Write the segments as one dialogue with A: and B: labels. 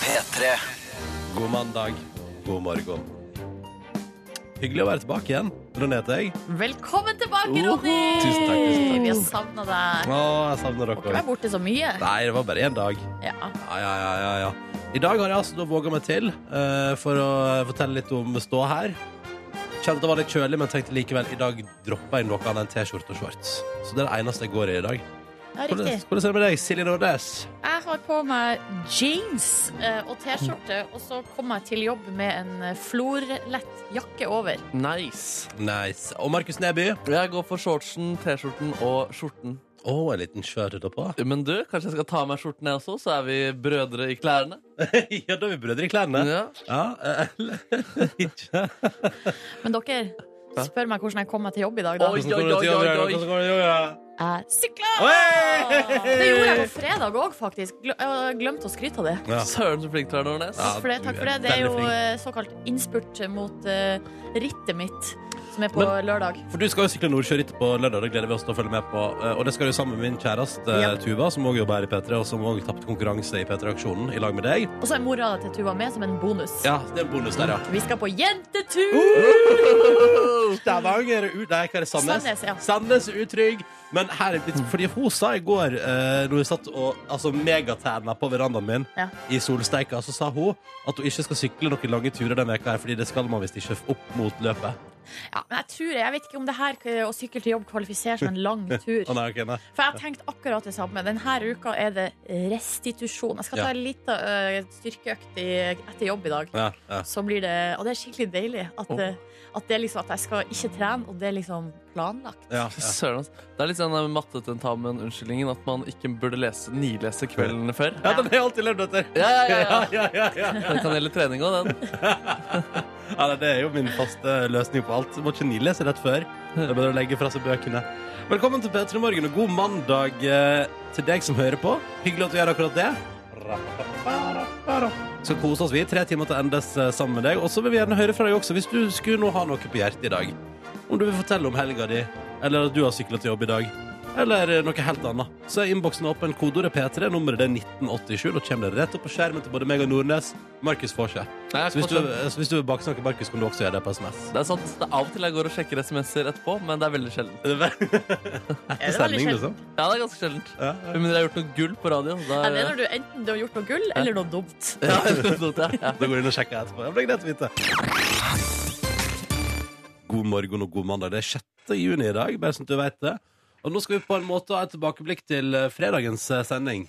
A: P3.
B: God mandag, god morgen. Hyggelig å være tilbake igjen. Ronny heter jeg.
C: Velkommen tilbake, Ronny!
B: Tusen takk, tusen takk.
C: Vi har savna deg.
B: Å, jeg savner
C: Du har
B: dere.
C: vært borte så mye.
B: Nei, det var bare én dag.
C: Ja.
B: Ja, ja, ja, ja, ja. I dag har jeg altså da våga meg til eh, for å fortelle litt om stå her. Kjente det var litt kjølig, men tenkte likevel i dag dropper jeg noe annet enn T-skjorte og shorts. Så det er det eneste jeg går i i dag.
C: ja, riktig.
B: Hvordan, hvordan er det med deg, Silje Nordnes?
C: Jeg har på meg jeans eh, og T-skjorte, og så kom jeg til jobb med en eh, florlett jakke over.
D: Nice.
B: Nice. Og Markus Neby?
D: Jeg går for shortsen, T-skjorten og skjorten.
B: Å, en liten skjørt utapå.
D: Men du, kanskje jeg skal ta av meg skjorten jeg også, så er vi brødre i klærne?
B: ja, da er vi brødre i klærne.
D: Ja.
B: Ja, eller ikke.
C: Men dere, spør meg hvordan jeg kom meg til jobb i dag, da.
D: Oi, oi, oi, oi, oi.
B: Hvordan går det i år, da?
C: Jeg sykla!
B: Oi!
C: Det gjorde jeg på fredag òg, faktisk. Gle- Jeg glemte å skryte av det.
B: Ja.
D: Søren, så flink du er, Nordnes.
B: Ja.
C: Takk for det. takk for Det Det er
B: veldig
C: jo
B: flink.
C: eh, såkalt innspurt mot eh, rittet mitt, som er på
B: Men-
C: lørdag.
B: For du skal jo sykle Nordsjørittet på lørdag, det gleder vi oss til å følge med på. Eh, Og det skal du sammen med min kjæreste eh,
C: Ja.
B: Tuva, som òg jobber her i P3, og som òg tapte konkurranse i P3-aksjonen i lag med deg.
C: Og så er mora til Tuva med som en bonus.
B: Ja, det er en bonus der, ja.
C: Vi skal på jentetur!
B: Uh. Stavanger ut Nei, hva er det? Sandnes?
C: Sandnes, ja.
B: Sandnes er utrygg. Men her er det litt Fordi hun sa i går, eh, når hun satt og altså, megaterna på verandaen min
C: Ja.
B: i solsteika, så sa hun at hun ikke skal sykle noen lange turer denne veka her, fordi det skal man visst ikke opp mot løpet.
C: Ja, men jeg tror, jeg vet ikke om det her eh, å sykle til jobb kvalifiserer som en lang tur.
B: Å nei, ok, nei.
C: For jeg har tenkt akkurat det samme. Denne uka er det restitusjon. Jeg skal
B: Ja.
C: ta en liten eh, styrkeøkt i, etter jobb i dag.
B: Ja, ja.
C: Så blir det, og det er skikkelig deilig at,
D: Åh.
C: eh, at, det er liksom, at jeg skal ikke trene, og det er liksom planlagt.
B: Ja, ja.
D: Søren, ass. Det er litt sånn den mattetentamen-unnskyldningen at man ikke burde lese, nilese kvelden før.
B: ja, den har jeg alltid levd etter.
D: Ja, ja, ja.
B: Ja,
D: ja.
B: ja, ja, ja.
D: Den kan gjelde trening òg, den.
B: Ja, det er jo min faste løsning på alt. Må ikke nilese rett før. Det er bedre å legge fra seg bøkene. Velkommen til P3 Morgen, og god mandag eh, til deg som hører på. Hyggelig at du gjør akkurat det. Skal kose oss, vi. Tre timer til endes eh, sammen med deg. Og så vil vi gjerne høre fra deg også, hvis du skulle nå ha noe på hjertet i dag. Om du vil fortelle om helga di, eller at du har sykla til jobb i dag. Eller eh, noe helt annet. Så er innboksen åpen. Kodeordet P3, nummeret det er 1987. Da kommer det rett opp på skjermen til både meg og Nordnes. Markus får seg.
D: Nei, jeg
B: Så hvis, du,
D: forstår.
B: så hvis du vil baksnakke Markus, kan du også gjøre det på SMS.
D: Det er sant, det er av og til jeg går og sjekker SMS-er etterpå, men det er veldig sjelden.
C: Er det veldig
B: Sending,
C: sjelden?
B: liksom.
D: Ja, det er ganske sjeldent.
B: Ja, ja.
D: Men dere har gjort noe gull på radio. Da
C: Ja, det er når du enten du har gjort noe gull, eller noe dumt.
D: Ja, det er sant, ja, ja.
B: Da går du inn og sjekker etterpå. Ja, men Det er greit å vite. God morgen og god mandag. Det er 6. juni i dag, bare sånn at du vet det. Og nå skal vi på en måte ha et tilbakeblikk til eh, fredagens eh, sending.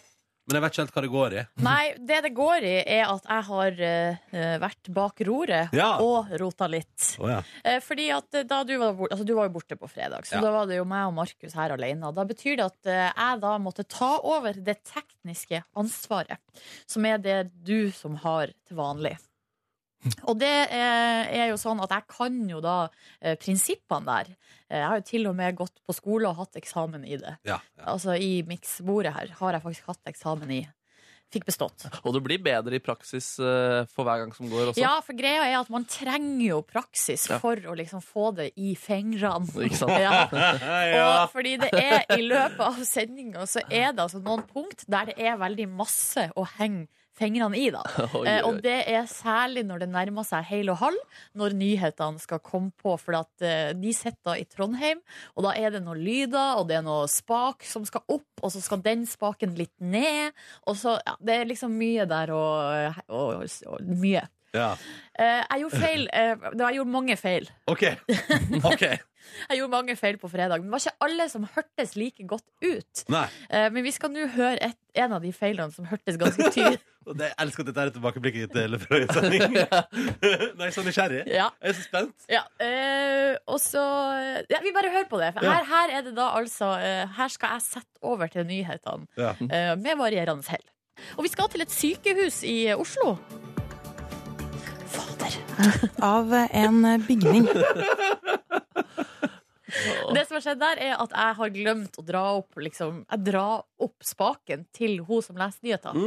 B: Men jeg vet ikke helt hva det går i.
C: Nei, det det går i, er at jeg har eh, vært bak roret
B: Ja.
C: og rota litt. Eh, fordi at eh, da du var, bort, altså, du var jo borte på fredag, så
B: Ja.
C: da var det jo meg og Markus her alene. Da betyr det at eh, jeg da måtte ta over det tekniske ansvaret, som er det du som har til vanlig.
D: Hm.
C: Og det eh, er jo sånn at jeg kan jo da eh, prinsippene der. Eh, Jeg har jo til og med gått på skole og hatt eksamen i det.
B: Ja.
C: Altså i miksbordet her har jeg faktisk hatt eksamen i. Fikk bestått.
D: Og du blir bedre i praksis eh, for hver gang som går også.
C: Ja, for greia er at man trenger jo praksis
D: Ja.
C: for å liksom få det i fingrene.
D: Ikke sant?
C: Ja.
B: Ja.
C: Og fordi det er i løpet av sendinga, så er det altså noen punkt der det er veldig masse å henge fingrene i, da.
D: Oi,
C: Eh,
D: oi.
C: og det er særlig når det nærmer seg hel og halv, når nyhetene skal komme på. For at, eh, de sitter i Trondheim, og da er det noen lyder, og det er noe spak som skal opp, og så skal den spaken litt ned. Og så, ja, det er liksom mye der og, og, og, mye.
B: ja.
C: Eh, jeg gjorde feil. eh, det var- jeg gjorde mange feil.
B: OK. OK.
C: Jeg gjorde mange feil på fredag, men det var ikke alle som hørtes like godt ut.
B: Nei.
C: Eh, Men vi skal nå høre et, en av de feilene som hørtes ganske tydelig
B: Og det- Jeg elsker at dette er et tilbakeblikk til fredagens sending. Nei, så nysgjerrig.
C: ja,
B: Jeg er så spent.
C: ja. Eh, Og så ja, Vi bare hører på det. For
B: Ja.
C: her, her er det da altså eh, Her skal jeg sette over til nyhetene
B: Ja.
C: eh, med varierende hell. Og vi skal til et sykehus i Oslo. Fader.
E: av en bygning.
C: Det som har skjedd der, er at jeg har glemt å dra opp liksom, Jeg drar opp spaken til hun som leser nyheter.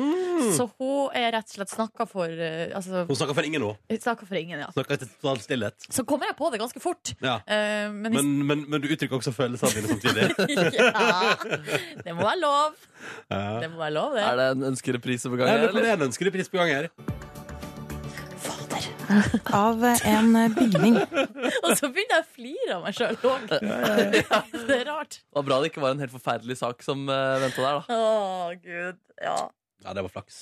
C: Så hun er rett og slett snakka for eh, Altså,
B: Hun snakker for ingen nå.
C: snakka for ingen, ja.
B: Snakker etter total stillhet.
C: Så kommer jeg på det ganske fort.
B: Ja.
C: Eh, men,
B: Men, men, men du uttrykker også følelsene dine samtidig.
C: ja, det må være lov.
B: Ja.
C: Det må være lov, det.
D: Er det en ønskereprise på gang?
B: Jeg lurer
D: her,
B: på om
D: eller?
B: det er en ønskerepris på gang her.
E: av en bygning.
C: Og så begynner jeg å flire av meg sjøl òg. Det er rart.
D: Det var bra det ikke var en helt forferdelig sak som uh, venta der, da.
C: Å, gud. Ja.
B: Ja, det var flaks.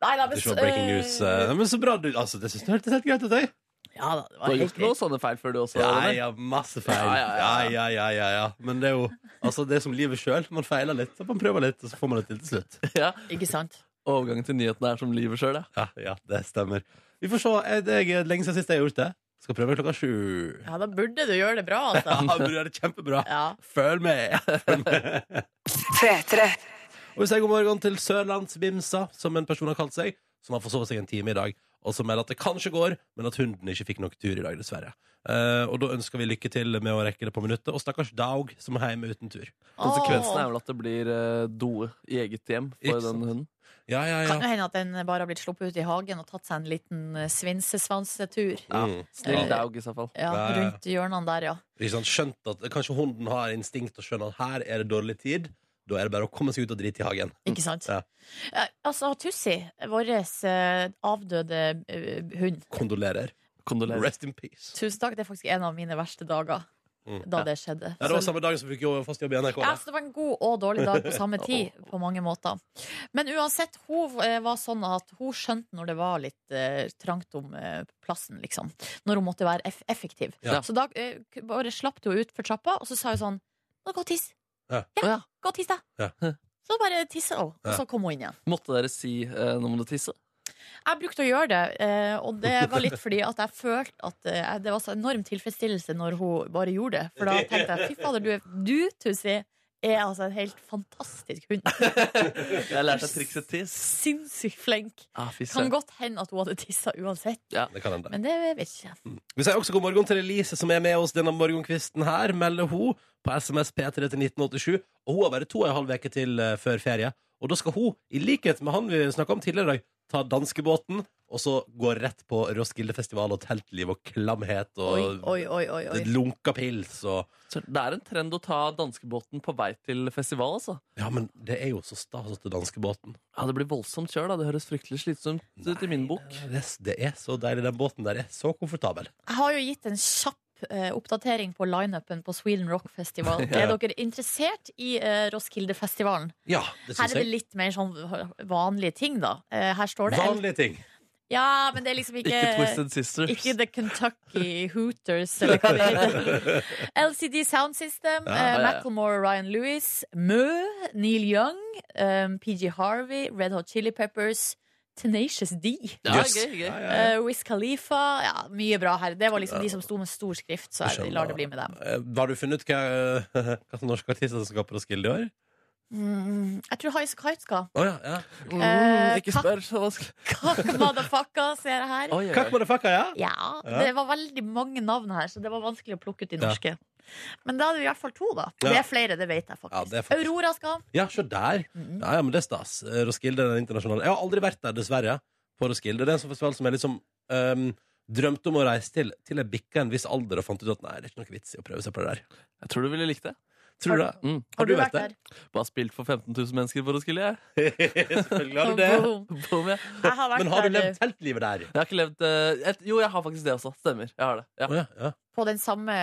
C: Nei, nei,
B: Det var breaking news.
C: eh,
B: eh, Men så bra du Altså, det synes du hørtes helt greit ut, jeg.
C: Ja da, det
D: Du
C: var
D: har
C: helt
D: gjort noen sånne feil før, du også.
B: Ja,
D: Ronny.
B: ja, masse feil.
D: Ja,
B: Ja, ja,
D: ja, ja.
B: ja. ja, ja, Men det er jo altså, det er som livet sjøl. Man feiler litt, og man prøver litt, og så får man det til til slutt.
D: Ja.
C: Ikke sant?
D: Overgangen til nyhetene er som livet sjøl, ja.
B: Ja, ja, det stemmer. Vi får se. Jeg- Det er lenge siden sist jeg har gjort det. Skal prøve klokka sju.
C: Ja, da burde du gjøre det bra,
B: Ja,
C: altså.
B: du gjør det kjempebra.
C: Ja.
B: Følg med! Og vi sier god morgen til Sørlandsbimsa, som en person har kalt seg, som har forsovet seg en time i dag, og som melder at det kanskje går, men at hunden ikke fikk nok tur i dag, dessverre. Eh, og da ønsker vi lykke til med å rekke det på minuttet, og stakkars Daug, som er hjemme uten tur.
D: Konsekvensen er
C: Åh.
D: vel at det blir eh, doe i eget hjem
B: Ikke
D: for den
B: sant.
D: hunden.
B: Ja, ja, ja.
C: Kan jo hende at den bare har blitt sluppet ut i hagen og tatt seg en liten eh, svinsesvansetur.
B: Mm.
D: Snill
C: Eh,
D: daug, i så fall.
B: Ja,
C: Ja,
B: ja, ja.
C: rundt hjørnene der, ja.
B: Ikke sant? Skjønt at Kanskje hunden har instinkt og skjønner at her er det dårlig tid. Da er det bare å komme seg ut og drite i hagen.
C: Ikke sant?
B: Ja.
C: Eh, Altså, Tussi, vår avdøde eh, hund
B: Kondolerer.
D: Kondolerer.
B: Rest in peace.
C: Tusen takk, det er faktisk en av mine verste dager
B: Mm.
C: da det skjedde.
B: Ja, det var samme dagen som fikk jo fast jobb i NRK.
C: Ja,
B: da.
C: så det var en god og dårlig dag på samme tid, på mange måter. Men uansett, hun eh, var sånn at hun skjønte når det var litt eh, trangt om eh, plassen, liksom. Når hun måtte være eff effektiv.
B: Ja.
C: Så da eh, k- bare slapp hun ut for trappa, og så sa hun sånn Nå, gå og tiss.
B: Ja.
D: Å, ja.
C: gå og tiss, da.
B: Ja.
C: Så bare tissa hun, og
B: Ja.
C: så kom hun inn igjen.
D: Måtte dere si eh, 'nå må du tisse'?
C: Jeg brukte å gjøre det, eh, og det var litt fordi at jeg følte at eh, det var så enorm tilfredsstillelse når hun bare gjorde det. For da tenkte jeg fy fader, du, er- du Tussi, er altså en helt fantastisk hund.
D: Jeg lærte trikset tiss.
C: Sinnssykt flink.
D: Ah, fy
C: Kan
D: søren.
C: godt hende at hun hadde tissa uansett,
B: Det kan hende.
C: men det vet jeg ikke.
B: Vi sier også god morgen til Elise, som er med oss denne morgenkvisten her. Melder hun på SMS P3 til 1987. Og hun har bare to og en halv uke til eh, før ferie. Og da skal hun, i likhet med han vi snakka om tidligere i dag, ta danskebåten og så gå rett på Roskildefestival og teltliv og klamhet
C: Oi,
B: og
C: oi, oi, oi. oi.
B: lunka pils og
D: Søren, Det er en trend å ta danskebåten på vei til festival, altså.
B: Ja, men det er jo så stas at det er danskebåten.
D: Ja, Det blir voldsomt kjør, da. Det høres fryktelig slitsomt ut i min bok.
B: Det, det er så deilig. Den båten der er så komfortabel.
C: Jeg har jo gitt en kjapp eh, oppdatering på lineupen på Sweden Rock Festival.
B: Ja.
C: Er dere interessert i eh, Roskildefestivalen?
B: Ja, det
C: Her
B: syns
C: er det
B: jeg.
C: litt mer sånn vanlige ting, da. Eh, her står det
B: Vanlige ting.
C: Ja, men det er liksom ikke
D: Ikke Twisted Sisters.
C: Ikke The Kentucky Hooters eller hva det heter. LCD Sound System,
B: Ja,
C: eh,
D: ja, ja.
C: Macklemore, Ryan Lewis, Mø, Neil Young, um, PG Harvey, Red Hot Chili Peppers, Tenacious D.
D: Ja,
B: Yes.
D: gøy, gøy.
B: Ja, ja, ja.
C: eh, Wiz Khalifa Ja, mye bra her. Det var liksom de som sto med stor skrift, så jeg
B: Skjønner.
C: lar det bli med dem.
B: Eh, Har du funnet ut hva, hva som norske artister som skal på Roskilde i år?
C: Mm, jeg tror Highas Kite skal.
B: Å ja, ja.
D: Mm, ikke
C: Eh,
D: spør så vanskelig.
C: Kaka motherfucka, ser jeg her.
D: Oi, oi,
B: Kakk
D: oi.
B: motherfucker, ja?
C: Ja,
B: Ja.
C: det var veldig mange navn her, så det var vanskelig å plukke ut de norske. Men da er det i hvert fall to, da.
B: Ja.
C: Det er flere, det vet jeg faktisk.
B: Ja, det er faktisk-
C: Aurora skal.
B: Ja, se der. Ja, ja, men det er stas. Eh, Roskilde er den internasjonale. Jeg har aldri vært der, dessverre, på Roskilde. Det er en sånn festival som jeg liksom ehm, drømte om å reise til, til jeg bikka en viss alder og fant ut at nei, det er ikke noe vits i å prøve seg på det der.
D: Jeg tror du ville likt det.
B: Tror du det?
D: Mm.
C: Har du vært der?
D: Bare spilt for 15 000 mennesker på Roskilde, jeg.
B: Selvfølgelig har du det.
C: Boom.
D: Boom, jeg.
C: Jeg har vært
B: Men har du
C: der eh,
B: levd teltlivet der?
D: Jeg har ikke levd eh, et, Jo, jeg har faktisk det også. Stemmer. jeg har det ja.
B: Å ja, ja.
C: på den samme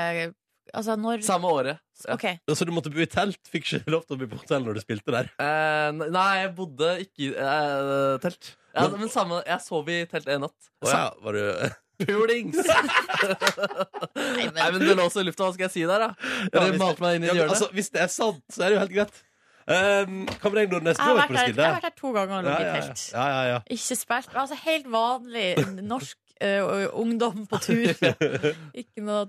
C: Altså når
D: Samme året. Ja.
C: OK.
B: Så du måtte bo i telt? Fikk ikke lov til å bo på hotell når du spilte der?
D: Eh, nei, jeg bodde ikke i eh, telt. Ja,
B: Men-
D: men samme, jeg sov i telt en natt.
B: Å ja, var du
D: Pulings!
C: Nei,
D: Nei, men det lå også i lufta. Hva skal jeg si der, da? Dere
B: hvis-
D: malte meg inn i
B: ja,
D: et
B: men,
D: hjørne.
B: altså, Hvis det er sant, så er det jo helt greit. Um, Kamreng Nordnes,
C: jeg
B: du
C: har
B: har vært på
C: vært der, jeg
B: Roskilde?
C: har vært der to ganger og
B: Ja,
C: ligget i
B: ja, ja.
C: telt.
B: ja, ja, ja.
C: Ikke spilt. Altså helt vanlig norsk eh, ungdom på tur. Ikke noe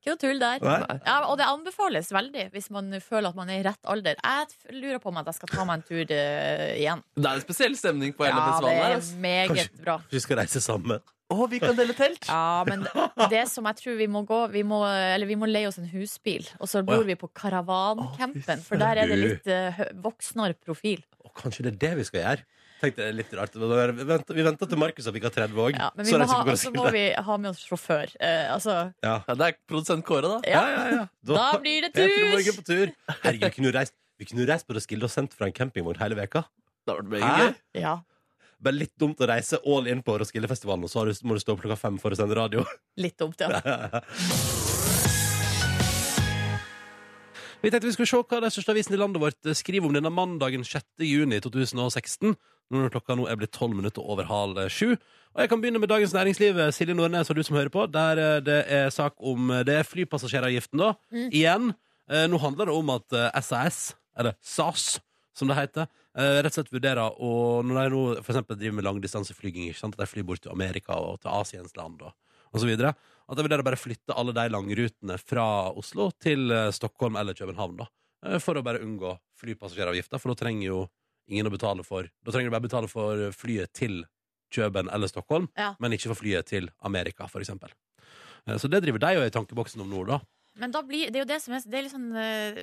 C: ikke noe tull der.
B: Nei.
C: Ja, og det anbefales veldig hvis man føler at man er i rett alder. Jeg f- lurer på om at jeg skal ta meg en tur eh, igjen.
D: Det er en spesiell stemning på hele
C: Ja, det
D: festivalen. her,
C: er
D: ass.
C: meget bra.
B: Vi skal reise sammen.
D: Å, vi kan dele telt!
C: Ja, men det- det som jeg tror vi må gå Vi må, eller vi må leie oss en husbil, og så bor
B: ja.
C: vi på karavankampen. For der er det litt eh, hø- voksnere profil.
B: Og kanskje det er det vi skal gjøre? Tenkte det er litt rart Vi venter, vi venter til Markus har fikk 30 òg.
C: Ja, men vi må ha, og så må vi ha med oss sjåfør. Eh, altså,
B: Ja.
D: Ja, det er produsent Kåre, da.
B: Ja,
C: ja,
B: ja, ja.
C: da blir det
B: Peter og Morgen
C: tur!
B: på tur. Herregud, vi kunne jo reist, vi kunne jo reist på Roskilde og sendt fra en campingvogn hele veka.
D: Da var det meget
B: Hæ?
D: gøy.
C: Ja.
B: Bare litt dumt å reise all in på Roskildefestivalen, og så har du- må du stå opp klokka fem for å sende radio.
C: Litt dumt, ja.
B: Vi tenkte vi skulle se hva den største avisen i landet vårt eh, skriver om denne mandagen 6. juni 2016. Når klokka nå er blitt tolv minutter over halv eh, sju. Og jeg kan begynne med Dagens Næringsliv, Eh, Silje Nordnes og du som hører på. Der eh, det er sak om eh, det er flypassasjeravgiften, da.
C: Mm.
B: Igjen. Eh, Nå handler det om at eh, SAS, eller SAS, som det heter, eh, rett og slett vurderer å Når de nå for eksempel driver med langdistanseflyging, ikke sant, at de flyr bort til Amerika og til Asiens land og, og så videre, at de vurderer å bare flytte alle de langrutene fra Oslo til eh, Stockholm eller København, da. eh, For å bare unngå flypassasjeravgifta, for da trenger jo ingen å betale for Da trenger du bare betale for eh, flyet til Køben eller Stockholm,
C: Ja.
B: men ikke for flyet til Amerika, for eksempel. Eh, Så det driver de jo i tankeboksen om nå, da.
C: Men da blir, det er jo det som er Det er litt sånn eh,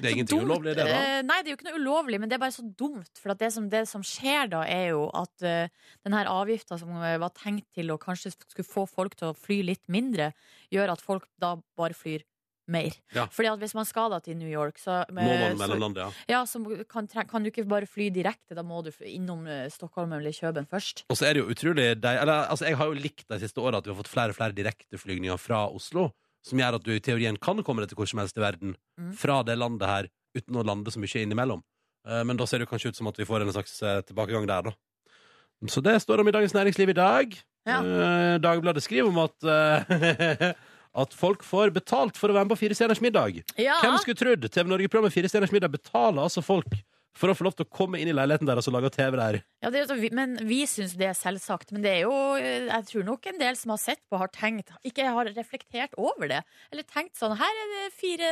B: Det er
C: så
B: ingenting
C: dumt.
B: ulovlig i det, da.
C: Eh, nei, det er jo ikke noe ulovlig, men det er bare så dumt. For at det, som, det som skjer da, er jo at uh, den her avgifta som eh, var tenkt til å kanskje skulle få folk til å fly litt mindre, gjør at folk da bare flyr mer.
B: Ja.
C: Fordi at hvis man skal da til New York, så, eh,
B: Må man
C: så,
B: mellomlande, ja.
C: ja, så kan, tre- kan du ikke bare fly direkte. Da må du fly innom eh, Stockholm eller Kjøben først.
B: Og så er det jo utrolig de, eller, altså, Jeg har jo likt de siste åra at vi har fått flere og flere direkteflygninger fra Oslo, som gjør at du i teorien kan komme deg til hvor som helst i verden
C: Mm.
B: fra det landet her uten å lande så mye innimellom. Eh, Men da ser det jo kanskje ut som at vi får en slags eh, tilbakegang der, da. Så det står om i Dagens Næringsliv i dag.
C: Ja.
B: Eh, Dagbladet skriver om at eh, At folk får betalt for å være med på Fire stjerners middag.
C: Ja,
B: Hvem skulle trodd? TV Norge-programmet Fire stjerners middag betaler altså folk for å få lov til å komme inn i leiligheten deres og lage TV der.
C: ja det, er jo så- men vi syns det er selvsagt. Men det er jo, eh, jeg tror nok en del som har sett på, har tenkt Ikke har reflektert over det. Eller tenkt sånn Her er det fire,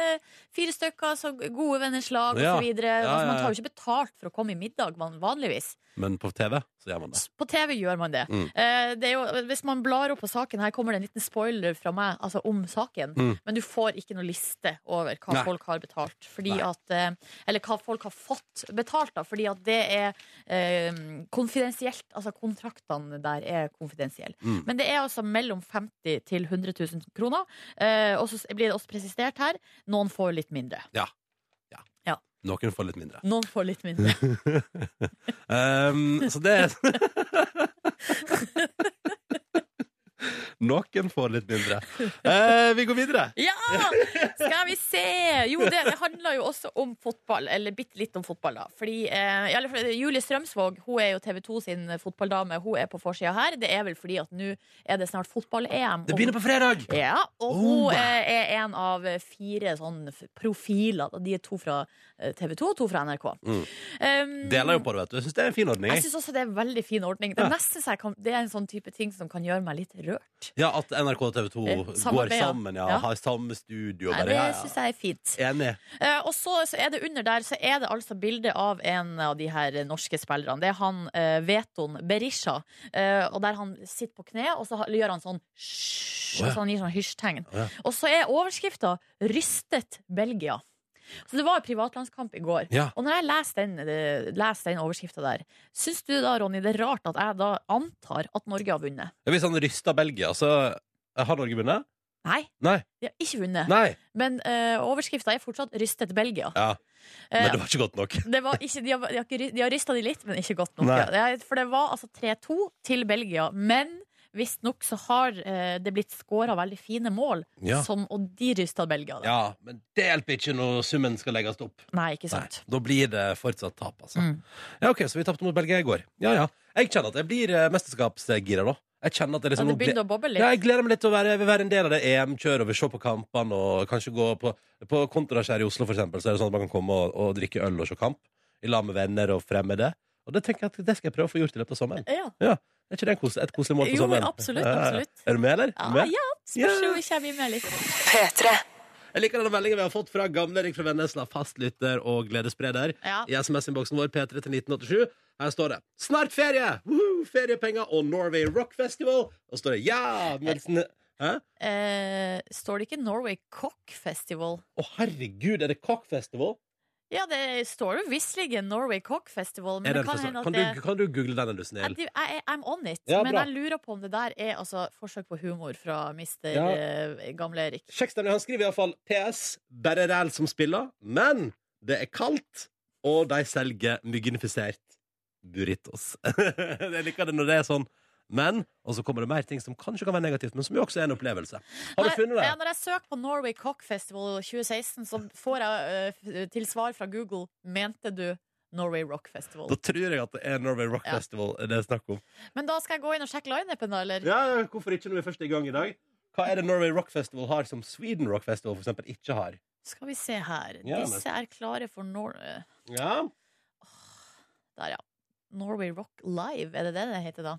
C: fire stykker, så gode venners lag, og
B: Ja.
C: så
B: Ja,
C: videre. Altså,
B: ja,
C: man
B: ja.
C: tar jo ikke betalt for å komme i middag, man, vanligvis.
B: Men på TV så gjør man det.
C: På TV gjør man det.
B: Mm.
C: Eh, det er jo, hvis man blar opp på saken, her kommer det en liten spoiler fra meg altså om saken.
B: Mm.
C: Men du får ikke noe liste over hva
B: Nei.
C: folk har betalt. Fordi
B: Nei.
C: at, eh, eller hva folk har fått betalt, da. Fordi at det er eh, konfidensielt. Altså kontraktene der er konfidensielle.
B: Mm.
C: Men det er altså mellom 50 til 100 000 kroner. Eh, og så blir det også presisert her noen får litt mindre.
B: Noen får litt mindre.
C: Noen får litt mindre.
B: Ehm, så det Noen får litt mindre. Eh, vi går videre.
C: Ja! Skal vi se! Jo, det, det handler jo også om fotball. Eller bitte litt om fotball, da. Fordi, eh, i alle fall, Julie Strømsvåg hun er jo TV 2 sin fotballdame. Hun er på forsida her. Det er vel fordi at nå er det snart fotball-EM.
B: Det begynner på fredag!
C: ja, og
B: Oh.
C: hun eh, er en av fire sånn f- profiler. da. De er to fra TV 2 og to fra NRK.
B: Mm.
C: Um,
B: Deler jo på det, vet du. Jeg syns det er en fin ordning.
C: jeg
B: jeg.
C: syns også det er en veldig fin ordning. Det er,
B: Ja.
C: nesten så jeg kan, det er en sånn type ting som kan gjøre meg litt rørt.
B: Ja, At NRK og TV 2
C: Eh,
B: går
C: samarbeid, ja.
B: sammen, ja.
C: Ja.
B: Har samme studio.
C: Nei,
B: Bare,
C: det
B: ja,
C: syns
B: ja.
C: jeg er fint.
B: Enig.
C: Eh, og så, så er det under der Så er det altså bilde av en av de her norske spillerne. Det er han eh, Veton Berisha. Eh, og der han sitter på kne, og så ha- gjør han sånn hysj.
B: Å, ja.
C: altså han gir sånn hysjtegn.
B: Å, ja.
C: Og så er overskrifta 'Rystet Belgia'. Så det var privatlandskamp i går.
B: Ja.
C: Og når jeg leser den, eh, leser den overskrifta der, syns du da, Ronny, det er rart at jeg da antar at Norge har vunnet?
B: Hvis han ryster Belgia, så Eh, Har Norge vunnet?
C: Nei,
B: Nei.
C: de har ikke vunnet.
B: Nei.
C: Men uh, overskrifta er fortsatt 'Rystet Belgia'.
B: Ja.
C: Eh,
B: Men det var ikke godt nok.
C: Det var ikke, de, har, de, har ikke, ry- de har rista de litt, men ikke godt nok.
B: Nei.
C: Ja. Det er- For det var altså 3-2 til Belgia. Men visstnok så har eh, det blitt skåra veldig fine mål,
B: Ja.
C: som, og de rysta Belgia. Da.
B: Ja, Men det hjelper ikke når summen skal legges opp.
C: Nei, ikke
B: Nei,
C: sant?
B: da blir det fortsatt tap, altså.
C: Mm.
B: Ja, ok, Så vi tapte mot Belgia i går. Ja, ja. Jeg kjenner at jeg blir eh, mesterskapsgira, da. Jeg kjenner at det
C: Ja,
B: liksom
C: det begynte å boble litt.
B: ja, Jeg gleder meg litt til å være, jeg vil være en del av det EM-kjøret og vil se på kampene og kanskje gå på På Kontoras her i Oslo, for eksempel, så er det sånn at man kan komme og, og drikke øl og se kamp i lag med venner og fremmede. Og det tenker jeg at det skal jeg prøve å få gjort i løpet av sommeren.
C: Ja.
B: Er ikke det en kos- et koselig mål på
C: Jo,
B: sommeren?
C: absolutt,
B: Ja, ja, ja.
C: absolutt.
B: Er du med, eller?
C: Ja,
B: Du med?
C: ja, spørs om vi kommer med litt.
B: Jeg liker denne meldingen vi har fått fra gamle Erik fra Vennesla, fastlytter og gledesspreder.
C: Ja.
B: I SMS-innboksen vår, P3 til 1987. Her står det 'Snart ferie!' Woohoo! feriepenger og Norway Rock Festival. Og så står det 'ja'! eh, Mens den- Hæ?
C: Eh, står det ikke Norway Cock Festival?
B: Å, herregud, er det cockfestival?
C: Ja, det står jo visselig Norway Cock Festival, men
B: Er
C: det
B: den
C: kan
B: for-
C: hende at
B: kan,
C: det
B: du, kan du google den, er du snill?
C: Jeg, jeg, jeg, I'm on it,
B: Ja,
C: men
B: bra.
C: jeg lurer på om det der er altså, forsøk på humor fra mister
B: Ja.
C: eh, gamle Erik.
B: Kjekstad han skriver iallfall PS. Bare ræl som spiller. Men det er kaldt, og de selger mygginfisert burritos. jeg liker det når det er sånn. Men, og så kommer det mer ting som kanskje kan være negativt, men som jo også er en opplevelse. Har du
C: Nei,
B: funnet det?
C: Ja, når jeg søker på Norway Cock Festival 2016, så får jeg eh, til svar fra Google Mente du Norway Rock Festival?
B: Da tror jeg at det er Norway Rock
C: Ja.
B: Festival det er snakk om.
C: Men da skal jeg gå inn og sjekke lineupen, da, eller?
B: Ja, ja, hvorfor ikke når vi først er i gang i dag? Hva er det Norway Rock Festival har som Sweden Rock Festival for eksempel ikke har?
C: Skal vi se her.
B: Ja, men-
C: Disse er klare for Nor... eh,
B: Ja,
C: Der, ja. Norway Rock Live, er det det det heter da?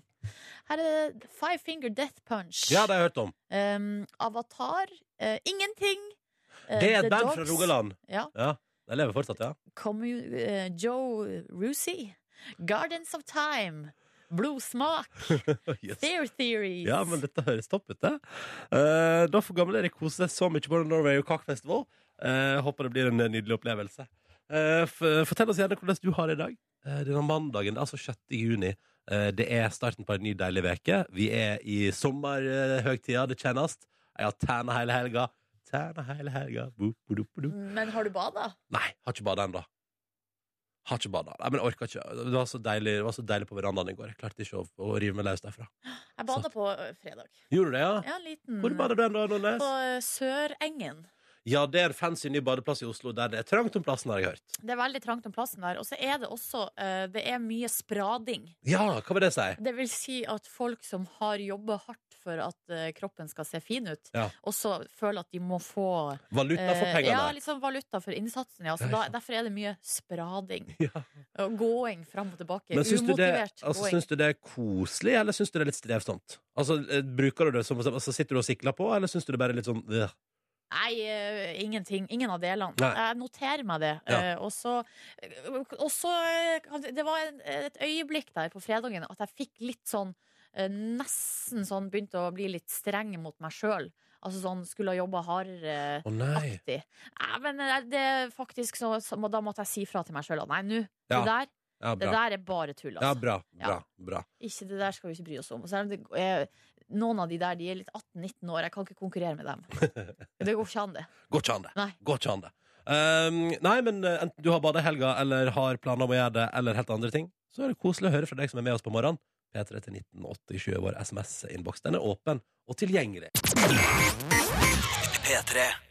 C: Her er det Five Finger Death Punch.
B: ja det har jeg hørt om.
C: Um, Avatar. eh, ingenting. eh,
B: Det er
C: The
B: et band fra
C: Dogs.
B: Rogaland.
C: Ja.
B: Ja, De lever fortsatt, ja.
C: Commu- eh, Joe Rusi. Gardens of Time. Blodsmak.
B: Yes.
C: Their Theories.
B: Ja, men dette høres topp ut, det. Eh, da får gamle Erik kose seg så mye på Norway og Cock Festival. Eh, håper det blir en nydelig opplevelse. Eh, f fortell oss gjerne hvordan du har det i dag. Eh, denne mandagen, det er altså 6. juni. Eh, det er starten på en ny deilig veke Vi er i sommerhøgtida, det kjennes. Jeg har tærne hele helga. Tærne hele helga. Bo, bo, do, bo, do.
C: Men har du bada?
B: Nei, har ikke bada ennå. Har ikke bada. Nei, men jeg orka ikke. Det var så deilig, det var så deilig på verandaen i går. Jeg klarte ikke å, å rive meg løs derfra.
C: Jeg bada på ø, fredag.
B: Gjorde du det, ja?
C: Ja, en liten
B: Hvor bada du ennå, Nordnes?
C: På ø, Sørengen.
B: Ja, det er en fancy ny badeplass i Oslo der det er trangt om plassen, har jeg hørt.
C: Det er veldig trangt om plassen der. Og så er det også ø, Det er mye sprading.
B: Ja, hva vil det si?
C: Det vil si at folk som har jobba hardt for at ø, kroppen skal se fin ut,
B: Ja.
C: også føler at de må få
B: Valuta for
C: ø,
B: pengene.
C: ja, liksom valuta for innsatsen. Ja. Så
B: Ja,
C: da,
B: ikke sant.
C: derfor er det mye sprading.
B: Ja.
C: Og gåing fram og tilbake.
B: Men syns du, det,
C: Umotivert
B: altså,
C: gåing.
B: syns du det er koselig, eller syns du det er litt strevsomt? Altså, eh, bruker du det som altså, Sitter du og sikler på, eller syns du det bare er litt sånn øh?
C: Nei, eh, ingenting. Ingen av delene.
B: Nei.
C: Jeg noterer meg det.
B: Ja.
C: Eh, og så eh, og så, eh, kan- Det var en, et øyeblikk der på fredagen at jeg fikk litt sånn eh, Nesten sånn begynte å bli litt streng mot meg sjøl. Altså sånn skulle ha jobba hardere.
B: Å nei.
C: Aktig. Nei, men eh, det er faktisk så, så må- Da måtte jeg si fra til meg sjøl at nei, nå,
B: Ja,
C: det, der,
B: Ja,
C: det
B: bra.
C: der er bare tull,
B: Ja,
C: altså.
B: bra.
C: Ja.
B: Bra. bra.
C: Ikke det der skal vi ikke bry oss om. Og Selv om det er, noen av de der de er litt 18-19 år, jeg kan ikke konkurrere med dem. Det går ikke an, det.
B: Går ikke an, det.
C: Nei.
B: Går ikke an, det. Ehm, nei, men eh, enten du har bada i helga, eller har planer om å gjøre det, eller helt andre ting, så er det koselig å høre fra deg som er med oss på morgenen. P3 til 1987 er vår SMS-innboks. Den er åpen og tilgjengelig.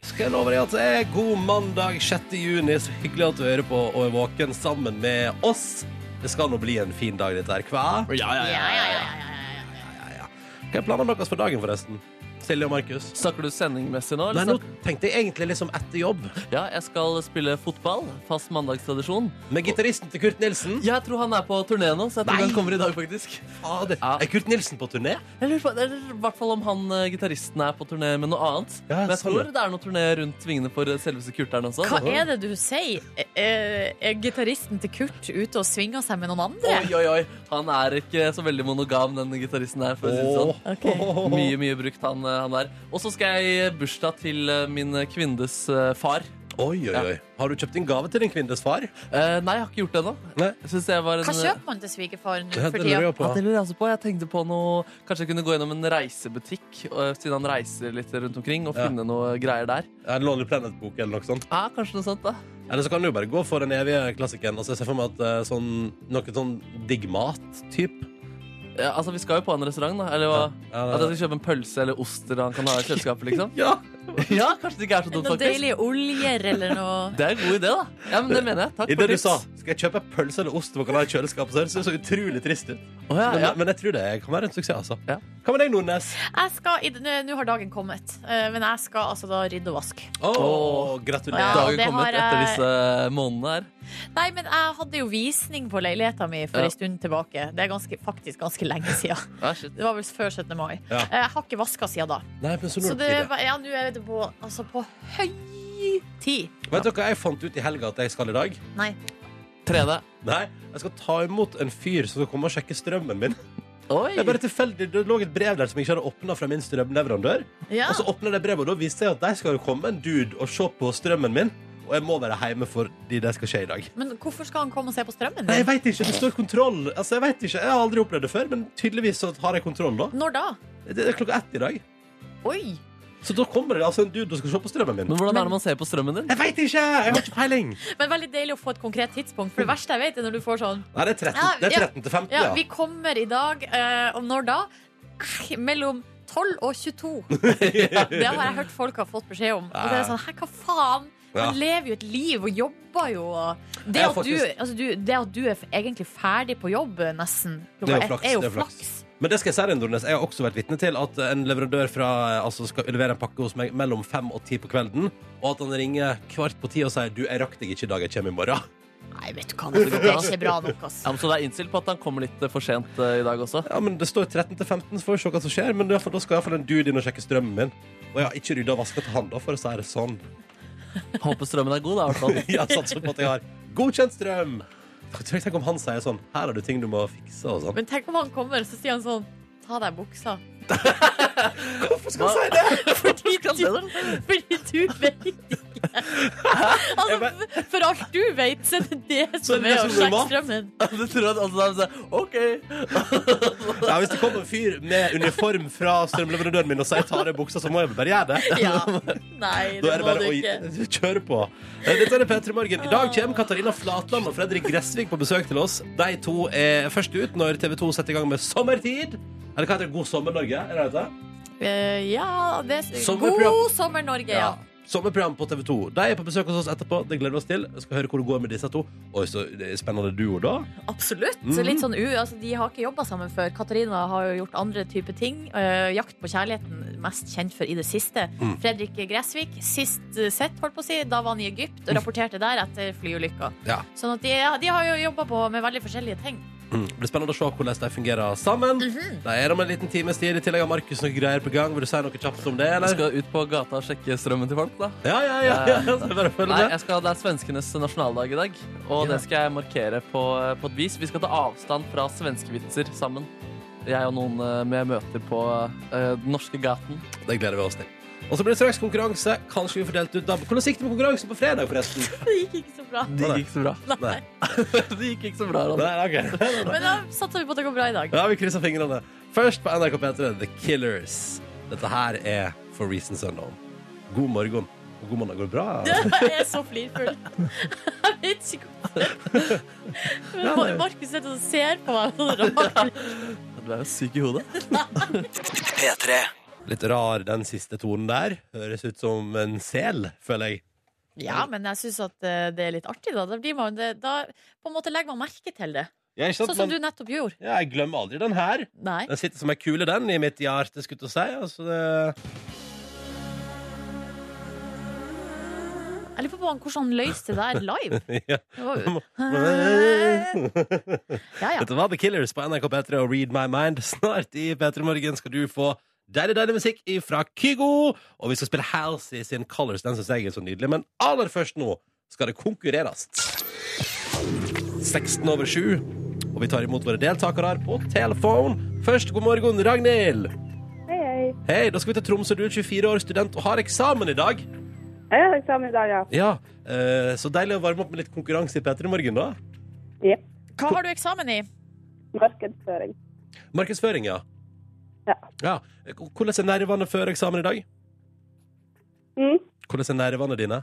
B: Skal jeg love deg at det er god mandag 6. juni. Så hyggelig at du hører på og er våken sammen med oss. Det skal nå bli en fin dag, dette her. Hva?
D: Ja, ja, ja, ja, ja.
B: Hva er planene deres for dagen, forresten? Silje og Markus?
D: Snakker du sendingmessig nå?
B: Nei,
D: Eller
B: nå
D: snakker-
B: tenkte jeg egentlig liksom etter jobb.
D: Ja, jeg skal spille fotball. Fast mandagstradisjon.
B: Med gitaristen til Kurt Nilsen.
D: Jeg tror han er på turné nå, så jeg tror
B: Nei.
D: han kommer i dag, faktisk.
B: Fader.
D: Ja.
B: Er Kurt Nilsen på turné?
D: Jeg lurer på, eller, I hvert fall om han eh, gitaristen er på turné med noe annet.
B: Ja,
D: Men jeg
B: sånn, ja.
D: tror det er noe turné rundt vingene for eh, selveste Kurteren også.
C: Hva er det du sier? Er, er gitaristen til Kurt ute og svinger seg med noen andre?
D: Oi, oi, oi. Han er ikke så veldig monogam, den gitaristen her. For å si det sånn.
C: Ok.
D: Mye, mye brukt, han, eh, han der. Og så skal jeg i bursdag til eh, min kvindes eh, far.
B: Oi, oi, oi. Har du kjøpt en gave til din kvinnes far?
D: Eh, nei, jeg har ikke gjort det ennå.
B: Nei.
D: Jeg synes det var en-
C: Hva kjøper man til svigerfar nå
B: Det
C: for
B: lurer
C: tida?
B: jeg
D: Ja,
B: på.
D: eh, det lurer jeg også på. Jeg tenkte på noe Kanskje jeg kunne gå gjennom en reisebutikk, øh, siden han reiser litt rundt omkring, og
B: Ja.
D: finne noe greier der.
B: En Lonely Planet-bok eller noe sånt.
D: Ja, kanskje noe sånt, da.
B: Eller så kan du jo bare gå for den evige klassikeren. Altså, jeg ser for meg at eh, sånn, noe sånn digg mat-type.
D: Ja, altså, vi skal jo på en restaurant, da. Eller hva?
B: Ja,
D: At
B: det-
D: jeg skal kjøpe en pølse eller oster han kan ha i kjøleskapet, liksom.
B: ja.
D: Ja, kanskje det ikke er så dumt,
C: Noen
D: faktisk.
C: deilige oljer eller noe?
D: Det er en god idé, da. Ja, men det mener jeg. Takk
B: I det
D: for
B: du
D: tips.
B: sa, skal jeg kjøpe pølse eller ost man kan ha i kjøleskapet, så høres det så utrolig trist ut.
D: Å, ja,
B: Men,
D: ja.
B: men jeg tror det kan være en suksess, altså.
D: Ja.
B: Hva med deg, Nordnes?
C: Jeg skal, i- nå nå har dagen kommet, eh, men jeg skal altså da rydde og vaske.
B: Å,
D: Åh.
C: Ja,
B: gratulerer.
D: Dagen
C: det
D: kommet
C: har
D: etter
C: jeg-
D: disse eh, månedene her.
C: Nei, men jeg hadde jo visning på leiligheta mi for
D: Ja.
C: en stund tilbake. Det er ganske, faktisk ganske lenge sida.
D: Ja, shit.
C: Det var vel før 17. mai.
B: Ja.
C: Eh, Jeg har ikke vaska siden da.
B: Nei, men så nå
C: Så
B: er det på tide.
C: det, var- ja, nå er det på, altså på høy tid.
B: Vet dere hva jeg fant ut i helga at jeg skal i dag?
C: Nei.
D: Trene.
B: Nei, jeg skal ta imot en fyr som skal komme og sjekke strømmen min.
D: Oi!
B: Det er bare tilfeldig, det lå et brev der som jeg ikke hadde åpna fra min strømleverandør.
C: Ja.
B: Og så åpnet det brevet, og da viste jeg at der skal det komme en dude og se på strømmen min. Og jeg må være hjemme fordi det skal skje i dag.
C: Men hvorfor skal han komme og se på strømmen
B: Nei, jeg
C: din?
B: vet ikke, det står kontroll. Altså, Jeg vet ikke, jeg har aldri opplevd det før, men tydeligvis så har jeg kontroll da.
C: Når da?
B: Det er klokka ett i dag.
C: Oi!
B: Så da kommer det altså en dude og skal se på strømmen min.
D: Men hvordan er det man ser på strømmen din?
B: Jeg veit ikke! Jeg har ikke peiling.
C: Men veldig deilig å få et konkret tidspunkt, for det verste jeg vet, er når du får sånn
B: Nei, det er 13, det er
C: Ja,
B: 13 til 15,
C: Ja,
B: ja.
C: vi kommer i dag, eh, om når da? Mellom 12 og 22. Det har jeg hørt folk har fått beskjed om. Og det er sånn, hæ, hva faen?
B: Ja.
C: Man lever jo et liv og jobber jo. og Det
B: Jeg
C: at, du,
B: faktisk-
C: altså du, det at du er f- egentlig ferdig på jobb eh, nesten
B: Det
C: klokka
B: er jo flaks,
C: ett, er jo
B: det er flaks.
C: flaks.
B: Men det skal jeg si, Rindornes, jeg har også vært vitne til at en leverandør fra, altså skal levere en pakke hos meg mellom fem og ti på kvelden, og at han ringer kvart på ti og sier du, jeg rakk deg ikke i dag, jeg kommer i morgen.
C: Nei, vet du hva, det er ikke bra nok, ass.
D: Ja, men så det er innstilt på at han kommer litt eh, for sent eh, i dag også?
B: Ja, men det står 13 til 15, så får vi se hva som skjer, men i hvert fall, da skal iallfall en dude inn og sjekke strømmen min. Og jeg har ikke rydda og vaska til han, da, for å si det sånn.
D: Håper strømmen er god, da. i hvert fall.
B: Jeg satser på at jeg har godkjent strøm. Tenk tenk om han sier sånn Her har du ting du må fikse og sånn.
C: Men tenk om han kommer, så sier han sånn Ta deg buksa.
B: Hvorfor skal han si det?
C: Fordi
D: Skal
C: du,
D: se det?
C: fordi du vet ikke. Altså, for alt du vet, så er det det
B: Så er
C: som
B: det det som
C: er å
B: er
C: sjekke
B: normalt.
C: strømmen.
D: Du tror at altså, da er det sånn, OK.
B: Ja, hvis det kommer en fyr med uniform fra strømleverandøren min og sier ta av deg buksa, så må jeg bare gjøre det.
C: Ja. Nei,
B: Da
C: det
B: er det
C: må du
B: bare
C: ikke. Ah.
B: å kjøre på. Eh, Dette er P3 Morgen. I dag kommer Katarina Flatland og Fredrik Gressvik på besøk til oss. De to er først ut når TV 2 setter i gang med Sommertid. Eller hva heter det? God sommer, Norge? Er det det? heter?
C: Eh, ja, det
B: Sommerprogram.
C: God sommer, Norge, ja.
B: Sommerprogram på TV 2. De er på besøk hos oss etterpå. Det gleder vi oss til. Vi skal høre hvor det går med disse to. Oi, så spennende duo, da.
C: Absolutt.
B: Mhm.
C: Litt sånn u, altså, de har ikke jobba sammen før. Katarina har jo gjort andre typer ting. Eh, Jakt på kjærligheten, mest kjent for i det siste.
B: Mhm.
C: Fredrik Gressvik, sist eh, sett, holdt på å si, da var han i Egypt og rapporterte der etter flyulykka.
B: Ja.
C: Sånn at de, ja, de har jo jobba med veldig forskjellige ting.
B: Mm. Det blir spennende å se hvordan de fungerer sammen.
C: Mhm.
B: De er om en liten times tid. I tillegg har Markus noen greier på gang. Vil du si noe kjapt om det,
D: Du
B: eller?
D: skal ut på gata og sjekke strømmen til folk, da?
B: Ja, ja, ja. ja. Så bare følg
D: Nei,
B: med.
D: jeg skal, det er svenskenes nasjonaldag i dag, og
B: Ja.
D: det skal jeg markere på, på et vis. Vi skal ta avstand fra svenskevitser sammen. Jeg og noen eh, jeg møter på eh, den norske gaten.
B: Det gleder vi oss til. Og så blir det straks konkurranse. Kanskje vi får delt ut DAB. Hvordan gikk det med konkurransen på fredag, forresten?
C: Det gikk ikke så bra.
D: Det gikk ikke så bra.
B: Nei.
D: Det gikk ikke så bra, Ronny.
B: Nei, ok.
C: Men da satser vi på at det går bra i dag.
B: Ja, vi krysser fingrene. Først på NRK P3, The Killers. Dette her er For Reasons Unknown. God morgen. Og God mandag. Går det bra?
C: Jeg er så flirfull. Jeg vet ikke hvorfor. Men Mar- Markus sitter og ser på meg. med sånn rar blikk.
D: Du er jo syk i hodet.
B: Litt rar den siste tonen der. Høres ut som en sel, føler jeg.
C: Ja, men jeg syns at eh, det er litt artig, da. Da, blir man, det, da på en måte legger man merke til det.
B: Ja, ikke sant?
C: Sånn som du
B: Men,
C: nettopp gjorde.
B: ja, jeg glemmer aldri den her.
C: Nei.
B: Den sitter som ei kule, den, i mitt hjerte, skulle jeg til å si. Altså, det...
C: Jeg lurer på om hvordan han løste det der live.
B: ja.
C: Det var jo- Ja, ja.
B: Dette var The Killers på NRK P3 og Read My Mind. Snart i P3 Morgen skal du få deilig, deilig musikk fra Kygo. Og vi skal spille Halsey sin Colors. Den syns jeg er så nydelig. Men aller først nå skal det konkurreres. 16 over 7. Og vi tar imot våre deltakere her på telefon. Først, god morgen, Ragnhild.
A: Hei, hei.
B: Hei, da skal vi til Tromsø. Du er 24 år, student og har eksamen i dag.
A: Jeg har eksamen i dag, ja.
B: Ja, eh, Så deilig å varme opp med litt konkurranse i P3 Morgen, da.
A: Jepp.
C: Hva har du eksamen i?
A: Markedsføring.
B: Markedsføring, ja.
A: Ja.
B: Hvordan er nervene før eksamen i dag?
A: Mm.
B: Hvordan er nervene dine?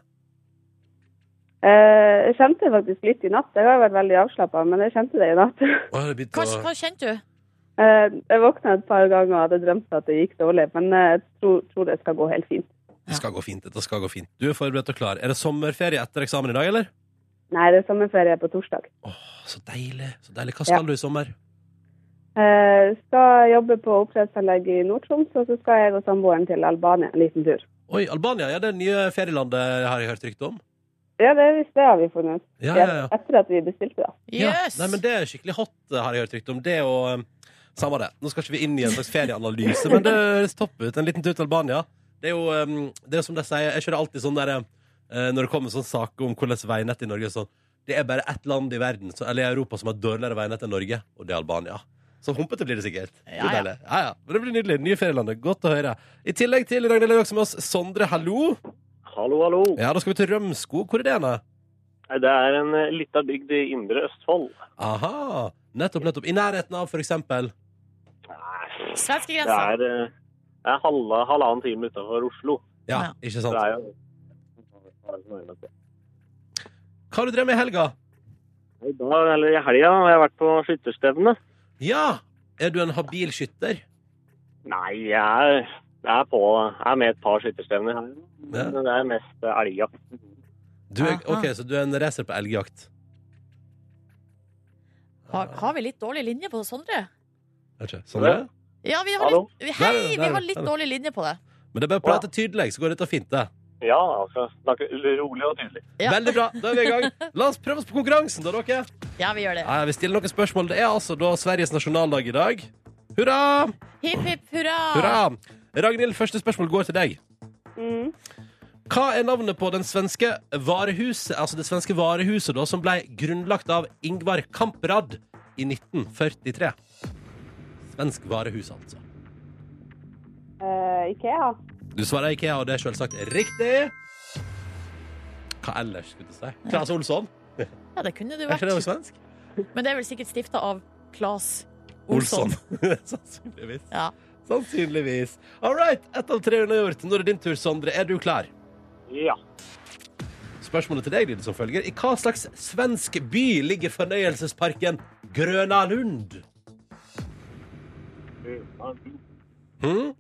A: Eh, jeg kjente det faktisk litt i natt. Jeg har jo vært veldig avslappa, men jeg kjente det i natt.
B: Å, det begynte
C: Hva,
B: å-
C: hva kjente du?
A: Eh, jeg våkna et par ganger og hadde drømt at det gikk dårlig, men eh, jeg tror, tror det skal gå helt fint.
B: Det skal gå fint. Dette skal gå fint. Du er forberedt og klar. Er det sommerferie etter eksamen i dag, eller?
A: Nei, det er sommerferie på torsdag.
B: Så deilig. så deilig. Hva skal
A: Ja.
B: du i sommer?
A: Eh, skal jobbe på oppdrettsanlegg i Nord-Troms, og så skal jeg og samboeren til Albania en liten tur.
B: Oi, Albania. Ja, det er nye ferielandet har jeg hørt rykte om.
A: Ja, det, er visst det har vi funnet ut.
B: Ja, ja, ja.
A: Etter at vi bestilte, da.
C: Jøss!
B: Ja. Nei, men det er skikkelig hot, eh, har jeg hørt rykte om. Det og eh, Samme det. Nå skal ikke vi inn i en slags ferieanalyse, men det høres topp ut. En liten tur til Albania. Det er jo eh, det er som de sier, jeg kjører alltid sånn der eh, Når det kommer sånn saker om hvordan veinettet i Norge er sånn Det er bare ett land i verden, så, eller i Europa, som har dårligere veinett enn Norge, og det er Albania. Så humpete blir det sikkert. Det
C: Ja,
B: blir
C: ja.
B: deilig. ja, ja. Men det blir nydelig. Nye ferielandet. Godt å høre. I tillegg til Ragnhild er vi også med oss Sondre, hallo.
F: Hallo, hallo.
B: Ja, da skal vi til Rømskog. Hvor er det? Anne?
F: Det er en eh, lita bygd i indre Østfold.
B: Aha. Nettopp, nettopp. I nærheten av, for eksempel.
F: Nei,
C: Svenskegrensa.
F: Det er, eh, Det er halva, halvannen time utenfor Oslo.
B: Ja,
C: Ja.
B: ikke
F: Det
B: sant?
F: er jo... I
B: Hva har du drevet med i helga?
F: dag, eller i helga, har jeg vært på skytterstevne.
B: Ja! Er du en habil skytter?
F: Nei, jeg er, jeg er, på, jeg er med et par skytterstevner her.
B: Ja.
F: Men det er mest eh, elgjakt.
B: Du er,
C: Aha.
B: ok, så du er en racer på elgjakt.
C: Har, har vi litt dårlig linje på det, Sondre?
B: Er ikke Sånn det er?
C: Ja, vi har
F: Hallo?
C: litt, vi- hei,
B: Der er det, der
C: vi
B: er
C: har
B: det,
C: litt
B: der er det.
C: dårlig linje på det.
B: Men det er bare å prate tydelig, så går dette fint, det.
F: Ja, altså, snakke rolig og tydelig.
C: Ja.
B: Veldig bra. Da er vi i gang. La oss prøve oss på konkurransen, da, dere.
C: Ja, vi gjør det.
B: Nei, vi stiller noen spørsmål. Det er altså da Sveriges nasjonaldag i dag. Hurra!
C: Hipp, hipp, hurra!
B: Hurra! Ragnhild, første spørsmål går til deg.
A: Mm.
B: Hva er navnet på den svenske varehuset, altså det svenske varehuset da, som ble grunnlagt av Ingvar Kamprad i 1943? Svensk varehus, altså.
A: Eh, Ikea.
B: Du svarer IKEA, og det er selvsagt riktig. Hva ellers, skulle du si? Claes Olsson?
C: Ja, det kunne du
B: Er ikke det
C: vært.
B: også svensk?
C: Men det er vel sikkert stifta av Claes Olsson.
B: Olsson. Sannsynligvis.
C: Ja.
B: Sannsynligvis. All right, ett av tre unnagjort. Nå er det din tur, Sondre. Er du klar?
F: Ja.
B: Spørsmålet til deg lyder som følger. I hva slags svensk by ligger fornøyelsesparken Grøna Lund? Hm?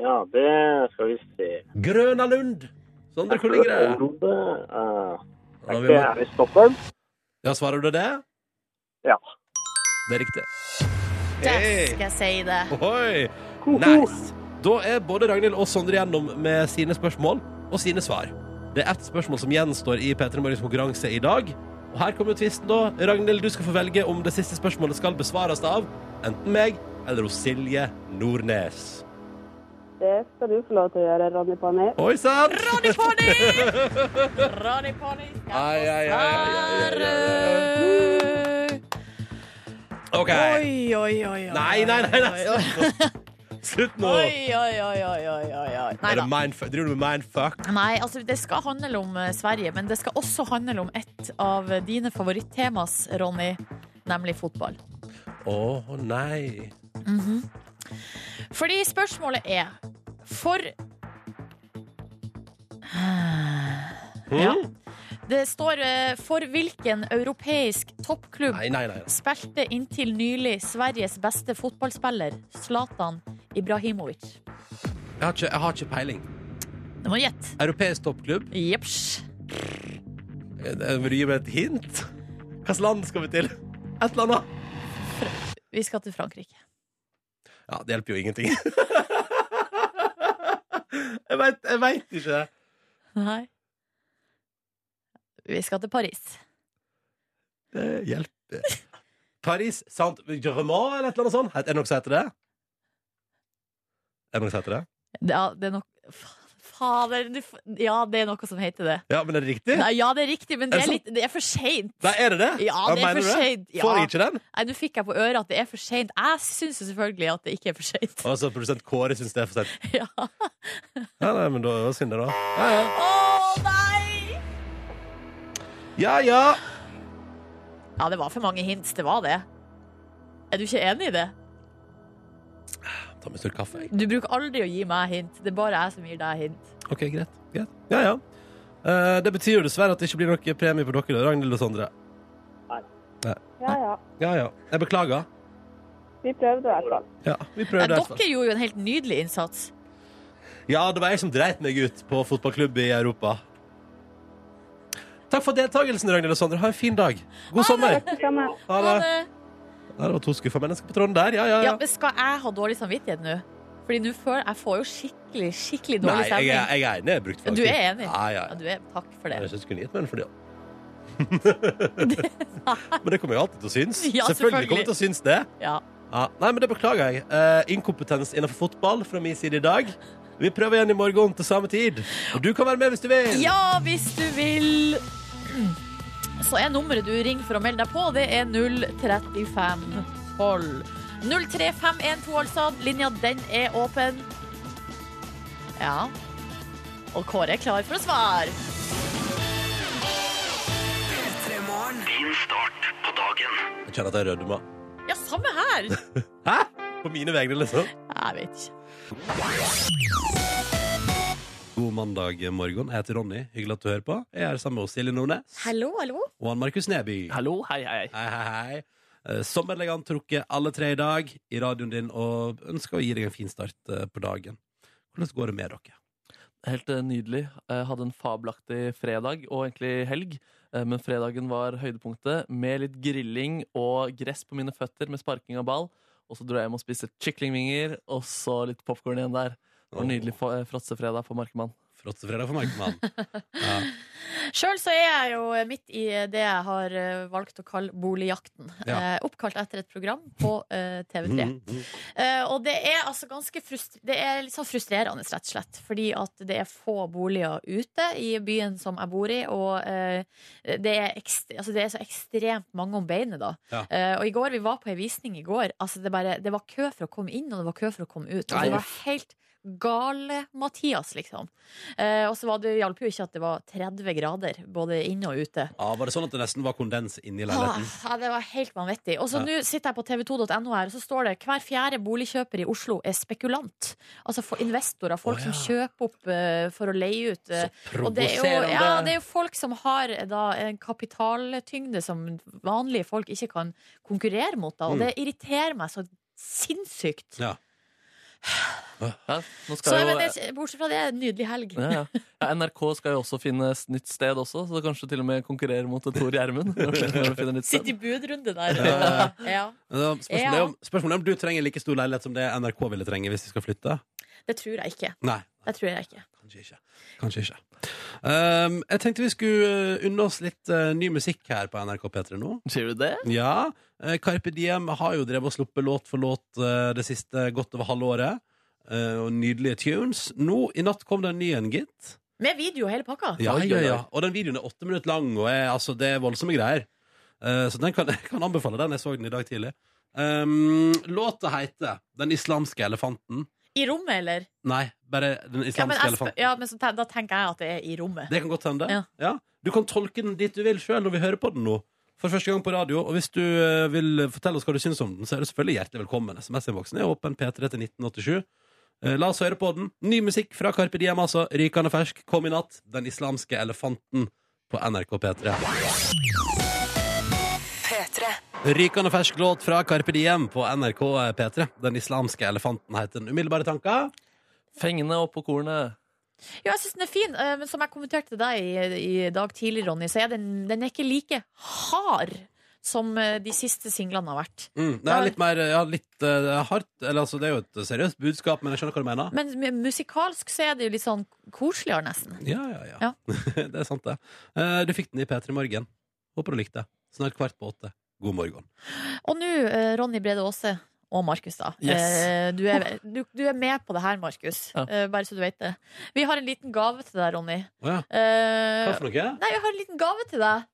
F: Ja, det skal vi se.
B: Grøna Lund. Sondre, hvor ligger det?
F: Området, eh,
B: Ja, vi
F: det
B: må-
F: er i Stockholm.
B: Ja, svarer du det?
F: Ja.
B: Det er riktig.
C: Der skal jeg si det.
B: Ohoi. Nice. Da er både Ragnhild og Sondre gjennom med sine spørsmål og sine svar. Det er ett spørsmål som gjenstår i P3 Morgens konkurranse i dag. Og her kommer tvisten, da. Ragnhild, du skal få velge om det siste spørsmålet skal besvares av enten meg eller hos Silje Nordnes.
A: Det skal du få lov til å gjøre, Ronny Panni.
B: Oi sann!
C: Ronny Ponni! Ronny Ponni
B: Ai, ai, ai,
C: skal
B: ai, ai,
C: svare!
B: OK.
C: Oi, oi, oi, oi.
B: Nei, nei, nei. nei. Slutt nå.
C: Oi, oi, oi, oi, oi, oi, oi. Nei
B: Er det
C: da.
B: mindfuck? Driver du med mindfuck?
C: Nei, altså det skal handle om eh, Sverige, men det skal også handle om et av dine favorittemas, Ronny, nemlig fotball.
B: Å nei.
C: Fordi spørsmålet er For
B: Hmm?
C: Ja. Det står eh, for hvilken europeisk toppklubb
B: Nei, nei, nei.
C: spilte inntil nylig Sveriges beste fotballspiller, Zlatan Ibrahimovic.
B: Jeg har ikke, jeg har ikke peiling.
C: Det må du gjette.
B: Europeisk toppklubb.
C: Jepps.
B: Eh, Vil du gi meg et hint? Hvilket land skal vi til? Et eller annet?
C: Vi skal til Frankrike.
B: Ja, det hjelper jo ingenting. jeg veit jeg vet ikke.
C: Nei. Vi skal til Paris.
B: Det hjelper. Paris Saint-Germain eller et eller annet sånt? Er det noe som heter det? Er det noe som heter det?
C: Det er, det er nok Fa- Fader, du f- Ja, det er noe som heter det.
B: Ja, men er det riktig?
C: Nei, ja, det er riktig, men
B: Er
C: det
B: det
C: er,
B: sant?
C: litt, det er for seint.
B: Nei, er det det?
C: Ja, det er
B: mener du
C: for sent. Ja.
B: Får jeg ikke den?
C: Nei, Nå fikk jeg på øret at det er for seint. Jeg syns jo selvfølgelig at det ikke er for seint.
B: Altså, produsent Kåre syns det er for sent.
C: Ja.
B: Ja, nei, men da var det synd, det, da. Ja, ja.
C: Å nei!
B: Ja, ja.
C: Ja, det var for mange hints. Det var det. Er du ikke enig i det?
B: Ta meg en slurk kaffe, jeg.
C: Du bruker aldri å gi meg hint. Det er bare jeg som gir deg hint.
B: OK, greit. greit. Ja, ja. Eh, det betyr jo dessverre at det ikke blir noe premie på dere, Ragnhild og Sondre.
A: Ja, ja.
B: Ja, ja. Jeg beklager.
A: Vi prøvde i hvert fall.
B: Ja, vi
C: Nei,
B: prøver det. i hvert fall.
C: dere gjorde jo en helt nydelig innsats.
B: Ja, det var jeg som dreit meg ut på fotballklubb i Europa. Takk for deltakelsen, Ragnhild og Sondre. Ha en fin dag. God sommer.
A: Det samme.
B: Ha
C: Ha
B: det.
C: det.
B: Ja, det var to skuffa mennesker på tråden der. Ja, ja,
C: Ja,
B: ja.
C: men skal jeg ha dårlig samvittighet nå? Fordi nå føler jeg får jo skikkelig, skikkelig
B: Nei,
C: dårlig
B: jeg
C: stemning.
B: er, jeg er enig. Jeg brukte faktisk
C: Du er enig?
B: Ja, ja.
C: Ja,
B: ja.
C: du er, takk for
B: Jeg
C: det.
B: synes jeg kunne gitt meg den for det. men det kommer jeg alltid til å synes.
C: Ja,
B: selvfølgelig kommer
C: selvfølgelig.
B: jeg til å synes det.
C: Ja.
B: Ja, nei, men det beklager jeg. Eh, inkompetens innenfor fotball fra min side i dag. Vi prøver igjen i morgen til samme tid. Og du kan være med hvis du vil.
C: ja, hvis du vil. Så er nummeret du ringer for å melde deg på, det er 03512. 03512, altså. Linja, den er åpen. Ja. Og Kåre er klar for å svare.
B: Jeg kjenner at jeg rødmer.
C: Ja, samme her.
B: Hæ? På mine vegne, liksom.
C: Jeg vet ikke.
B: God mandag morgen. Jeg heter Ronny. Hyggelig at du hører på. Jeg er sammen med oss, Silje Nordnes
C: Hallo, hallo.
B: og han Markus Neby.
D: Hallo, hei, hei.
B: Hei, hei, hei. Eh, Som elegant trukket alle tre i dag i radioen din, og ønsker å gi deg en fin start eh, på dagen. Hvordan går det med dere?
D: Helt eh, nydelig. Eh, Hadde en fabelaktig fredag, og egentlig helg. Eh, Men fredagen var høydepunktet, med litt grilling og gress på mine føtter med sparking av ball. Og så dro jeg hjem og spiste kyklingvinger, og så litt popkorn igjen der. Det var en nydelig fa- eh, fråtsefredag for Markemann.
B: Fråtsefredag for Markmann. Ja.
C: Sjøl så er jeg jo midt i det jeg har eh, valgt å kalle Boligjakten.
B: Ja.
C: Eh, oppkalt etter et program på eh, TV3.
B: Mm, mm.
C: Eh, og det er altså ganske frustr det er litt sånn frustrerende, rett og slett. Fordi at det er få boliger ute i byen som jeg bor i. Og eh, det, er ekst altså, det er så ekstremt mange om beinet, da.
B: Ja.
C: Eh, og i går, vi var på ei visning i går. Altså, det, bare, det var kø for å komme inn, og det var kø for å komme ut. Altså, det var helt Gale-Mathias, liksom. Eh, og så var det hjalp jo ikke at det var 30 grader både inne og ute.
B: Ja, var det sånn at det nesten var kondens inni
C: Ah,
B: leiligheten?
C: ja, det var helt vanvittig. Og så
B: Ja.
C: nå sitter jeg på tv2.no her, og så står det hver fjerde boligkjøper i Oslo er spekulant. Altså for investorer, folk
B: Å, ja.
C: som kjøper opp eh, for å leie ut. eh.
B: Så
C: og det er, jo,
D: provoserende.
C: ja, det er jo folk som har eh, da, en kapitaltyngde som vanlige folk ikke kan konkurrere mot. Da. Og
B: Mm.
C: det irriterer meg så sinnssykt.
B: Ja.
D: Ja,
C: Så
D: nå skal
C: jeg
D: jo,
C: vet, ikke, bortsett fra det, en nydelig helg.
D: ja, ja. Ja, NRK skal jo også finne s- nytt sted også, så kanskje til og med konkurrere mot Tor Gjermund. når de finner nytt
C: Sitt
D: sted.
C: i budrunde der.
B: Ja.
C: Ja.
B: Ja, Spørsmålet er
C: Ja.
B: om, spørsmålet er om du trenger like stor leilighet som det NRK ville trenge hvis de skal flytte?
C: Det tror jeg ikke.
B: Nei.
C: Det tror jeg ikke.
B: Kanskje ikke. Kanskje ikke. Ehm, jeg tenkte vi skulle eh, unne oss litt eh, ny musikk her på NRK P3 nå.
D: Sier du det?
B: Ja. eh, Carpe Diem har jo drevet og sluppet låt for låt eh, det siste godt over halve året. eh, og nydelige tunes. Nå, i natt kom det en ny en, gitt.
C: Med video og hele pakka.
B: Ja,
D: Oi,
B: ja,
D: oi,
B: ja.
D: oi.
B: Og den videoen er åtte minutter lang, og er, altså, det er voldsomme greier. Eh, så den kan, jeg kan anbefale den. Jeg så den i dag tidlig. Um, låta heter 'Den islamske elefanten'.
C: I rommet, eller?
B: Nei, bare 'Den
C: Ja, men,
B: islamske
C: jeg,
B: elefanten'.
C: spør- ja, men så, ten- da tenker jeg at det er i rommet.
B: Det kan godt hende. Ja.
C: Ja.
B: Du kan tolke den dit du vil sjøl når vi hører på den nå. For første gang på radio. Og hvis du eh, vil fortelle oss hva du syns om den, så er du selvfølgelig hjertelig velkommen. SMS-innboksen er åpen P3 til 1987. Eh, La oss høre på den. Ny musikk fra Carpe Diem, altså. Rykende fersk. Kom i natt. Den islamske elefanten på NRK P3. Rykende fersk låt fra Carpe Diem på NRK P3. Den islamske elefanten heter den. Umiddelbare tanker?
D: Fengende oppå kornet.
C: Jo, jeg syns den er fin, eh, men som jeg kommenterte til deg i, i dag tidlig, Ronny, så er den, den er ikke like hard som eh, de siste singlene har vært.
B: Mm. Det er litt mer ja, litt eh, hardt. Eller altså, det er jo et seriøst budskap, men jeg skjønner hva du mener.
C: Men m- musikalsk så er det jo litt sånn koseligere, nesten.
B: Ja, ja, ja. det er sant, det. Eh, Du fikk den i P3 Morgen. Håper du likte det. Snart kvart på åtte. God morgen.
C: Og nå, eh, Ronny Brede Aase og Markus, da.
D: Yes.
C: Eh, Du, er, du, du er med på det her, Markus.
D: Ja.
C: Eh, Bare så du vet det. Vi har en liten gave til deg, Ronny.
B: Å ja.
C: Eh,
B: Hva for noe?
C: Nei, jeg har en liten gave til deg.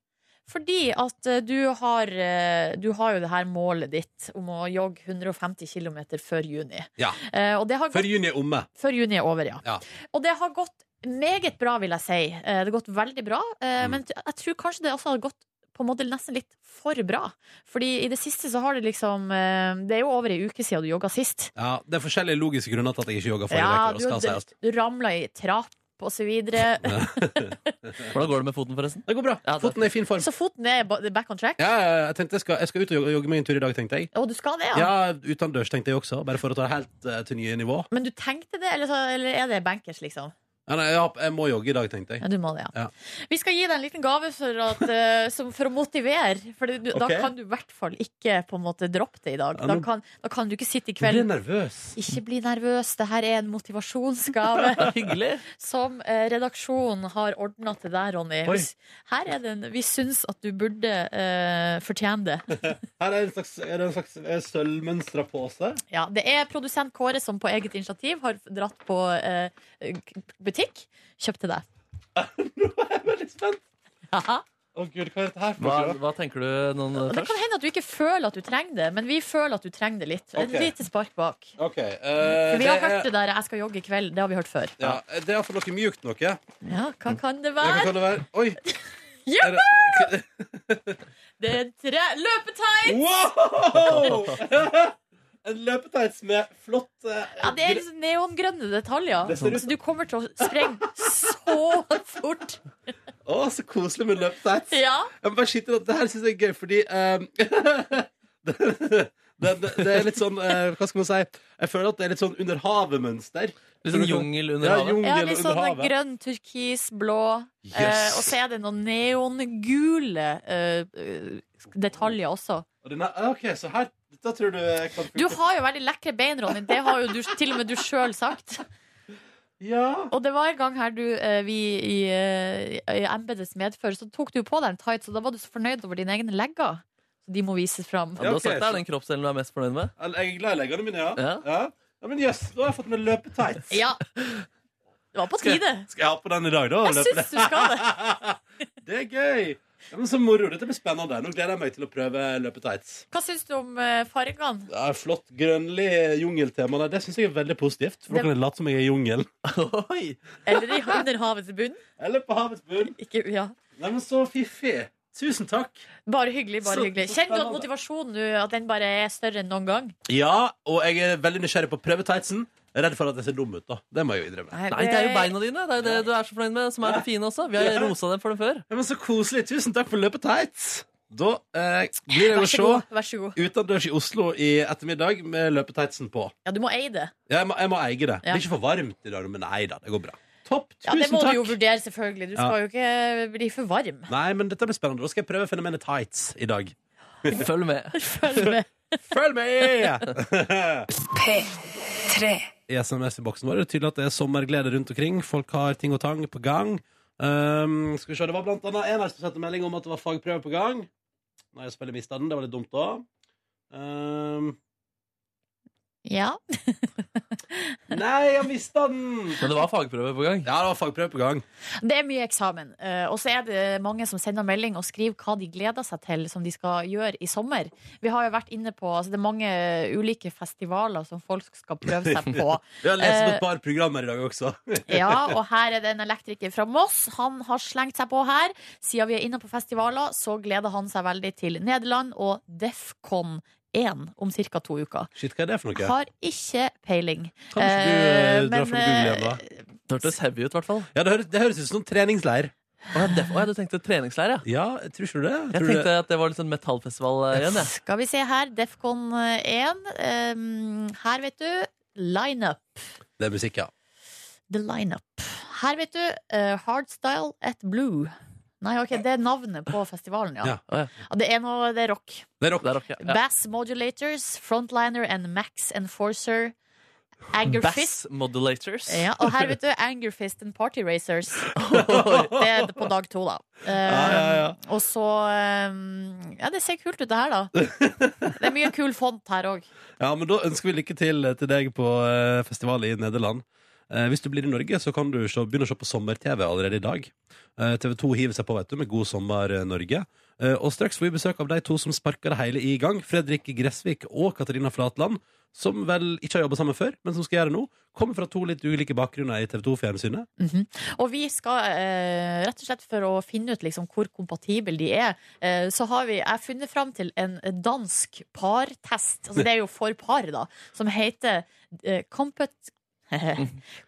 C: Fordi at eh, du har, eh, du har jo det her målet ditt om å jogge 150 km før juni.
B: Ja.
C: Eh, og det har
B: Før
C: gått,
B: juni er omme.
C: før juni er over, ja.
B: Ja.
C: Og det har gått meget bra, vil jeg si. Eh, det har gått veldig bra. eh,
B: Mm.
C: Men t- jeg tror kanskje det også har gått på en måte nesten litt for bra. Fordi i det siste så har det liksom eh, Det er jo over ei uke siden du jogga sist.
B: Ja, Det er forskjellige logiske grunner til at jeg ikke altså. jogga forrige
C: Ja,
B: uke.
C: du,
B: det skal sies.
C: du ramla i trapp og så videre.
D: Hvordan går det med foten, forresten?
B: Det går bra.
D: Ja, det-
B: Foten er i fin form.
C: Så foten er ba- back on track.
B: Ja, ja, jeg tenkte jeg skal, jeg skal ut og jogge, jogge meg en tur i dag, tenkte jeg.
C: Og du skal det,
B: Ja, Utendørs, tenkte jeg også. Bare for å ta det helt eh, til nye nivå.
C: Men du tenkte det, eller, så, eller er det bankers, liksom?
B: Ja, nei, ja, jeg må jogge i dag, tenkte jeg.
C: Ja, du må det, ja.
B: Ja.
C: Vi skal gi deg en liten gave for, at, eh, som, for å motivere. For du, da
B: Ok.
C: kan du i hvert fall ikke på en måte droppe det i dag.
B: Ja,
C: Da
B: nå-
C: kan, da kan du ikke sitte i
B: Jeg blir
C: kveld.
B: nervøs.
C: Ikke bli nervøs, det her er en motivasjonsgave
D: Hyggelig.
C: som eh, redaksjonen har ordna til deg, Ronny.
B: Oi.
C: Hvis- Her er den, vi syns at du burde eh, fortjene det.
B: Her er en slags, er det en slags eh, sølvmønstra pose.
C: Ja, det er produsent Kåre som på eget initiativ har dratt på eh, k- butikk. Kjøpt til deg.
B: Jeg er veldig spent.
C: Haha.
B: Å gud, hva er dette her for
D: Hva,
B: noe?
D: hva tenker du noen eh,
C: Og det
D: først?
C: kan hende at du ikke føler at du trenger det, men vi føler at du trenger det litt.
B: Ok.
C: Et lite spark bak.
B: Ok, eh,
C: For vi har
B: det er-
C: hørt det der 'jeg skal jogge i kveld'. Det har vi hørt før.
B: Ja, det er iallfall noe mjukt noe. Det
C: Ja, Hva kan det
B: Mm. kan
C: være?
B: kan det være. Oi!
C: Ja,
B: Er det...
C: det er tre løpetøy!
B: Wow! En løpetights med flott eh,
C: Ja, det er liksom neongrønne detaljer.
B: Det ser ut-
C: Så du kommer til å sprenge så fort.
B: gr- Å, så koselig med løpetights.
C: Ja.
B: Jeg må bare skyte inn at det her syns jeg er gøy, fordi ehm, det, det, det, det er litt sånn eh, Hva skal man si? Jeg føler at det er litt sånn under havet-mønster.
D: Litt sånn jungel under
B: Ja,
D: havet.
B: jungel
C: Ja, litt
B: under
C: sånn
B: havet.
C: grønn, turkis, blå. Eh, og så er det noen neongule eh, eh, detaljer også.
B: Og denne, ah, OK, så her Da tror du jeg kan
C: Du har jo veldig lekre bein, Ronny. Det har jo du, til og med du sjøl sagt.
B: Ja.
C: Og det var en gang her du, eh, vi i, eh, i embetets medfør, så tok du jo på deg en tights, og da var du så fornøyd over dine egne legger. Så de må vises fram.
D: Ja,
B: ok,
D: du har sagt det
B: så-
D: er den kroppsdelen du er mest fornøyd med.
B: Eller, Jeg er glad i leggene mine, ja.
D: Ja.
B: ja. ja men jøss, da har jeg fått med løpetights.
C: Ja. Det var på
B: Skal jeg-
C: tide.
B: Skal jeg ha på den i dag, da?
C: Jeg syns du skal det.
B: det er gøy. Ja, men Så moro. Dette blir spennende. Nå gleder jeg meg til å prøve løpetights.
C: Hva syns du om eh, fargene?
B: Ja, flott grønnlig jungeltema. der. Det syns jeg er veldig positivt. For da
C: Det-
B: kan jeg late som jeg er i jungelen.
D: Oi!
C: Eller i under havets bunn?
B: Eller på havets bunn.
C: Ikke, ja.
B: Nei, men så fiffig. Tusen takk.
C: Bare hyggelig. bare
B: Så-
C: hyggelig
B: så
C: Kjenner du at
B: spennende.
C: motivasjonen nå At den bare er større enn noen gang?
B: Ja, og jeg er veldig nysgjerrig på å prøve tightsen. Jeg er redd for at jeg ser dum ut, da. Det må jeg jo innrømme.
C: Nei,
D: Nei, det er jo beina dine. Det er jo det du er så fornøyd med, som er det fine også. Vi har rosa dem for det før.
B: Ja, men så koselig. Tusen takk for løpet tights. Da eh, blir jeg å
C: Vær så
B: se
C: god. Vær så god.
B: utendørs i Oslo i ettermiddag med løpetightsen på.
C: Ja, du må eie det.
B: Ja, Jeg må, jeg må eie det. Det
C: Ja.
B: er ikke for varmt i dag, men nei da, det går bra. Topp.
C: Ja,
B: Tusen
C: det må du jo
B: takk.
C: vurdere, selvfølgelig. Du
B: Ja.
C: skal jo ikke bli for varm.
B: Nei, men dette blir spennende. Da skal jeg prøve fenomenet tights i dag.
D: Følg med.
C: Følg med.
B: Følg med! I SMS-boksen vår er det tydelig at det er sommerglede rundt omkring. Folk har ting og tang på gang. Um, skal vi se, Det var blant annet en her som sendte melding om at det var fagprøve på gang. Nei, jeg selvfølgelig mista den. Det var litt dumt da. Um,
C: Ja.
B: nei, jeg mista den!
D: Men det var fagprøve på gang.
B: Ja, det var fagprøve på gang.
C: Det er mye eksamen. eh, Og så er det mange som sender melding og skriver hva de gleder seg til som de skal gjøre i sommer. Vi har jo vært inne på altså Det er mange ulike festivaler som folk skal prøve seg på.
B: Vi har lest om
C: Eh,
B: et par programmer i dag også.
C: Ja, og her er det en elektriker fra Moss. Han har slengt seg på her. Siden vi er inne på festivaler, så gleder han seg veldig til Nederland og Defcon 1 om ca. to uker.
B: Shit, hva er det for noe?
C: Har ikke peiling.
B: Kan ikke du eh,
C: Eh,
B: dra
C: men,
B: fra Google igjen, da?
C: eh,
D: Det hørtes heavy ut, i hvert fall.
B: Ja, det høres, det høres ut som en treningsleir.
D: Å ja, def- å ja, du tenkte treningsleir, ja.
B: Ja, tror ikke du det? Tror
D: Jeg
B: du det-
D: tenkte at det var litt sånn metallfestival eh, igjen, jeg.
C: Skal vi se her. Defcon 1. eh, her, vet du. Lineup.
B: det er musikk, ja.
C: The lineup. Her, vet du. eh, Hardstyle at Blue. Nei, ok, det er navnet på festivalen, ja.
B: Ja.
D: Å ja.
C: Ja, Det er noe, det er rock.
B: Det er rock.
D: Det er rock, ja. ja.
C: Bass Modulators, Frontliner and Max Enforcer. Angerfist.
D: Bass modulators.
C: Ja, og her, vet du, Angerfist and Party Racers.
D: Oi.
C: Det er på dag to, da. Um,
B: ja, ja.
C: Og så um, Ja, det ser kult ut, det her, da. Det er mye kul font her òg.
B: Ja, men da ønsker vi lykke til til deg på eh, festival i Nederland. Eh, hvis du blir i Norge, så kan du se, begynne å se på sommer-TV allerede i dag. Eh, TV 2 hiver seg på vet du, med God sommer eh, Norge. Eh, og straks får vi besøk av de to som sparker det hele i gang. Fredrik Gressvik og Katarina Flatland, som vel ikke har jobba sammen før, men som skal gjøre det nå. Kommer fra to litt ulike bakgrunner i TV 2-fjernsynet.
C: Og vi skal, eh, rett og slett for å finne ut liksom, hvor kompatible de er, eh, så har vi, jeg har funnet fram til en dansk partest, altså det er jo for par da, som heter eh, compet...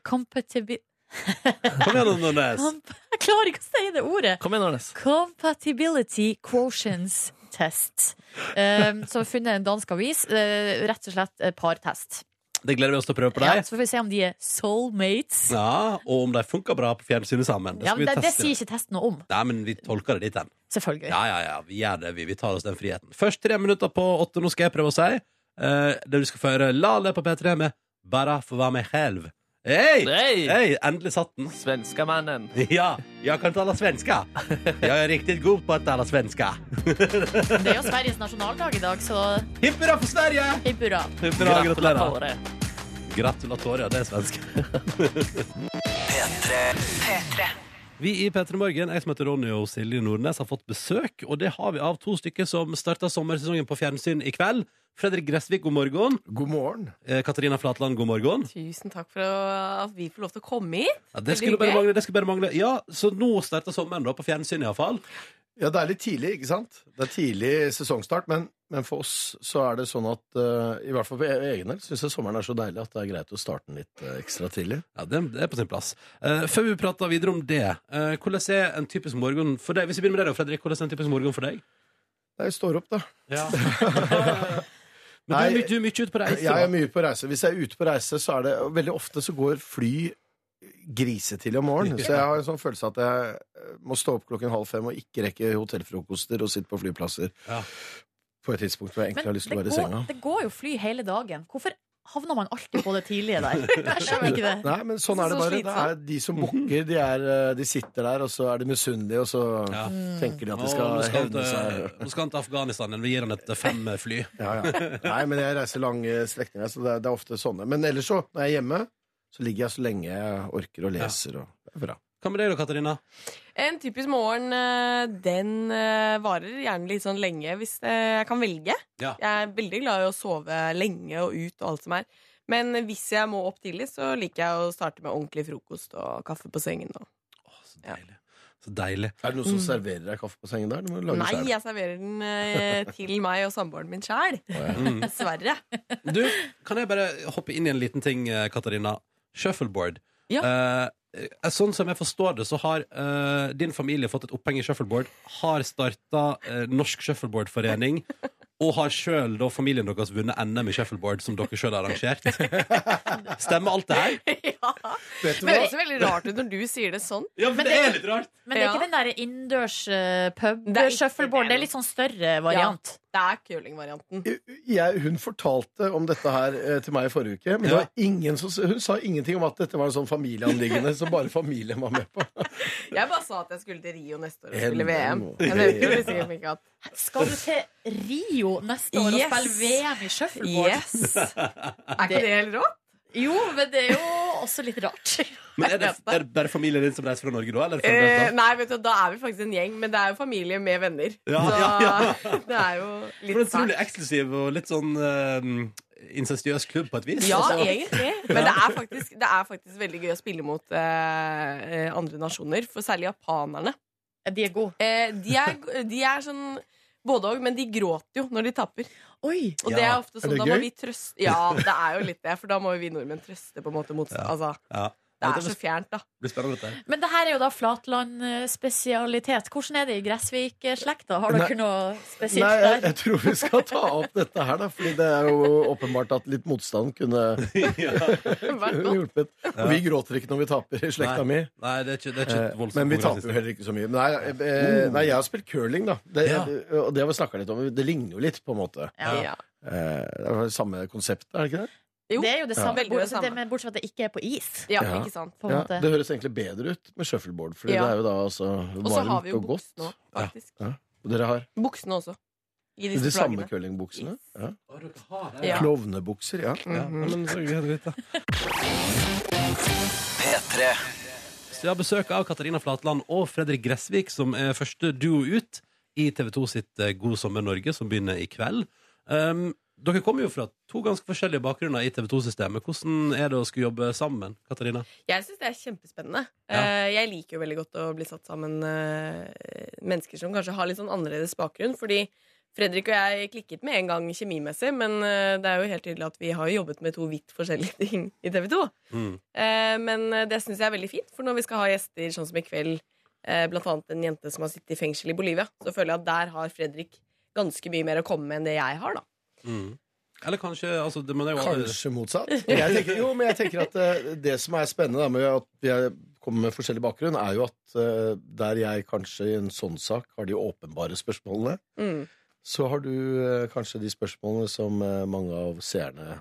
C: Compatibi...
B: Kom igjen, Nordnes!
C: Komp jeg klarer ikke å si det ordet!
D: Kom igjen, Arnes.
C: Compatibility Quotients Test. Eh, som har funnet en dansk avis. eh, rett og slett eh, partest.
B: Det gleder vi oss til å prøve på
C: Ja,
B: deg.
C: så får vi se om de er soulmates.
B: Ja, og om de funker bra på fjernsynet sammen. Det
C: Ja,
B: skal
C: men
B: vi
C: det, det
B: teste.
C: sier ikke testen noe om,
B: Nei, men vi tolker det dit hen.
C: selvfølgelig.
B: Ja, ja, ja, vi gjør det, vi. Vi tar oss den friheten. Først tre minutter på åtte, nå skal jeg prøve å si. eh, det du skal få høre Lale på P3 med Bara for hva meg selv. Hei!
D: Hei!
B: Hei, endelig satt den.
D: Svenskamannen.
B: Ja, jeg kan tale svenska. Jeg er riktig god på å tale svenska.
C: Det er jo Sveriges nasjonaldag i dag, så
B: Hipp hurra for Sverige!
C: hipp hurra.
B: Hipp hurra, gratulerer.
D: Gratulerer.
B: Gratulatoria, det er svensk. Vi i P3 Morgen, jeg som heter Ronny og Silje Nordnes, har fått besøk. Og det har vi av to stykker som starta sommersesongen på fjernsyn i kveld. Fredrik Gressvik, god morgen.
G: God morgen.
B: Eh, Katarina Flatland, god morgen.
H: Tusen takk for å- at vi får lov til å komme hit.
B: Ja, det
H: Veldig
B: skulle bare
H: hyggelig.
B: mangle. det skulle bare mangle Ja, Så nå starter sommeren, da, på fjernsyn iallfall.
G: Ja, det er litt tidlig, ikke sant? Det er tidlig sesongstart, men, men for oss så er det sånn at eh, i hvert fall på e- egen del syns jeg sommeren er så deilig at det er greit å starte den litt eh, ekstra tidlig.
B: Ja, det, det er på sin plass. Eh, før vi prater videre om det, eh, hvordan er en typisk morgen for deg? Hvis vi begynner med deg, da, Fredrik, hvordan er en typisk morgen for deg?
G: Jeg står opp, da.
B: Men du er,
G: Nei,
B: my- du er mye ute på reise.
G: Jeg
B: da.
G: er mye på reise. Hvis jeg er ute på reise, så er det og veldig ofte så går fly grisetidlig om morgenen. Så jeg har en sånn følelse at jeg eh, må stå opp klokken halv fem og ikke rekke hotellfrokoster og sitte på flyplasser
B: Ja.
G: på et tidspunkt hvor jeg egentlig
C: Men
G: har lyst til å
C: det
G: være i
C: går,
G: senga.
C: det går jo fly hele dagen. Hvorfor havner man alltid på det tidlige der? Jeg skjønner ikke det.
G: Nei, men sånn er det
H: Så
G: bare. Det
H: slitsomt.
G: er de som booker, de, er, eh, de sitter der, og så er de misunnelige, og så
B: Ja.
G: tenker de at
B: Nå
G: de skal
B: nå skal han
G: hevne
B: til,
G: seg.
B: nå skal han til Afghanistan, men vi gir han et eh, fem-fly.
G: Ja, ja. Nei, men jeg reiser lange strekninger, så det er, det er ofte sånne. Men ellers så, når jeg er hjemme, så ligger jeg så lenge jeg orker og leser, og det er bra.
B: Hva med deg da, Katarina?
H: En typisk morgen, eh, den eh, varer gjerne litt sånn lenge hvis eh, jeg kan velge.
B: Ja.
H: Jeg er veldig glad i å sove lenge og ut og alt som er. Men hvis jeg må opp tidlig, så liker jeg å starte med ordentlig frokost og kaffe på sengen. Og.
B: Å, så
H: Ja.
B: deilig. Så deilig.
G: Er det noen som
H: Mm.
G: serverer deg kaffe på sengen der? Du må lage
H: Nei,
G: selv.
H: jeg serverer den eh, til meg og samboeren min sjæl.
B: Mm.
H: Dessverre.
B: Du, kan jeg bare hoppe inn i en liten ting, eh, Katarina? Shuffleboard. Eh, eh, sånn som jeg forstår det, så har eh, din familie fått et oppheng i shuffleboard, har starta eh, Norsk Shuffleboardforening, og har sjøl, da familien deres, vunnet NM i shuffleboard, som dere sjøl har arrangert. Stemmer alt det her?
H: ja.
G: Vet du
H: Men
G: hva?
H: det høres jo veldig rart ut når du sier det sånn.
B: Ja,
C: Men det det er
B: litt rart.
C: Men det er
H: Ja.
C: ikke den der innendørs eh, pub
H: Det er ikke
C: shuffleboard.
H: det.
C: Det er litt sånn større variant.
H: Det er curlingvarianten.
G: Jeg, hun fortalte om dette her eh, til meg i forrige uke, men det
B: Ja.
G: var ingen som, hun sa ingenting om at dette var en sånn familieanliggende som bare familien var med på.
H: Jeg bare sa at jeg skulle til Rio neste år og
G: En-
H: spille VM.
G: en-
H: Jeg nevnte jo liksom ikke at
C: Skal du til Rio neste år
H: Yes.
C: og spille VM i shuffleboard?
H: Yes! Er ikke det helt rått?
C: Jo, men det er jo også litt rart.
B: Men er det, er det bare familien din som reiser fra Norge, da? Eller fra
H: Eh,
B: Delta?
H: nei, vet du, da er vi faktisk en gjeng, men det er jo familie med venner.
B: Ja,
H: så
B: ja, ja.
H: det er jo
B: For en
H: litt
B: utrolig
H: sært.
B: eksklusiv og litt sånn eh, incestuøs klubb, på et vis.
H: Ja,
B: Altså,
H: egentlig. Men det er, faktisk, det er faktisk veldig gøy å spille mot eh, eh, andre nasjoner, for særlig japanerne.
C: De er gode.
H: Eh, de, er, de er sånn både òg, men de gråter jo når de tapper.
C: Oi!
H: Og
B: Ja.
H: det er ofte
G: Er
H: sånn,
G: det
H: da må
G: gøy?
H: vi trøste Ja, det er jo litt det, for da må jo vi nordmenn trøste på en måte mot
B: Ja.
H: Altså,
B: ja.
H: det
B: Dette
H: er så fjernt, da.
B: blir spennende, dette. her.
C: Men det her er jo da flatlandspesialitet. Hvordan er det i Gressvik-slekta? Har
G: Nei.
C: dere noe
G: Nei,
C: spesielt
G: jeg,
C: der?
G: jeg tror vi skal ta opp dette her, da, fordi det er jo åpenbart at litt motstand kunne
H: Vært godt.
G: hjulpet. Og vi gråter ikke når vi taper i slekta mi.
B: Nei, det er ikke, det er ikke
G: Eh,
B: et voldsomt
G: Men vi taper jo
B: konkurranseinstinkt.
G: heller ikke så mye. Nei, eh, nei jeg har spilt curling, da. Det,
B: Ja.
G: Og det har vi snakka litt om. Det ligner jo litt, på en måte.
C: Ja.
H: Ja.
G: Eh, Det er jo samme konseptet, er det ikke det?
H: Jo.
C: Det er jo det
G: Ja.
C: samme,
H: Veldig det
C: bortsett,
H: samme.
C: det, men bortsett fra at det ikke er på is.
H: ja,
G: Ja.
H: ikke sant.
C: På en
G: Ja,
C: måte.
G: det høres egentlig bedre ut med shuffleboard, Fordi
H: Ja.
G: det er jo da altså
H: Og så har vi
G: varmt
H: jo
G: og godt.
H: buksene òg, faktisk.
G: Og dere har
H: Buksene også. I disse
G: de samme
H: plaggene.
G: curlingbuksene? Ja.
B: Å, dere har det,
H: Ja. Mm. Mhm.
G: Klovnebukser, ja.
B: Ja, men så er det greit, da. Så jeg har besøk av Katarina Flatland og Fredrik Gressvik, som er første duo ut i TV 2 sitt eh, God sommer Norge, som begynner i kveld. Um, dere kommer jo fra to ganske forskjellige bakgrunner i TV 2-systemet. Hvordan er det å skulle jobbe sammen, Katarina?
H: Jeg syns det er kjempespennende.
B: Ja.
H: Eh, Jeg liker jo veldig godt å bli satt sammen eh, mennesker som kanskje har litt sånn annerledes bakgrunn. Fordi Fredrik og jeg klikket med en gang kjemimessig, men eh, det er jo helt tydelig at vi har jo jobbet med to vidt forskjellige ting i TV 2.
B: Mm.
H: Men eh, det syns jeg er veldig fint, for når vi skal ha gjester sånn som i kveld, eh, blant annet en jente som har sittet i fengsel i Bolivia, så føler jeg at der har Fredrik ganske mye mer å komme med enn det jeg har, da.
B: Mm. Eller kanskje altså, det, men det er jo
G: Kanskje motsatt. Men jeg tenker, jo, men jeg tenker at eh, det som er spennende da, med at jeg kommer med forskjellig bakgrunn, er jo at eh, der jeg kanskje i en sånn sak har de åpenbare spørsmålene,
H: Mm.
G: så har du eh, kanskje de spørsmålene som eh, mange av seerne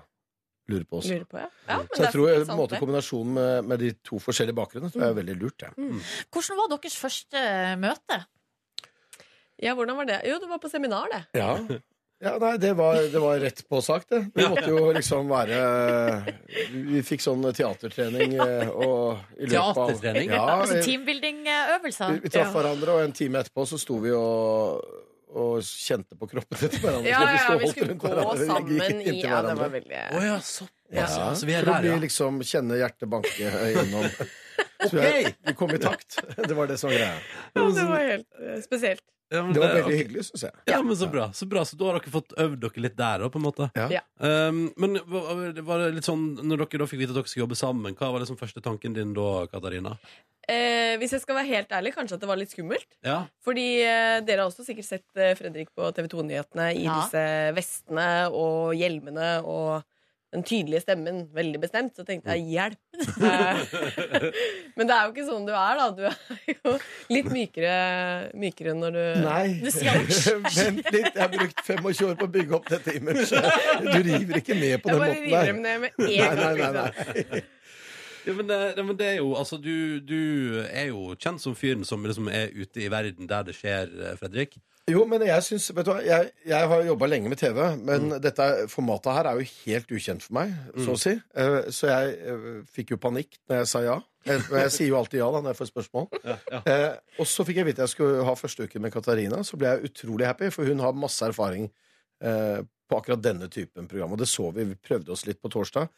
G: lurer på også.
H: Lurer på, ja. ja men
G: Så
H: det
G: jeg
H: er
G: tror eh, på
H: sant,
G: en måte
H: det.
G: kombinasjonen med, med de to forskjellige bakgrunnene tror jeg er veldig lurt. Ja.
C: Hvordan var deres første eh, møte?
H: Ja, hvordan var det? Jo, det var på seminar, det.
G: Ja. Ja, nei, det var, det var rett på sak, det. Vi måtte jo liksom være Vi fikk sånn teatertrening eh, og i løpet av
B: Teatertrening?
G: Ja,
C: altså
G: vi,
C: teambuilding-øvelser?
G: vi traff hverandre, og en time etterpå så sto vi og og kjente på kroppene til hverandre.
H: Ja, ja,
G: sto
H: vi
G: holdt
H: skulle
G: rundt
H: gå
G: hverandre,
H: sammen
G: gikk
H: i
G: inntil
H: Ja, det
G: hverandre.
H: var veldig
B: Å ja, såpass.
G: Ja,
B: Altså, vi er
G: for å
B: der,
G: bli
B: ja.
G: liksom kjenne hjertet banke gjennom. Så jeg, vi kom i takt. Det var det som var greia.
H: Ja, det var helt eh, spesielt.
B: ja men
G: Det var
B: det-
G: veldig hyggelig, syns jeg.
B: Ja, men så bra. Så bra, så da har dere fått øvd dere litt der òg, på en måte.
G: Ja.
H: Ja.
B: Um, men hva- var det litt sånn, når dere da fikk vite at dere skulle jobbe sammen, hva var liksom første tanken din da, Katarina?
H: Eh, hvis jeg skal være helt ærlig, kanskje at det var litt skummelt.
B: Ja,
H: Fordi eh, dere har også sikkert sett eh, Fredrik på TV 2-nyhetene i
C: Ja.
H: disse vestene og hjelmene og den tydelige stemmen veldig bestemt. Så tenkte jeg hjelp! Eh, Men det er jo ikke sånn du er, da. Du er jo litt mykere, mykere når du
G: Nei.
C: Du sier alt.
G: Vent litt, jeg har brukt 25 år på å bygge opp dette imaget. Du river ikke med på
H: Jeg
G: den
H: bare
G: måten
H: river
G: der.
H: dem ned med en
G: Nei,
H: gang.
G: nei, nei,
H: liksom.
G: nei.
B: ja men, det, ja, men det er jo Altså, du, du er jo kjent som fyren som liksom er ute i verden der det skjer, eh, Fredrik.
G: Jo, men jeg syns Vet du hva, jeg, jeg har jobba lenge med TV, men
C: Mm.
G: dette formatet her er jo helt ukjent for meg, så å si. Eh, Så jeg eh, fikk jo panikk når jeg sa ja. Jeg, men jeg sier jo alltid ja da når jeg får spørsmål. Eh, og så fikk jeg vite jeg skulle ha første uke med Katarina. Så ble jeg utrolig happy, for hun har masse erfaring eh, på akkurat denne typen program. Og det så vi. Vi prøvde oss litt på torsdag.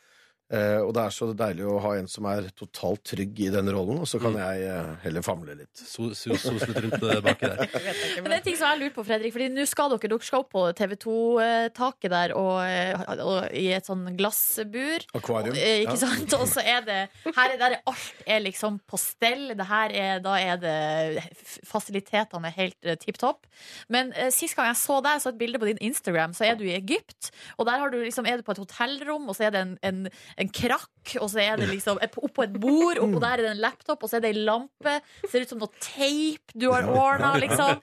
G: Eh, og det er så deilig å ha en som er totalt trygg i denne rollen, og så
C: Mm.
G: kan jeg eh, heller famle litt.
B: So- so- Sos litt rundt eh, baki der.
H: Jeg vet ikke,
C: Men det er en ting som jeg lurer på, Fredrik. Fordi nå skal dere, dere skal opp på TV 2-taket der og, eh, og i et sånn glassbur.
G: Akvarium.
C: Eh, Ikke
G: Ja.
C: sant? Og så er det her er, der er alt er liksom på stell. Det her er, da er det f- Fasilitetene er helt eh, tipp topp. Men eh, sist gang jeg så deg, så et bilde på din Instagram, så er du i Egypt. Og der har du liksom, er du på et hotellrom, og så er det en, en, en krakk, og så er det liksom et- oppå et bord, oppå der er det en laptop, og så er det ei lampe. Ser ut som noe teip du har ordna, liksom.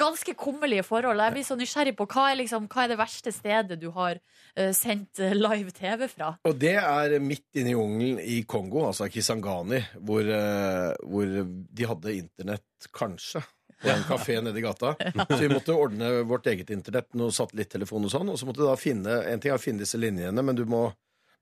C: Ganske kummerlige forhold. Jeg blir så nysgjerrig på hva er, liksom, hva er det verste stedet du har eh, sendt eh, live TV fra?
G: Og det er midt inne i jungelen i Kongo, altså Kisangani, hvor, eh, hvor de hadde internett, kanskje, på en kafé nede i gata. Så vi måtte ordne vårt eget internett, noe satellittelefon og sånn, og så måtte du da finne, en ting er å finne disse linjene, men du må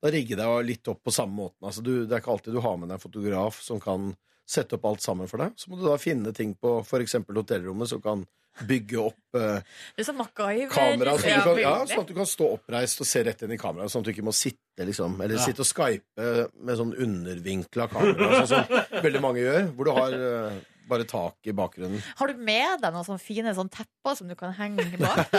G: da rigge deg litt opp på samme måten. Altså du, det er ikke alltid du har med deg en fotograf som kan sette opp alt sammen for deg. Så må du da finne ting på for eksempel hotellrommet som kan bygge opp eh,
C: Det er sånn MacGyver.
G: kamera, så du
C: Ja,
G: kan, ja,
C: veldig.
G: sånn at du kan stå oppreist og se rett inn i kameraet, sånn at du ikke må sitte liksom, eller
B: Ja.
G: sitte og skype med sånn undervinkla kamera, sånn som veldig mange gjør, hvor du har eh, bare tak i bakgrunnen.
C: Har du med deg noen sånne fine sånn tepper som du kan henge bak?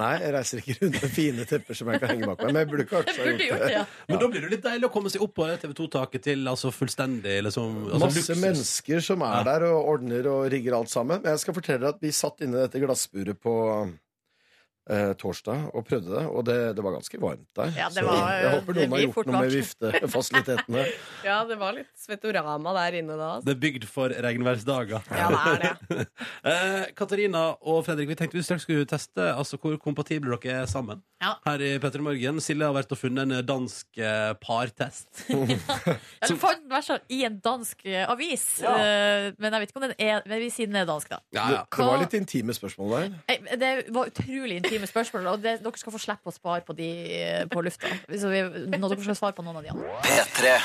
G: Nei, jeg reiser ikke rundt med fine tepper som jeg kan henge bak meg, men jeg burde kanskje ha
C: Burde
G: gjort
C: gjort
G: det.
C: det, ja.
B: Men da blir det litt deilig å komme seg opp på det TV 2-taket til altså fullstendig liksom, altså,
G: Masse
B: luksus.
G: mennesker som er der og ordner og rigger alt sammen. Men jeg skal fortelle dere at vi satt inne i dette glassburet på eh, torsdag og prøvde det, og det, det var ganske varmt der.
C: Ja, det
G: Så
C: var-
G: jeg håper
C: det
G: noen har
C: blir fort
G: gjort noe med
C: varmt.
G: viftefasilitetene.
H: Ja, det var litt Svetorama der inne da. altså.
B: Det er bygd for regnværsdager.
H: Ja, det er det.
B: Eh, Katarina og Fredrik, vi tenkte vi straks skulle teste altså, hvor kompatible dere er sammen.
C: Ja.
B: Her i Petter Morgen. Silje har vært og funnet en dansk eh, partest.
C: Eller fant den verst i en dansk eh, avis. Eh, Men jeg vet ikke om den er Men vi sier den er dansk, da.
B: Ja, ja.
G: Det var litt intime spørsmål der.
C: Eh, Det var utrolig intime spørsmål, og det, dere skal få slippe å svare på de eh, på lufta. Så vi, når dere skal svare på noen av de andre.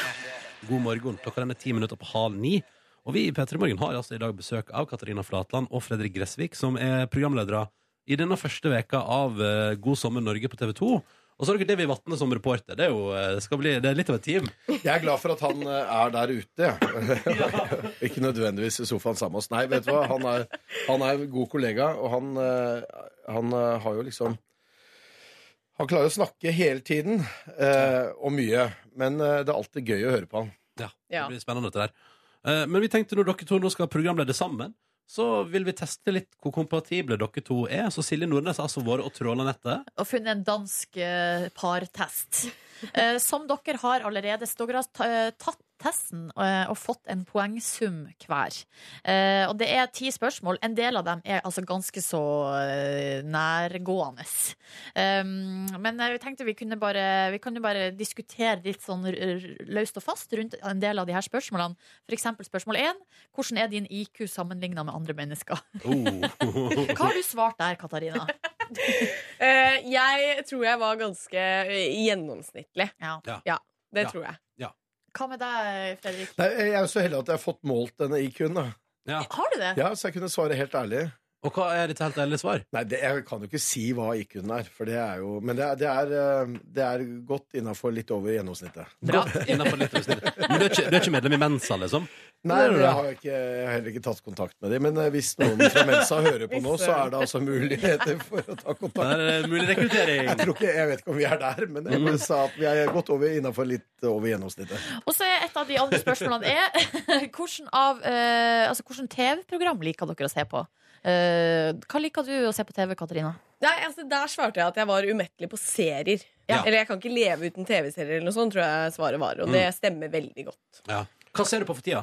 B: God morgen. Klokka den er ti minutter på halv ni. Og vi i P3 Morgen har altså i dag besøk av Katarina Flatland og Fredrik Gressvik, som er programledere i denne første veka av eh, God sommer Norge på TV 2. Og så har dere Davy Vatne som reporter. Det er jo eh, skal bli, det er litt av et team.
G: Jeg er glad for at han eh, er der ute. jeg. Ikke nødvendigvis i sofaen sammen med oss. Nei, vet du hva? Han er, han er en god kollega, og han, eh, han eh, har jo liksom Han klarer å snakke hele tiden, eh, og mye. Men eh, det er alltid gøy å høre på han.
B: Ja,
H: Ja.
B: det blir spennende dette der. Eh, Men vi tenkte når dere to nå skal programlede sammen, så vil vi teste litt hvor kompatible dere to er. Så Silje Nordnes har altså vært og tråla nettet.
C: og funnet en dansk eh, partest. Eh, som dere har allerede. Så dere har ta- eh, tatt testen eh, og fått en poengsum hver. Eh, og det er ti spørsmål. En del av dem er altså ganske så eh, nærgående. Um, men jeg tenkte vi kunne bare Vi kan jo bare diskutere litt sånn r- r- løst og fast rundt en del av de her spørsmålene. For eksempel spørsmål én. Hvordan er din IQ sammenligna med andre mennesker?
B: Oh.
C: Hva har du svart der, Katarina?
H: Eh, jeg tror jeg var ganske eh, gjennomsnittlig.
C: Ja.
H: Ja, det
B: Ja.
H: tror jeg.
C: Hva med deg, Fredrik?
G: Nei, jeg er jo så heldig at jeg har fått målt denne IQ-en. da.
B: Ja.
C: Har du det?
G: Ja, så jeg kunne svare helt ærlig.
B: Og hva er ditt helt ærlige svar?
G: Nei, det, jeg kan jo ikke si hva IQ-en er, for det er jo Men det er, det er, eh, det er godt innafor litt over gjennomsnittet.
C: Bra.
B: Godt innenfor litt over snittet. Men du er, ikke, du er ikke medlem i Mensa, liksom?
G: Nei,
B: Det er jo
G: jeg
B: det.
G: har, ikke, jeg har heller ikke tatt kontakt med dem. Men eh, hvis noen fra Mensa hører på nå, så er det altså muligheter for å ta kontakt.
B: Der er det mulig rekruttering.
G: Jeg, tror ikke, jeg vet ikke om vi er der, men jeg bare sa at vi er godt over innafor litt over gjennomsnittet.
C: Og så er et av de andre spørsmålene er hvordan, av, eh, altså, hvordan TV-program liker dere å se på? Eh, hva liker du å se på TV, Katarina?
H: Nei, altså Der svarte jeg at jeg var umettelig på serier.
B: Ja.
H: Eller jeg kan ikke leve uten TV-serier, eller noe sånt, tror jeg svaret var. Og det
B: Mm.
H: stemmer veldig godt.
B: Ja. Hva ser du på for tida?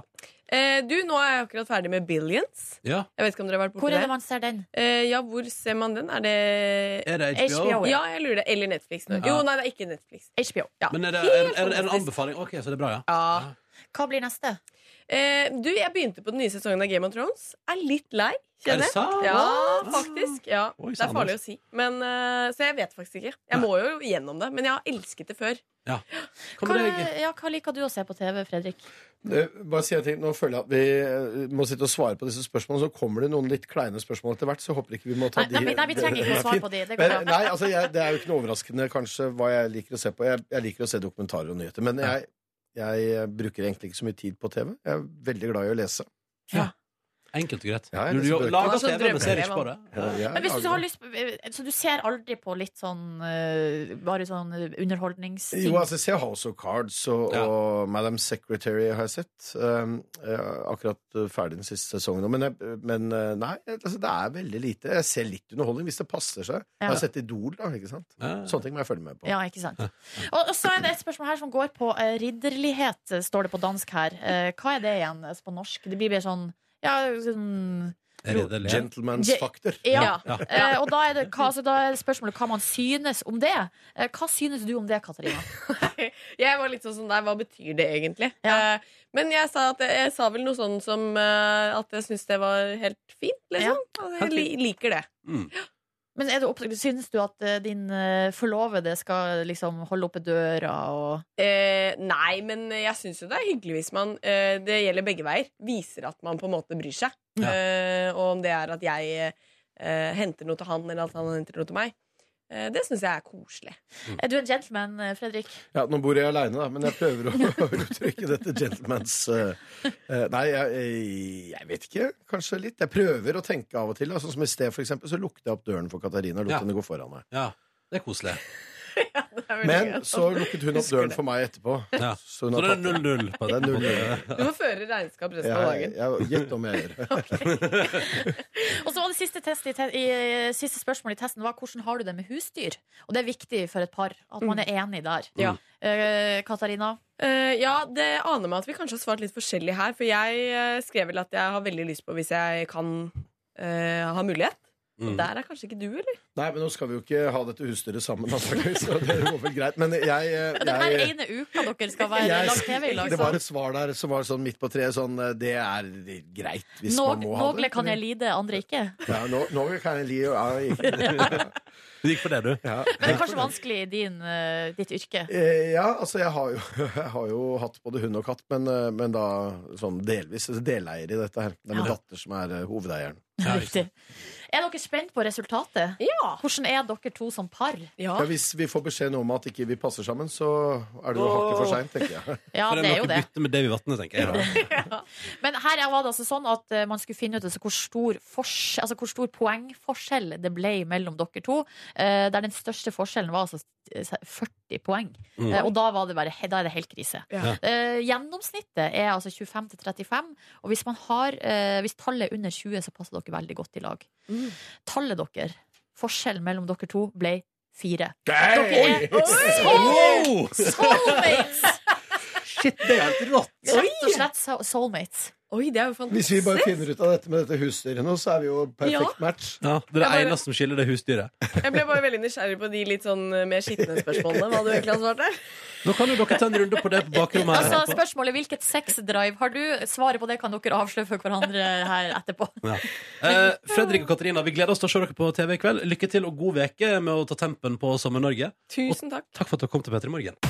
H: Eh, du, nå er jeg akkurat ferdig med Billions.
B: Ja.
H: Jeg vet ikke om dere har vært
C: Hvor
H: borti
C: er det
H: det?
C: man ser den?
H: Eh, ja, hvor ser man den? Er det
B: Er det HBO?
C: HBO,
H: Ja, jeg lurer det. Eller Netflix. Nå. Jo, nei, det er ikke Netflix.
C: HBO.
H: Ja.
B: Men er det
H: Helt
B: en, er, det en
H: fantastisk.
B: anbefaling? OK, så det er bra, ja.
H: Ja.
C: Hva blir neste?
H: Eh, du, jeg begynte på den nye sesongen av Game of Thrones. Er litt lei,
B: Er
H: kjenner
B: det
H: jeg.
B: sant?
H: Ja, faktisk. Ja.
B: Oi,
H: det er
B: sann,
H: farlig å
B: altså.
H: si. Men, eh, så jeg vet faktisk ikke. Jeg må jo gjennom det. Men jeg har elsket det før.
B: Hva
C: Hva,
B: med deg?
C: ja, hva liker du å se på TV, Fredrik?
G: Det, bare si en ting, Nå føler jeg at vi eh, må sitte og svare på disse spørsmålene. Så kommer det noen litt kleine spørsmål etter hvert, så jeg håper ikke vi må ta
C: Nei, nei,
G: de.
C: vi- nei, vi trenger ikke å svare på de. Det går
G: Men,
C: bra.
G: nei, altså, jeg, det er jo ikke noe overraskende kanskje hva jeg liker å se på. Jeg, jeg liker å se dokumentarer og nyheter, men jeg, jeg bruker egentlig ikke så mye tid på TV. Jeg er veldig glad i å lese.
B: Enkelt og greit.
G: Ja, jeg
B: Du,
G: leser
B: du
G: bøker.
B: lager
H: Han er så
B: TV, men ser ikke på det.
H: drømmeelev,
G: Jeg
C: Men hvis du har
G: lager-
C: lyst eh, Så du ser aldri på litt sånn eh, Bare sånn eh, underholdningsting?
G: Jo, altså, jeg ser House of Cards og,
B: Ja.
G: og Madam Secretary har jeg sett. Um, jeg er akkurat uh, ferdig den siste sesongen nå, men, jeg, men uh, nei, altså, det er veldig lite. Jeg ser litt underholdning hvis det passer seg. Jeg
C: Ja.
G: har sett Idol, da, ikke sant?
B: Ja.
G: Sånne ting må jeg følge med på.
C: Ja, ikke sant. Og, og så er det et spørsmål her som går på eh, ridderlighet, eh, står det på dansk her. Eh, hva er det igjen altså på norsk? Det blir mer sånn ja, sånn,
B: Er det det?
G: Gentleman's
C: Je-
G: fakter.
C: ja.
B: Ja.
C: Eh, og da er, det, hva, altså, da er spørsmålet hva man synes om det. Eh, hva synes du om det, Katarina?
H: Jeg var litt sånn som deg, hva betyr det egentlig?
C: Ja.
H: Eh, men jeg sa, at, jeg sa vel noe sånn som eh, at jeg syns det var helt fint, liksom. Altså,
B: Helt
H: jeg li liker det.
B: Mm.
C: Men er det opp, Synes du at eh, din eh, forlovede skal liksom holde oppe døra og
H: Eh, nei, men jeg syns jo det er hyggelig hvis man eh, Det gjelder begge veier. Viser at man på en måte bryr seg.
B: Ja.
H: Eh, og om det er at jeg eh, henter noe til han, eller at han henter noe til meg. Eh, det syns jeg er koselig.
B: Mm.
C: Er du en gentleman, eh, Fredrik?
G: Ja, nå bor jeg aleine, da, men jeg prøver å uttrykke dette gentlemans eh, eh, Nei, jeg, jeg vet ikke. Kanskje litt. Jeg prøver å tenke av og til. Da. Sånn som I sted for eksempel, så lukket jeg opp døren for Katarina og lot
B: Ja.
G: henne gå foran meg.
B: Ja. Det er koselig.
G: Men så lukket hun opp
H: Husker
G: døren
H: det.
G: for meg etterpå.
B: Ja. Så
G: Så hun
B: det
G: har
B: er
G: tatt den.
B: 0-0. på
G: Det er null.
H: Du må føre regnskap resten av
G: Jeg,
H: dagen.
G: jeg, gjett om jeg gjør det.
C: Og så var det siste, test i, te i, eh, siste spørsmål i testen var hvordan har du det med husdyr? Og det er viktig for et par at man er enig der.
B: Mm. Ja.
C: Eh, Katarina?
H: Eh, ja, det aner meg at vi kanskje har svart litt forskjellig her. For jeg eh, skrev vel at jeg har veldig lyst på hvis jeg kan eh, ha mulighet.
B: Mm.
H: Der er kanskje ikke du, eller?
G: Nei, men nå skal vi jo ikke ha dette husdyret sammen, altså, antakeligvis. Så det går vel greit. Men jeg, eh,
C: Den her
G: jeg
C: ene uka dere skal være
G: jeg-
C: lagt TV i lag
G: det var
C: sammen.
G: et svar der som var sånn midt på treet. Sånn, eh, det er greit hvis man må ha det.
C: Nogle kan jeg lide, andre ikke.
G: Ja, nå, nå kan jeg li ja, jeg-
B: Du gikk for det, du.
G: ja.
C: Men det er kanskje vanskelig i din, eh, ditt yrke.
G: Eh, ja, altså jeg har, jo, jeg har jo hatt både hund og katt, men, eh, men da sånn delvis altså deleier i dette her. Det er min
C: Ja.
G: datter som er eh, hovedeieren.
B: Ja, ikke
C: Riktig.
B: sant.
C: Er dere spent på resultatet?
H: Ja.
C: Hvordan er dere to som par?
H: Ja.
G: Ja, hvis vi får beskjed nå om at ikke vi passer sammen, så er det jo hakket for seint, tenker jeg.
C: Ja,
B: For
C: det er jo
B: noe
C: det.
B: bytte med Davy Vatne, tenker jeg.
C: Men her var det altså sånn at eh, man skulle finne ut altså hvor, stor fors- altså hvor stor poengforskjell det ble mellom dere to. eh, Der den største forskjellen var altså eh, 40 poeng.
B: Mm.
C: Eh, Og da, var det bare, he- da er det helt krise.
H: Ja.
C: Eh, Gjennomsnittet er altså 25 til 35, og hvis, man har, eh, hvis tallet er under 20, så passer dere veldig godt i lag.
H: Mm.
C: Tallet dere, forskjellen mellom dere to, ble fire.
G: Nei!
C: Dere er
B: Wow!
C: soulmates!
B: Shit, det er helt rått!
C: Rett og slett so- soulmates.
H: Oi, det er jo fantastisk.
G: Hvis vi bare finner ut av dette med dette husdyret nå, så er vi jo perfekt match.
B: Ja, det er det
H: Jeg bare-
B: eneste som skiller det husdyret.
H: Jeg ble bare veldig nysgjerrig på de litt sånn eh, mer skitne spørsmålene. Hva du egentlig har svart der.
B: Nå kan jo dere ta en runde på det på bakrommet. her.
C: Altså Spørsmålet hvilket sexdrive har du? Svaret på det kan dere avsløre for hverandre her etterpå.
B: Eh, Fredrik og Katarina, vi gleder oss til å se dere på TV i kveld. Lykke til og god veke med å ta tempen på Sommer-Norge.
H: Tusen takk.
B: Takk for at dere kom til Petter i Morgen.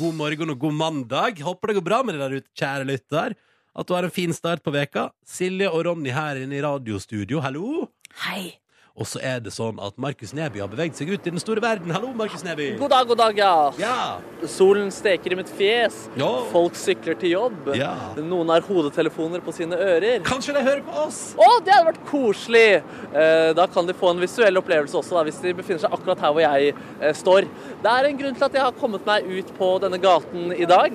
B: God morgen og god mandag. Håper det går bra med dere der ute, kjære lytter. at du har en fin start på veka. Silje og Ronny her inne i radiostudio, hallo.
C: Hei.
B: Og så er det sånn at Markus Neby har beveget seg ut i den store verden. Hallo, Markus Neby.
D: God dag, god dag, ja.
B: Ja.
D: Solen steker i mitt fjes.
B: ja.
D: Folk sykler til jobb.
B: ja.
D: Noen har hodetelefoner på sine ører.
B: Kanskje de hører på oss?
D: Å, det hadde vært koselig! Eh, Da kan de få en visuell opplevelse også, da, hvis de befinner seg akkurat her hvor jeg eh, står. Det er en grunn til at jeg har kommet meg ut på denne gaten i dag.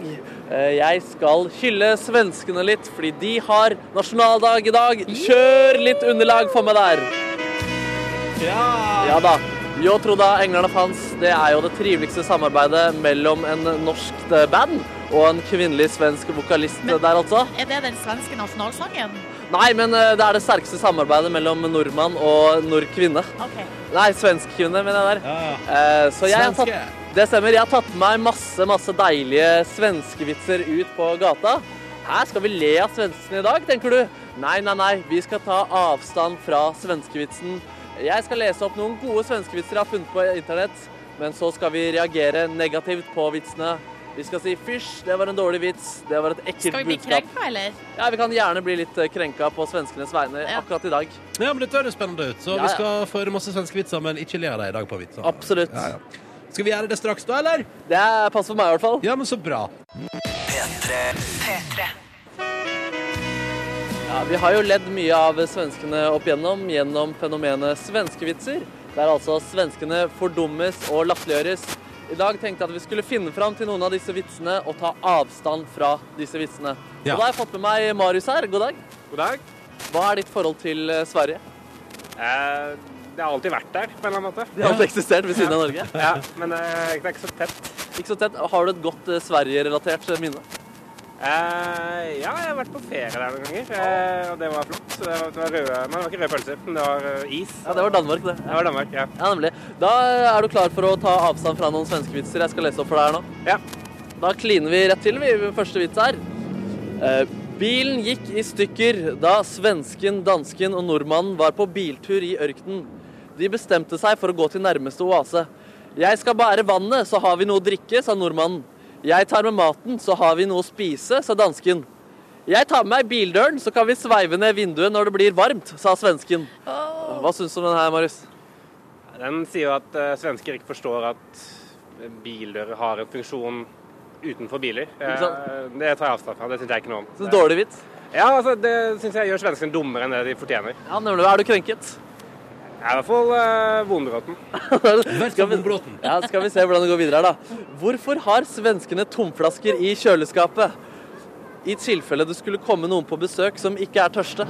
D: Eh, Jeg skal hylle svenskene litt, fordi de har nasjonaldag i dag. Kjør litt underlag for meg der! Ja da. Jeg trodde Englarna fanns. Det er jo det triveligste samarbeidet mellom en norsk eh, band og en kvinnelig svensk vokalist
C: Men-
D: der, altså.
C: Er det den svenske nasjonalsangen?
D: Nei, men eh, det er det sterkeste samarbeidet mellom nordmann og nordkvinne.
C: Ok.
D: Nei, svensk kvinne, mener jeg der.
B: Ja.
D: Eh, Så jeg har tatt,
B: Svenske.
D: det stemmer. Jeg har tatt med meg masse, masse deilige svenskevitser ut på gata. Her skal vi le av svenskene i dag, tenker du? Nei, nei, nei. Vi skal ta avstand fra svenskevitsen. Jeg skal lese opp noen gode svenskevitser jeg har funnet på internett, men så skal vi reagere negativt på vitsene. Vi skal si 'fysj, det var en dårlig vits', 'det var et
C: Skal
D: ekkelt
C: vi bli
D: budskap'.
C: krenka, eller?
D: Ja, Vi kan gjerne bli litt eh, krenka på svenskenes vegne
C: Ja.
D: akkurat i dag.
B: Ja, men dette høres spennende ut. Så
D: Ja,
B: vi
D: ja.
B: skal få høre masse svenske vitser, men ikke le av dem i dag på vitser.
D: Absolutt.
B: Ja, ja. Skal vi gjøre det straks da, eller?
D: Det er- passer for meg i hvert fall.
B: Ja, men så bra.
D: Ja, vi har jo ledd mye av svenskene opp igjennom gjennom fenomenet svenskevitser, der altså svenskene fordummes og latterliggjøres. I dag tenkte jeg at vi skulle finne fram til noen av disse vitsene og ta avstand fra disse vitsene.
B: Ja.
D: Og da har jeg fått med meg Marius her. God dag.
F: God dag.
D: Hva er ditt forhold til eh, Sverige?
F: Eh, det har alltid vært der, på en eller annen måte.
D: Det har alltid eksistert ved siden av Norge.
F: Ja, men eh, det er ikke så tett.
D: Ikke så tett. Har du et godt eh, Sverige-relatert eh, minne?
F: Eh, ja, jeg har vært på ferie der noen ganger, eh, og det var flott. Så Det var, det var røde, men det var ikke røde pølser, men det var eh, is.
D: Ja, det var Danmark, det.
F: Det var Danmark, ja.
D: Ja, nemlig. Da er du klar for å ta avstand fra noen svenskevitser jeg skal lese opp for deg her nå?
F: Ja.
D: Da kliner vi rett til vi med første vits her. Eh, bilen gikk i stykker da svensken, dansken og nordmannen var på biltur i ørkenen. De bestemte seg for å gå til nærmeste oase. Jeg skal bære vannet, så har vi noe å drikke, sa nordmannen. Jeg tar med maten, så har vi noe å spise, sa dansken. Jeg tar med meg bildøren, så kan vi sveive ned vinduet når det blir varmt, sa svensken. Hva syns du om den her, Marius?
F: Den sier jo at eh, svensker ikke forstår at bildører har en funksjon utenfor biler.
D: Ikke sant?
F: Eh, det tar jeg avstand fra. Det syns jeg ikke noe om.
D: Så dårlig vits.
F: Ja, altså, Det syns jeg gjør svenskene dummere enn det de fortjener.
D: Ja, nemlig. Er du krenket?
F: Jeg er i hvert fall eh, vonbråten.
D: skal, vi,
B: vonbråten.
D: ja, skal vi se hvordan det går videre her, da. Hvorfor har svenskene tomflasker i kjøleskapet? I tilfelle det skulle komme noen på besøk som ikke er tørste.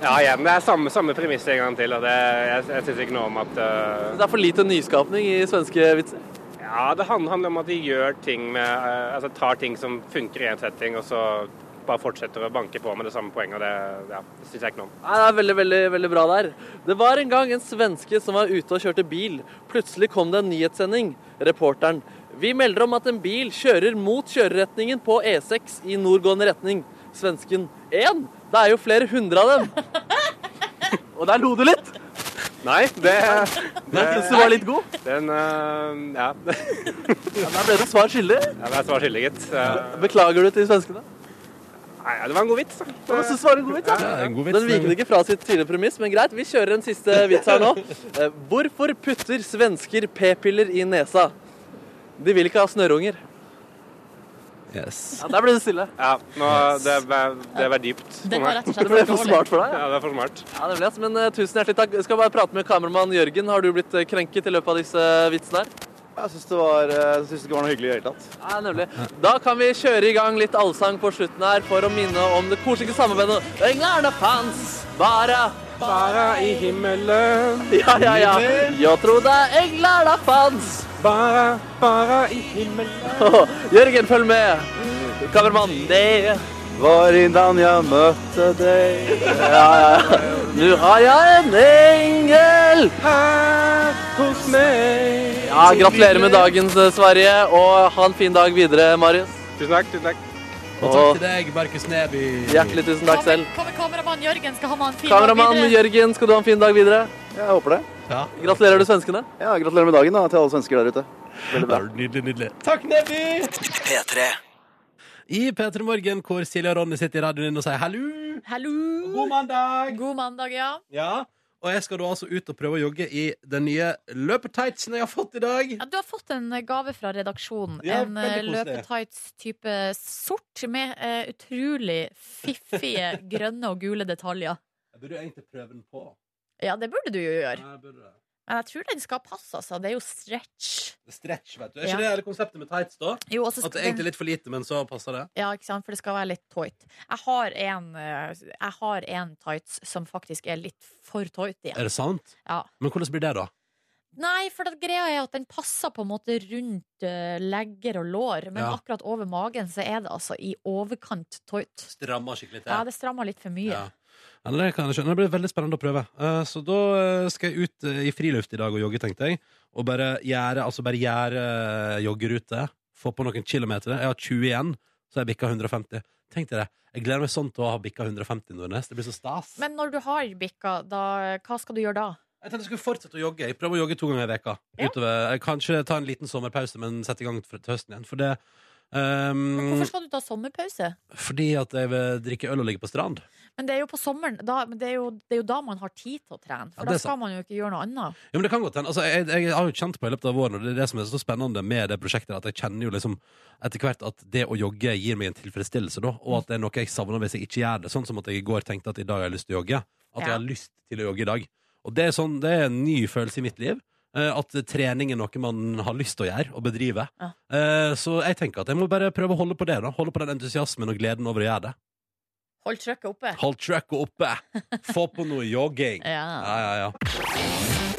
F: Ja, igjen, det er samme, samme premiss en gang til. og det, Jeg, jeg syns ikke noe om at eh,
D: Det er for lite nyskapning i svenske vitser.
F: Ja, det han- handler om at de gjør ting med eh, Altså tar ting som funker i en setting, og så bare fortsetter å banke på med det samme poenget. og Det, ja, det syns jeg ikke noe om.
D: Nei, det er veldig, veldig, veldig bra der. Det var en gang en svenske som var ute og kjørte bil. Plutselig kom det en nyhetssending. Reporteren. Vi melder om at en bil kjører mot kjøreretningen på E6 i nordgående retning. Svensken. Én? Det er jo flere hundre av dem. Og der lo du litt.
F: Nei, det,
D: Jeg syns du var litt god.
F: den eh, Ja.
D: Ja, Der ble du svar skyldig.
F: Jeg er svar skyldig, gitt. Eh,
D: Beklager du til svenskene?
F: Nei, ja, det var en god vits. da.
D: Jeg synes det var en god vits, ja.
B: Ja, en god vits.
D: Den viker ikke fra sitt tidligere premiss, men greit. Vi kjører en siste vits her nå. Eh, Hvorfor putter svensker p-piller i nesa? De vil ikke ha snørrunger.
B: Yes.
D: Ja, der ble det stille.
F: Ja, nå, det, ble- det var dypt.
C: Det
F: for
C: var
F: meg.
C: rett og
D: Det ble
C: slett
D: for smart for deg.
F: Ja, det var for smart.
D: Ja, det ble det. Men eh, tusen hjertelig takk. Jeg skal bare prate med kameramann Jørgen. Har du blitt eh, krenket i løpet av disse eh, vitsene her?
I: Jeg syns det, var, eh, jeg synes det ikke var noe hyggelig i det hele tatt.
D: Ja, nemlig. Da kan vi kjøre i gang litt allsang på slutten her for å minne om det koselige samarbeidet. Englarna fans, bara
F: Bara i himmelen,
D: Ja, ja, ja. Jeg trodde englarna fanns.
F: bara, bara i himmelen.
D: Jørgen, følg med. Kameramann, det
I: Var innan jeg møtte deg
D: Ja, ja, ja. Nå har jeg en engel.
F: Her hos meg.
D: Ja, gratulerer med dagen, Sverige, og ha en fin dag videre, Marius.
F: Tusen takk. tusen takk.
B: Og takk til deg, Markus Neby.
D: Hjertelig tusen takk selv.
C: Hva med kameramann Jørgen? Skal han ha en fin
D: Kameramann
C: dag videre?
D: Jørgen, skal du ha en fin dag videre?
I: Jeg håper det.
B: Ja.
D: Gratulerer du svenskene.
I: Ja, Gratulerer med dagen da, til alle svensker der ute. Veldig bra.
B: Nydelig, nydelig. Takk, Neby! I P3 Morgen, hvor Silje og Ronny sitter i radioen din og sier hallo.
C: Hallo!
B: God mandag!
C: God mandag, ja.
B: Ja. Og jeg skal da altså ut og prøve å jogge i den nye løpetightsen jeg har fått i dag.
C: ja. Du har fått en gave fra redaksjonen.
B: Ja,
C: en eh,
B: veldig koselig.
C: løpetights-type sort med eh, utrolig fiffige grønne og gule detaljer.
B: Jeg burde jo egentlig prøve den på.
C: Ja, det burde du jo gjøre.
B: Nei, jeg burde det.
C: Men jeg tror den skal passe, altså. Det er jo stretch.
B: Det er Stretch, vet du. Er ikke
C: Ja.
B: det hele konseptet med tights, da?
C: Jo, og så
B: At det
C: skal
B: er egentlig
C: den-
B: er litt for lite, men så passer det?
C: Ja, ikke sant? For det skal være litt tight. Jeg har en, eh, jeg har en tights som faktisk er litt for tight igjen.
B: Er det sant?
C: Ja.
B: Men hvordan blir det, da?
C: Nei, for det greia er at den passer på en måte rundt eh, legger og lår, men
B: Ja.
C: akkurat over magen så er det altså i overkant tight.
B: Strammer skikkelig til?
C: Ja, det strammer litt for mye.
B: Ja. Ja, det kan jeg skjønne. Det blir veldig spennende å prøve. Eh, Så da eh, skal jeg ut eh, i friluft i dag og jogge, tenkte jeg. Og bare gjøre, altså bare gjøre eh, joggerute. Få på noen kilometer. Jeg har 20 igjen, så jeg bikka 150. Tenk deg det. Jeg gleder meg sånn til å ha bikka 150 Nordnes. Det blir så stas.
C: Men når du har bikka, da, hva skal du gjøre da?
B: Jeg tenkte jeg skulle fortsette å jogge. Jeg prøver å jogge to ganger i veka. Utover, jeg kan ikke ta en liten sommerpause, men sette i gang for- til høsten igjen. For det ehm,
C: Hvorfor skal du ta sommerpause?
B: Fordi at jeg vil drikke øl og ligge på strand.
C: Men det er jo på sommeren, da, men det, er jo, det er jo da man har tid til å trene.
B: Ja,
C: For
B: det er
C: da skal
B: sant.
C: man jo ikke gjøre noe annet.
B: Ja, men det kan godt hende. Altså, jeg, jeg har jo kjent på i løpet av våren, og det er det som er så spennende med det prosjektet, at jeg kjenner jo liksom etter hvert at det å jogge gir meg en tilfredsstillelse, da, og at det er noe jeg savner hvis jeg ikke gjør det. Sånn som at jeg i går tenkte at i dag har jeg lyst til å jogge. At jeg
C: Ja.
B: har lyst til å jogge i dag. Og det er, sånn, det er en ny følelse i mitt liv. eh, At trening er noe man har lyst til å gjøre og bedrive.
C: Ja.
B: Eh, Så jeg tenker at jeg må bare prøve å holde på det. da Holde på den entusiasmen og gleden over å gjøre det.
C: Hold trykket oppe.
B: Hold trøkket oppe! Få på noe jogging.
C: Ja.
B: Ja, ja, ja.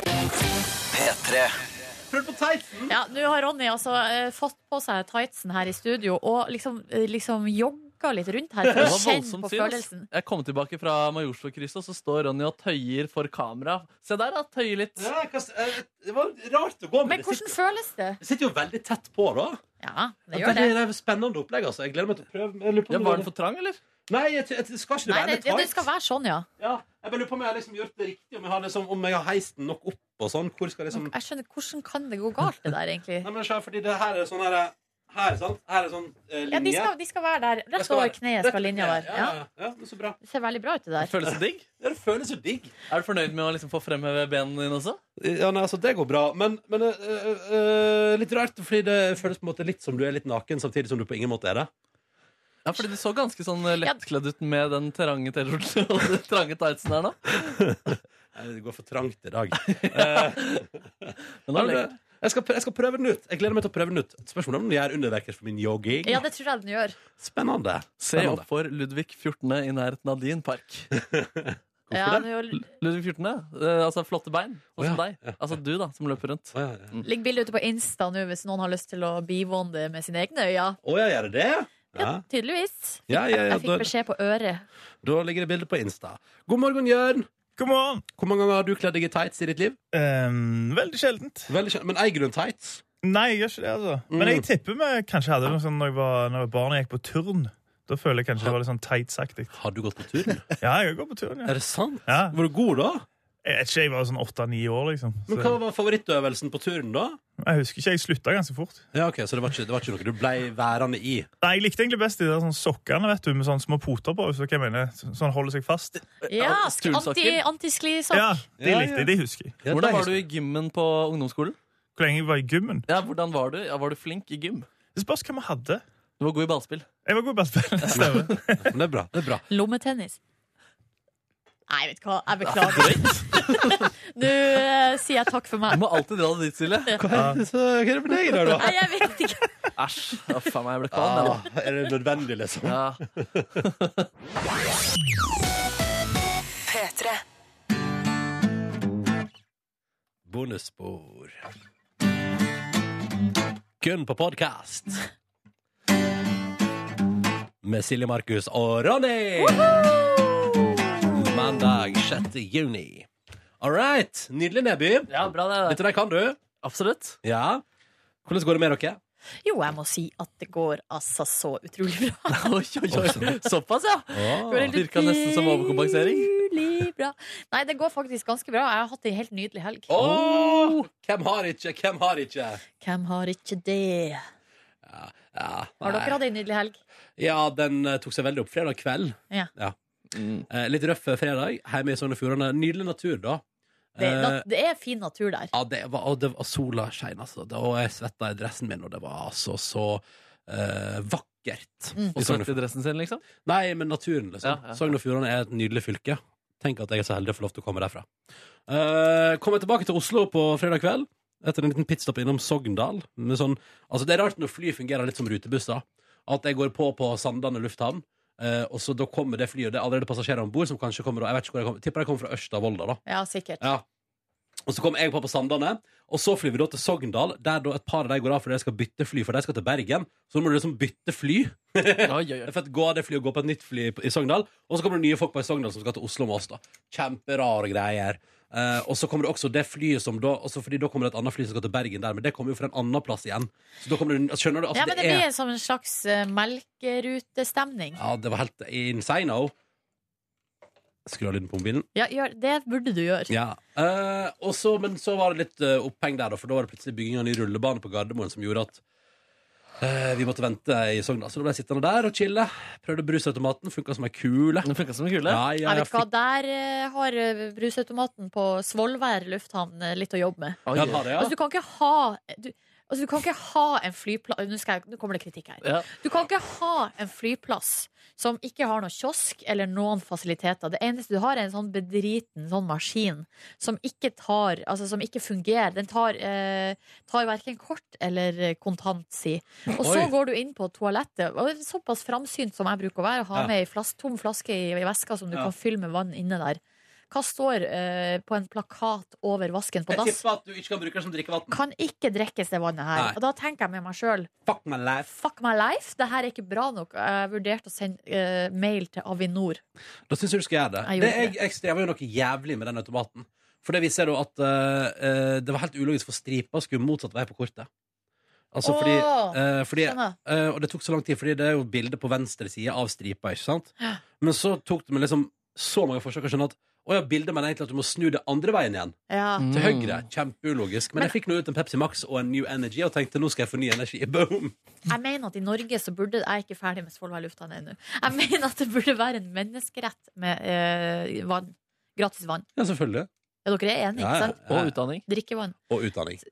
C: Ja, nå har Ronny altså eh, fått på seg tightsen her i studio og liksom, eh, liksom jogga litt rundt her for
D: Det
C: å
D: var
C: kjenne
D: voldsomt
C: på
D: syn. ass.
C: følelsen.
D: Jeg kom tilbake fra Majorstukrysset, og så står Ronny og tøyer for kamera. Se der, da. Tøyer litt.
B: Ja, hva- eh, det var rart å gå med.
C: Men
B: Det
C: hvordan
B: sitter-
C: føles det?
B: det sitter jo veldig tett på, da.
C: Ja, det
B: Ja,
C: gjør det.
B: er et spennende opplegg, altså. Jeg gleder meg til å prøve. Jeg lurer på
D: Ja,
B: om
D: var den
B: det-
D: for trang, eller?
B: Nei, jeg, jeg, det skal ikke det
C: Nei,
B: være
C: det,
B: litt
C: det, det
B: tight?
C: skal være sånn, ja.
B: Ja, jeg bare lurer på om jeg har liksom gjort det riktig, om jeg har, liksom, om jeg har heist den nok opp og sånn. Hvor skal jeg liksom
C: Jeg skjønner, Hvordan kan det gå galt, det der, egentlig?
B: Nei, men skjønner, fordi det her er sånn her, her, sant? Her er sånn eh, linje.
C: Ja, de skal, de skal være der.
B: Jeg
C: Rett
B: skal
C: over
B: være-
C: kneet
B: Rett
C: skal linja
B: linje.
C: være.
B: Ja,
C: Ja,
B: ja, ja, men så bra.
C: det ser veldig bra ut, det der.
D: Føles det digg?
B: Ja, det føles jo digg.
D: Er du fornøyd med å liksom få fremheve benene dine også?
B: Ja, nei, altså, det går bra. Men, men eh, eh, eh, litt rart, fordi det føles på en måte litt som du er litt naken, samtidig som du på ingen måte er det.
D: Ja, fordi du så ganske sånn eh, lettkledd ut med den trange T-skjorten og den trange tightsen her nå.
B: Nei, Det går for trangt i dag.
D: Men det er lekkert.
B: Jeg skal, jeg skal prøve den ut. Jeg gleder meg til å prøve den ut. Spørsmålet er om den gjør underverker for min jogging.
C: Ja, det tror jeg den gjør.
B: Spennende.
D: Se
B: Spennende.
D: opp for Ludvig 14. i nærheten av din park.
C: Ja,
B: det?
C: det gjør-
D: Ludvig 14., eh, altså flotte bein,
B: Å,
D: sånn som
B: ja.
D: deg. Altså du, da, som løper rundt.
B: Å ja, ja.
C: Ligg bilde ute på Insta nå hvis noen har lyst til å bivåne det med sine egne øyne.
B: Å ja, gjør det det? Ja.
C: Ja, tydeligvis.
B: Ja, ja, ja, da-
C: Jeg fikk beskjed på øret.
B: Da ligger det bilde på Insta. God morgen, Jørn.
J: God morgen.
B: Hvor mange ganger har du kledd deg i tights i ditt liv?
J: Ehm, veldig sjeldent.
B: Veldig kjent. Men eier du en tights?
J: Nei, jeg gjør ikke det, altså. Men
B: Mm.
J: jeg tipper vi kanskje hadde noe sånn når jeg var, når jeg var barn og gikk på turn. Da føler jeg kanskje det var litt sånn tightsaktig.
B: Har du gått på tur?
J: Ja, jeg går på turn, ja.
B: er det sant?
J: Ja.
B: Var du god da?
J: Jeg vet ikke, jeg var sånn åtte-ni år, liksom.
B: Men hva
J: Så
B: var favorittøvelsen på turen da?
J: jeg husker ikke, jeg slutta ganske fort.
B: Ja, ok, Så det var ikke, det var ikke noe du blei værende i?
J: Nei, jeg likte egentlig best de der sånn sokkene, vet du, med sånne små poter på, hvis du hva jeg mener. Sånn holder seg fast.
C: Ja, sk-
D: Stulsokker.
C: anti- anti-sklisokk.
J: Ja, de
B: Ja,
J: likte
B: ja.
J: jeg, de husker jeg.
B: Ja,
D: Hvordan
B: det
D: var du i gymmen på ungdomsskolen?
J: Hvor lenge jeg var i gymmen.
D: Ja, hvordan Var du Ja, Var du flink i gym?
J: Det spørs hva vi hadde.
D: Du var god i ballspill.
J: Jeg var god i ballspill. Stemmer.
B: er- Det er bra. det er bra
C: Lommetennis. Nei, vet du hva, jeg beklager. Nå eh, sier jeg takk for
D: Du
C: meg.
D: må alltid dra det dit, Silje.
B: Hva er det, så, hva er det med deg i dag, da?
C: Nei, jeg vet ikke.
D: Æsj. Ja, faen meg, jeg ble kvalm. jeg nå.
B: Ah, er det nødvendig, liksom?
D: Ja.
B: Bonusspor. Kun på podkast. Med Silje Markus og Ronny. Mandag 6. juni. All right. Nydelig, Neby.
D: ja, bra det.
B: Dette der kan du.
D: Absolutt.
B: Ja. Hvordan går det med dere?
C: Jo, jeg må si at det går altså så utrolig bra.
D: Oi, oi, oi. Såpass, ja.
B: Ah.
C: Det går
D: Virka nesten som overkompensering.
C: utrolig bra. Nei, det går faktisk ganske bra. Jeg har hatt ei helt nydelig helg.
B: Oh! Åh, Hvem har ikke? Hvem har ikke?
C: Hvem har ikke det? Har dere hatt ei nydelig helg?
B: Ja, den eh, tok seg veldig opp fredag kveld.
C: Ja.
B: Eh, litt røff fredag hjemme i Sogn og Fjordane. Nydelig natur, da.
C: Det,
B: Eh,
C: da- det er fin natur der.
B: Ja, det var, og det var sola skein, altså. Da- Og jeg svetta i dressen min, og det var altså så eh, vakkert.
C: Mm.
B: Og
D: Du
B: Sogn og
D: svette i dressen sin, liksom?
B: Nei, men naturen, liksom.
D: Ja, ja.
B: Sogn og Fjordane er et nydelig fylke. Tenk at jeg er så heldig å få lov til å komme derfra. Eh, kom jeg tilbake til Oslo på fredag kveld etter en liten pitstop innom Sogndal. Med sånn, altså det er rart når fly fungerer litt som rutebusser. At jeg går på på Sandane lufthavn, eh, og så da kommer det flyet. og Det er allerede passasjerer om bord som kanskje kommer da- Jeg vet ikke hvor jeg kommer, tipper jeg kommer fra Ørsta og Volda, da.
C: Ja, sikkert.
B: Ja. Og så kom jeg på på Sandane, og så flyr vi da til Sogndal, der da et par av de går av fordi de skal bytte fly, for de skal til Bergen. Så nå må du liksom bytte fly. For at gå av det flyet og gå på et nytt fly i Sogndal. Og så kommer det nye folk på i Sogndal som skal til Oslo med oss, da. Kjemperare greier. Eh, og så kommer det også det flyet som da også Fordi da kommer det et annet fly som skal til Bergen der, men det kommer jo fra en annen plass igjen. Så da kommer det Skjønner du? Altså,
C: ja, men det,
B: det
C: blir
B: er
C: som en slags eh, melkerutestemning.
B: Ja, det var helt insane. oh. Skru av lyden på mobilen.
C: Ja, gjør, det burde du gjøre.
B: Ja. Eh, og så, men så var det litt eh, oppheng der, da, for da var det plutselig bygging av ny rullebane på Gardermoen som gjorde at eh, vi måtte vente i Sogndal. Så da ble jeg sittende der og chille. Prøvde brusautomaten. Funka som ei kule. Ja, ja,
C: jeg
B: jeg
C: vet hva,
B: fikk,
C: Der eh, har eh, brusautomaten på Svolvær lufthavn eh, litt å jobbe med.
B: Ja, den har det, ja.
C: Altså, du kan ikke ha du, altså, du kan ikke ha en flyplass nå, skal jeg, nå kommer det kritikk her.
D: Ja.
C: Du kan ikke ha en flyplass som ikke har noen kiosk eller noen fasiliteter. Det eneste du har, er en sånn bedriten sånn maskin som ikke tar Altså som ikke fungerer. Den tar, eh, tar verken kort eller eh, kontant, si. Og så
K: Oi.
C: går du inn på toalettet. Og det er såpass framsynt som jeg bruker å være, ha
K: Ja.
C: med ei flas tom flaske i, i veska som du
B: Ja.
C: kan fylle med vann inne der. Hva står eh, på en plakat over vasken på
B: jeg
C: dass?
B: tipper at du ikke kan bruke det som drikkevann.
C: Kan ikke drikkes det vannet her.
B: Nei.
C: Og da tenker jeg med meg sjøl
B: Fuck my life.
C: Fuck my life, det her er ikke bra nok. Jeg vurderte å sende eh, mail til Avinor.
B: Da syns jeg du skal gjøre det.
C: Jeg gjorde
B: det jeg, jeg strever jo noe jævlig med den automaten. For det viser jo at eh, eh, det var helt ulogisk, for stripa skulle motsatt vei på kortet. Altså fordi,
K: Åh,
B: eh, fordi
K: skjønner.
B: eh, Og det tok så lang tid, fordi det er jo bilde på venstre side av stripa, ikke sant? Men så tok det meg liksom så mange forsøk å skjønne at å ja, bildet mener egentlig at du må snu det andre veien igjen.
C: Ja.
D: Mm.
B: Til høyre. Kjempeulogisk. Men, jeg fikk nå ut en Pepsi Max og en New Energy og tenkte nå skal jeg få ny energi. Boom!
C: Jeg mener at i Norge så burde Jeg er ikke ferdig med Svolvær lufthavn ennå. Jeg mener at det burde være en menneskerett med eh, vann. Gratis vann.
B: Ja, selvfølgelig.
C: Ja, dere er enige,
B: Ja, ja.
C: ikke sant?
B: Og utdanning.
C: Drikkevann.
B: Og utdanning.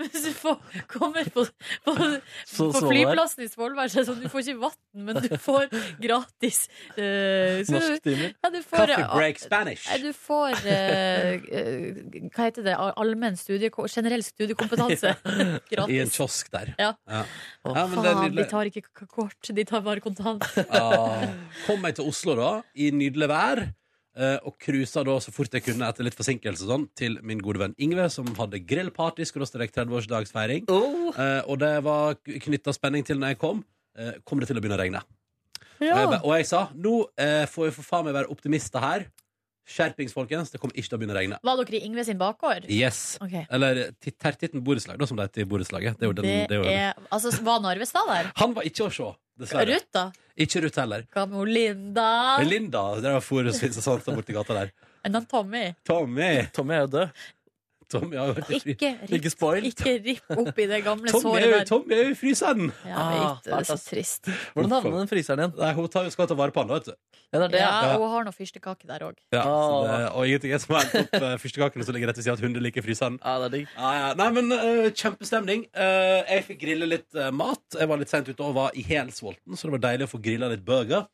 C: Hvis du får, kommer på, på,
B: Så
C: på
B: Svolvær.
C: flyplassen i Svolvær, så er det sånn du får ikke vann, men du får gratis eh, så-
B: Norsktimer.
C: Ja, du får,
B: Coffee break Spanish.
C: Nei, Du får eh, eh, Hva heter det? Allmenn studie, generell studiekompetanse.
B: I
C: Gratis.
B: en kiosk der.
C: Ja.
B: Ja. Ja, men det er
C: Faen, de
B: nydelig.
C: tar ikke k- kort, de tar bare kontant.
B: Ja. Kom meg til Oslo da, i nydelig vær, eh, og cruisa da så fort jeg kunne etter litt forsinkelse og sånn, til min gode venn Ingve, som hadde grillparty, skråstrek 30-årsdagsfeiring.
C: Oh.
B: Eh, og det var knytta spenning til når jeg kom. Eh, kom det til å begynne å regne? Og, jeg, ba- og jeg sa nå eh, får vi for faen meg være optimister her. Skjerpings, folkens. Det kommer ikke til å begynne å regne.
C: Var dere i Ingve sin bakgård?
B: Yes.
C: Ok.
B: Eller Titt- Tertitten borettslag, da, som det heter i borettslaget. Det er jo den,
C: Det
B: det er jo den.
C: er, altså, var Narvestad der?
B: Han var ikke å se, dessverre.
C: Ruth, Ah. da?
B: Ikke Ruth heller.
C: Hva med hun Linda?
B: Men Linda, der var forholdsvis og sånt, sånn borti gata der.
C: Enn han Tommy?
B: Tommy! Tommy er jo død. Tommy har jo vært i fri-
C: Ikke ripp, ikke ripp opp i det gamle
B: Tommy er jo,
C: såret der.
B: Tommy er jo i Ah, fryseren!
C: Ja, jeg vet, det er så trist.
D: Hvordan havnet den fryseren igjen?
B: Nei, Hun tar jo skal ta vare på han, da, vet du.
C: Ja,
B: Ja.
C: hun har noe fyrstekake der òg.
B: Ja, så det, og ingenting er som å hente opp eh, fyrstekakene som ligger rett ved siden av at hunder liker fryseren. Ja, det er digg. ja. Nei, men eh, kjempestemning. Eh, jeg fikk grille litt eh, mat. Jeg var litt sent ute og var i helsvolten, så det var deilig å få grilla litt burger.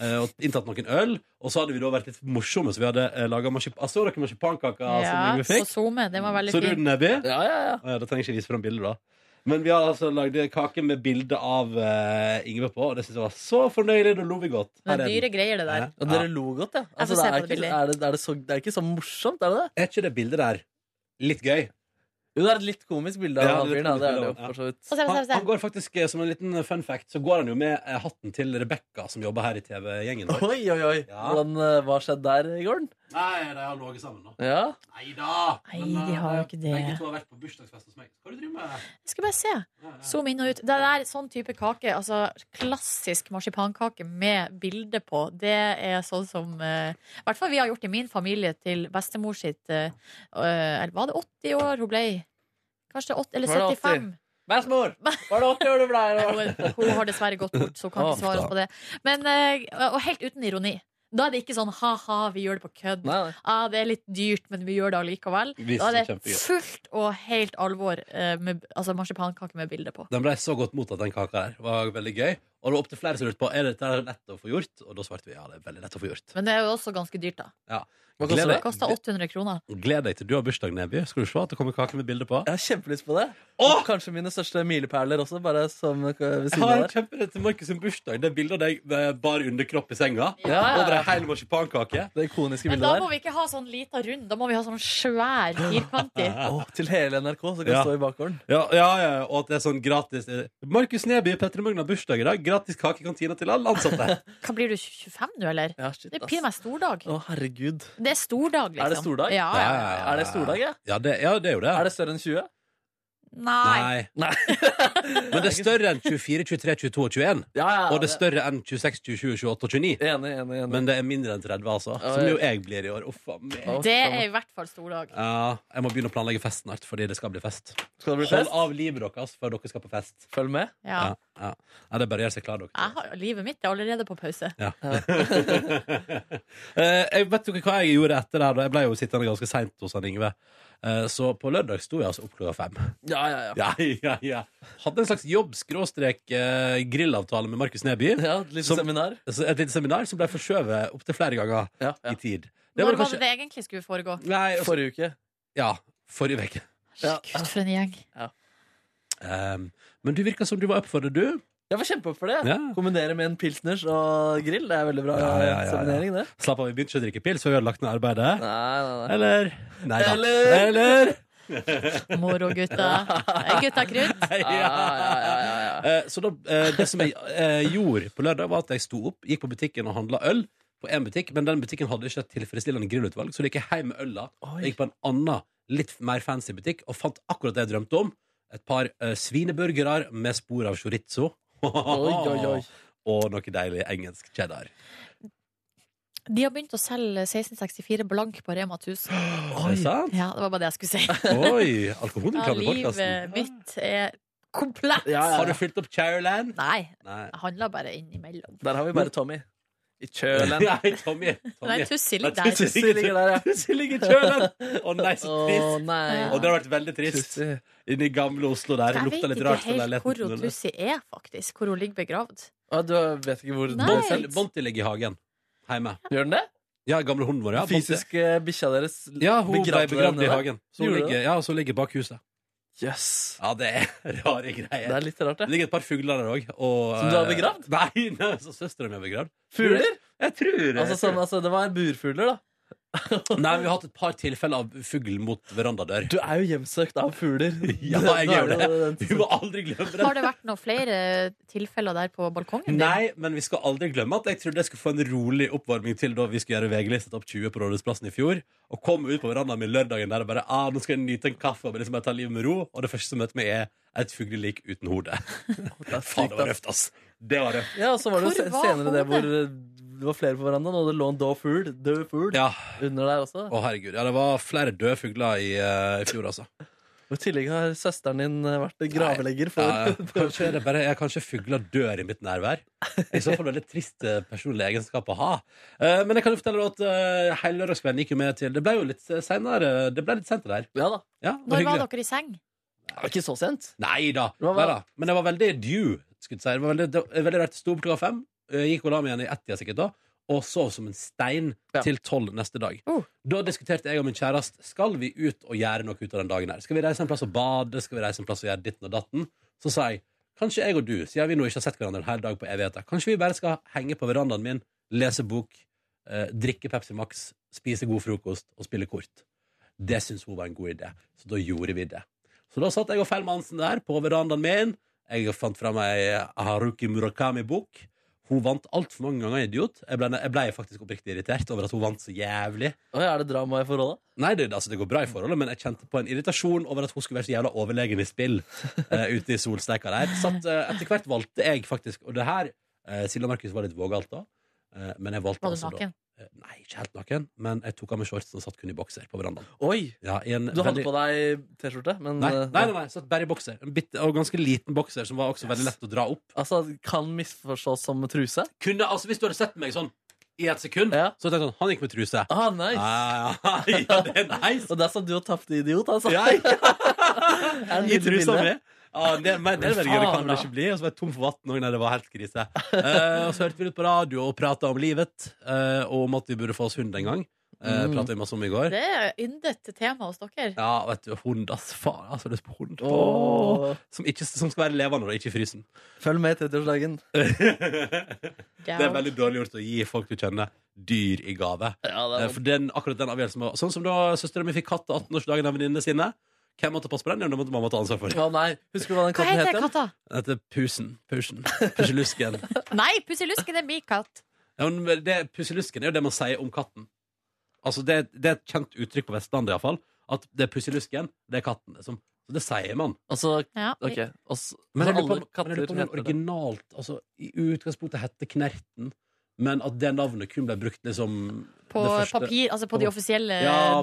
B: eh, og inntatt noen øl. Og så hadde vi da vært litt morsomme, så vi hadde uh, laga altså, dere marsipankaker som
C: Ja,
B: Yngve
C: så
B: fikk.
C: SoMe, det var veldig
B: Så du
C: fint.
B: den Nebby? Ja, ja, ja. Da trenger jeg ikke vise fram bildet, da. Men vi har altså lagd kake med bilde av eh, Ingve på, og det syns jeg var så fornøyelig. Da lo vi godt.
C: Det er
B: Her den.
C: dyre greier, det der.
B: Ja.
D: Og dere lo godt, ja.
C: Jeg får
D: Altså,
C: se
D: det,
C: på
D: er
C: det
D: ikke,
C: bildet.
D: er det, er det, så, det er ikke så morsomt, er det det?
B: Er ikke det bildet der litt gøy?
D: Jo, det er et litt komisk bilde av
B: Ja,
D: han
B: det er et
D: fyren. Ja, det er det jo,
B: komisk
D: for så
C: Og
D: vidt.
C: se, se,
B: Han,
C: se.
B: han går faktisk, eh, som en liten fun fact, så går han jo med eh, hatten til Rebekka, som jobber her i TV-gjengen. vår.
D: Oi, oi, oi. Hvordan, eh, hva skjedde der i gården?
B: Nei, de har ligget sammen nå.
D: Ja.
B: Nei da! eh,
C: Nei, de har jo ikke det.
B: Begge to har vært på bursdagsfest hos meg. Hva er det du driver med?
C: Jeg skal bare se. Zoom inn og ut. Det der, sånn type kake, altså klassisk marsipankake med bilde på, det er sånn som eh, I hvert fall vi har gjort i min familie til bestemor sitt eh, eh, Eller var det 80 år hun ble? Kanskje 80, eller
D: Var det
C: 75?
D: Bæsjmor! Var det 80 år du ble?
C: Hun, hun har dessverre gått bort, så hun kan
D: Å,
C: ikke svare oss
D: da.
C: på det. Men, eh, og helt uten ironi. Da er det ikke sånn ha-ha, vi gjør det på kødd. Ah, det er litt dyrt, men vi gjør det allikevel.
B: Visst,
C: Da er det
B: kjempegøy.
C: fullt og helt alvor eh, med altså marsipankake med bilde på.
B: Den ble så godt mottatt, den kaka der. Det var veldig gøy. Og det var opptil flere som lurte på er dette her lett å få gjort. Og da svarte vi ja, det er veldig lett å få gjort.
C: Men det er jo også ganske dyrt, da.
B: Ja.
D: Hva
B: Gled
D: koster
B: deg,
C: Det koster 800 kroner.
B: gled deg til du har bursdag, Neby. Skal du se at det kommer kake med bilde på?
D: Jeg har kjempelyst på det. Og kanskje mine største milepæler også. Bare som eh, ved
B: Jeg
D: siden
B: har
D: av
B: en
D: der.
B: kjemperett til Markus sin bursdag. Det er bilde av deg med bar underkropp i senga.
D: ja, ja.
B: Over ei hel marsipankake.
D: Det ikoniske
C: Men
D: bildet
C: da
D: der.
C: må vi ikke ha sånn lita rund, da må vi ha sånn svær firkantig.
D: Å, til hele NRK, så kan det
B: Ja.
D: stå i bakgården.
B: Ja, ja, ja, og at det er sånn gratis eh, Markus Neby, Petter Mugn har bursdag i dag. Gratis kake i kantina til alle ansatte.
C: Hva blir du, 25 nå, eller?
D: Ja, shit,
C: Det er
D: ass.
C: pinlig meg stordag.
D: Å, herregud.
C: Det er stordag, liksom.
D: Er det stordag?
C: Ja, ja.
D: Er det stordag, ja?
B: Ja, det, ja, det er jo det.
D: Er det større enn 20?
C: Nei.
B: Nei. Men det er større enn 24, 23, 22 og 21.
D: Ja, ja,
B: og det er større enn 26, 27, 28 og 29.
D: Enig, enig, enig.
B: Men det er mindre enn 30, altså.
D: Ja,
B: Som
D: ja.
B: jo jeg blir i år. Uff a meg.
C: Det er i hvert fall stordag.
B: Ja, jeg må begynne å planlegge fest snart, fordi det skal bli fest.
D: Skal det bli
B: Hold
D: fest?
B: av livet deres før dere skal på fest.
D: Følg med.
C: Ja.
B: Ja, ja. Ja, det er bare å gjøre seg klar, dere.
C: Jeg har, livet mitt er allerede på pause.
B: Ja. Eh, jeg vet dere hva jeg gjorde etter det her? da? Jeg ble jo sittende ganske seint hos han Yngve. Eh, Så på lørdag sto jeg altså opp klokka fem.
D: Ja, ja, ja.
B: Ja, ja, ja. Hadde en slags jobb-grillavtale med Markus Neby.
D: Ja, et lite
B: Som-
D: seminar.
B: Så Et lite seminar som ble forskjøvet opptil flere ganger
D: Ja, ja.
B: i tid.
C: Når var det det egentlig skulle foregå?
B: Nei, altså-
D: Forrige uke.
B: Ja, forrige uke.
D: Ja.
C: Gud, for en gjeng.
B: Ehm, men du virka som du var up for det, du.
D: Jeg var kjempeopp for det.
B: Ja.
D: Kombinere med en pilsners og grill. Det er veldig bra
B: Ja, ja, ja, ja.
D: seminering, det.
B: Slapp av, vi begynte ikke å drikke pils før vi hadde lagt ned arbeidet.
D: Nei, nei, nei.
B: Eller Nei da.
D: Eller?
B: Eller?
C: Moro, gutta. Hei, Gutta krutt.
D: Ja, ja, ja, ja, ja.
B: Eh, Så da, eh, det som jeg eh, gjorde på lørdag, var at jeg sto opp, gikk på butikken og handla øl. På en butikk, Men den butikken hadde ikke et tilfredsstillende grillutvalg, så da gikk jeg hjem med øla.
D: Oi.
B: Jeg gikk på en annen, litt mer fancy butikk og fant akkurat det jeg drømte om. Et par eh, svineburgere med spor av chorizo.
D: Oi, oi, oi.
B: Og noe deilig engelsk cheddar.
C: De har begynt å selge 1664 blank på Rema 1000.
B: Er det sant?
C: Ja, det var bare det jeg skulle si.
B: Oi! Alkoholreklame i
C: Ja,
B: podkasten.
C: livet mitt er komplett.
D: Ja, ja,
B: Har du
D: ja.
B: fylt opp Chairland?
C: Nei,
B: Nei.
C: jeg handler bare innimellom.
D: Der har vi bare Tommy. I kjølen.
B: Nei, Tommy.
C: Nei,
B: Tommy.
C: Tussi ligger
B: Nei, Tussi
C: der.
D: Tussi ligger der, ja.
B: Tussi ligger i kjølen! Å nei, så
D: Å
B: trist.
D: nei.
B: Og det har vært veldig trist.
D: Tussi.
B: Inne i gamle Oslo der.
C: Jeg
B: Det lukta
C: vet
B: litt
C: ikke
B: rart. fra
C: helt hvor
B: leiligheten.
C: hun Tussi er, faktisk. Hvor hun ligger begravd.
D: Å, du vet ikke hvor
C: Nei.
D: det er selv?
B: Bonte ligger i hagen hjemme.
D: Gjør den det?
B: Ja, gamle hunden vår. Ja, Bonte.
D: Fysisk eh, bikkja deres
B: Ja, hun ble
D: begravde
B: begravd
D: den
B: i
D: der.
B: hagen. Så hun
D: Gjorde
B: ligger,
D: det?
B: ja, så hun ligger bak huset.
D: Jøss.
B: Ja, det er rare
D: Det
B: greier.
D: er litt rart,
B: Det
D: det.
B: ligger et par fugler der òg.
D: Som du har begravd?
B: Nei, nei så søstera mi har begravd.
D: Fugler?
B: Jeg tror det.
D: Altså, sånn, altså, det var burfugler, da.
B: Nei, vi har hatt et par tilfeller av fugl mot verandadør.
D: Du er jo hjemsøkt av fugler.
B: Ja, jeg
D: Nå
B: gjør
D: er
B: det.
D: den-
B: Vi må aldri glemme det.
C: Har det vært noen flere tilfeller der på balkongen? din?
B: Nei, men vi skal aldri glemme at jeg trodde jeg skulle få en rolig oppvarming til da vi skulle gjøre VG-lista topp 20 på Rådhusplassen i fjor. Og kom ut på verandaen min lørdagen der og bare ah, nå skal jeg nyte en kaffe og bare liksom bare ta livet med ro. Og det første som møter meg, er et fuglelik uten hode.
D: Det er
B: Faen, det var
D: sykt, ass.
B: røft, ass. Det var røft.
D: Ja, og så var det
C: Hvor
D: jo se-
C: var
D: senere det hvor
C: hodet?
D: eh, det var flere på verandaen, og det lå en død fugl død fugl
B: Ja.
D: under der også.
B: Å, herregud. Ja, det var flere døde fugler i, eh, i fjor, altså.
D: Og I tillegg har søsteren din eh, vært gravlegger for
B: Ja, ja. kanskje, er det bare, ja, kanskje fugler dør i mitt nærvær. I så fall veldig trist eh, personlig egenskap å ha. Eh, men jeg kan jo fortelle deg at eh, hele lørdagskvelden gikk jo med til Det ble jo litt eh, senere. Det ble litt sent det der.
D: Ja da.
B: Ja, det
C: Når var
B: hyggelig.
C: dere i seng?
D: Det var ikke så sent.
B: Nei da.
D: Hva var-
B: Nei da. Men det var veldig due. Skulle jeg si. det var veldig, det var veldig rart. Sto opp klokka fem, eh, gikk og la meg igjen i ett-tida sikkert da, og sov som en stein
D: Ja.
B: til tolv neste dag.
C: Oh.
B: Da diskuterte jeg og min kjæreste Skal vi ut og gjøre noe ut av den dagen. her Skal vi reise en plass og bade? Skal vi reise en plass og gjøre ditten og datten? Så sa jeg kanskje jeg og du, siden vi nå ikke har sett hverandre en hel dag på evigheter, kanskje vi bare skal henge på verandaen min, lese bok, eh, drikke Pepsi Max, spise god frokost og spille kort. Det syntes hun var en god idé, så da gjorde vi det. Så da satt jeg og Feil Mansen der på verandaen min. Jeg fant fram ei Haruki Murakami-bok. Hun vant altfor mange ganger idiot. Jeg ble, jeg ble faktisk oppriktig irritert over at hun vant så jævlig.
D: Oi, er det drama i forholdet?
B: Nei, det, altså, det går bra i forholdet, men jeg kjente på en irritasjon over at hun skulle være så jævla overlegen i spill eh, ute i solsteika der. Satt, eh, etter hvert valgte jeg faktisk Og det her eh, Silje og Markus var litt vågalt da, eh, men jeg valgte
C: Var du
B: altså da
C: naken?
B: eh, Nei, ikke helt naken, men jeg tok av meg shortsen og satt kun i bokser på verandaen.
L: Oi!
B: Ja, i en
L: Du hadde
B: veldig-
L: på deg T-skjorte, men
B: Nei,
L: eh,
B: nei, nei, nei satt bare i bokser. En bitte, og ganske liten bokser som var også veldig lett å dra opp.
L: Altså, Kan misforstås som truse?
B: Kunne, altså Hvis du hadde sett meg sånn i et sekund, så tenkte jeg sånn Han gikk med truse.
L: Ah, nice.
B: Ja, ja, ja, det er nice.
L: Og der satt du og tapte idiot, altså.
B: Ja, I trusa mi. Ja, det, men det er veldig gøy. Det kan
L: Faen, da.
B: vel ikke bli. Og så var jeg tom for vann òg. Nei, det var helt krise. Eh, og så hørte vi litt på radio og prata om livet, eh, og om at vi burde få oss hund en gang. Uh,
C: Mm.
B: Prata vi masse om i går.
C: Det er yndet tema hos dere.
B: Ja, vet du, hund, ass. Faen, altså, det er hund.
L: Åh.
B: Som, ikke, som skal være levende og ikke i frysen.
L: Følg med i 30-årsdagen.
B: Det er veldig dårlig gjort å gi folk du kjenner, dyr i gave.
L: det er-
B: Eh, For den, akkurat den avgjørelsen var- Sånn som da søstera mi fikk katt til 18-årsdagen av venninnene sine. Hvem måtte passe på den? Jo, det måtte mamma ta ansvar for.
L: Å nei, Husker du hva den
C: Hva
L: katten het?
C: heter
L: igjen?
C: katta?
B: Den heter Pusen. Pusen. Pusselusken.
C: Nei, Pusselusken er min katt.
B: Ja, men det- Pusselusken er jo det man sier om katten. Altså, det, det er et kjent uttrykk på Vestlandet iallfall. At det er pusselusken, det er katten. Liksom. Så det sier man.
L: Altså,
C: Ja.
L: ok og s-
B: Men
L: så
B: jeg lurer på om-
L: alle katter
B: men jeg lurer på om den
L: heter det.
B: originalt altså, I utgangspunktet hette Knerten, men at det navnet kun ble brukt liksom
C: På
B: det første-
C: papir, altså på de
L: Eh,
C: offisielle
B: Ja, på-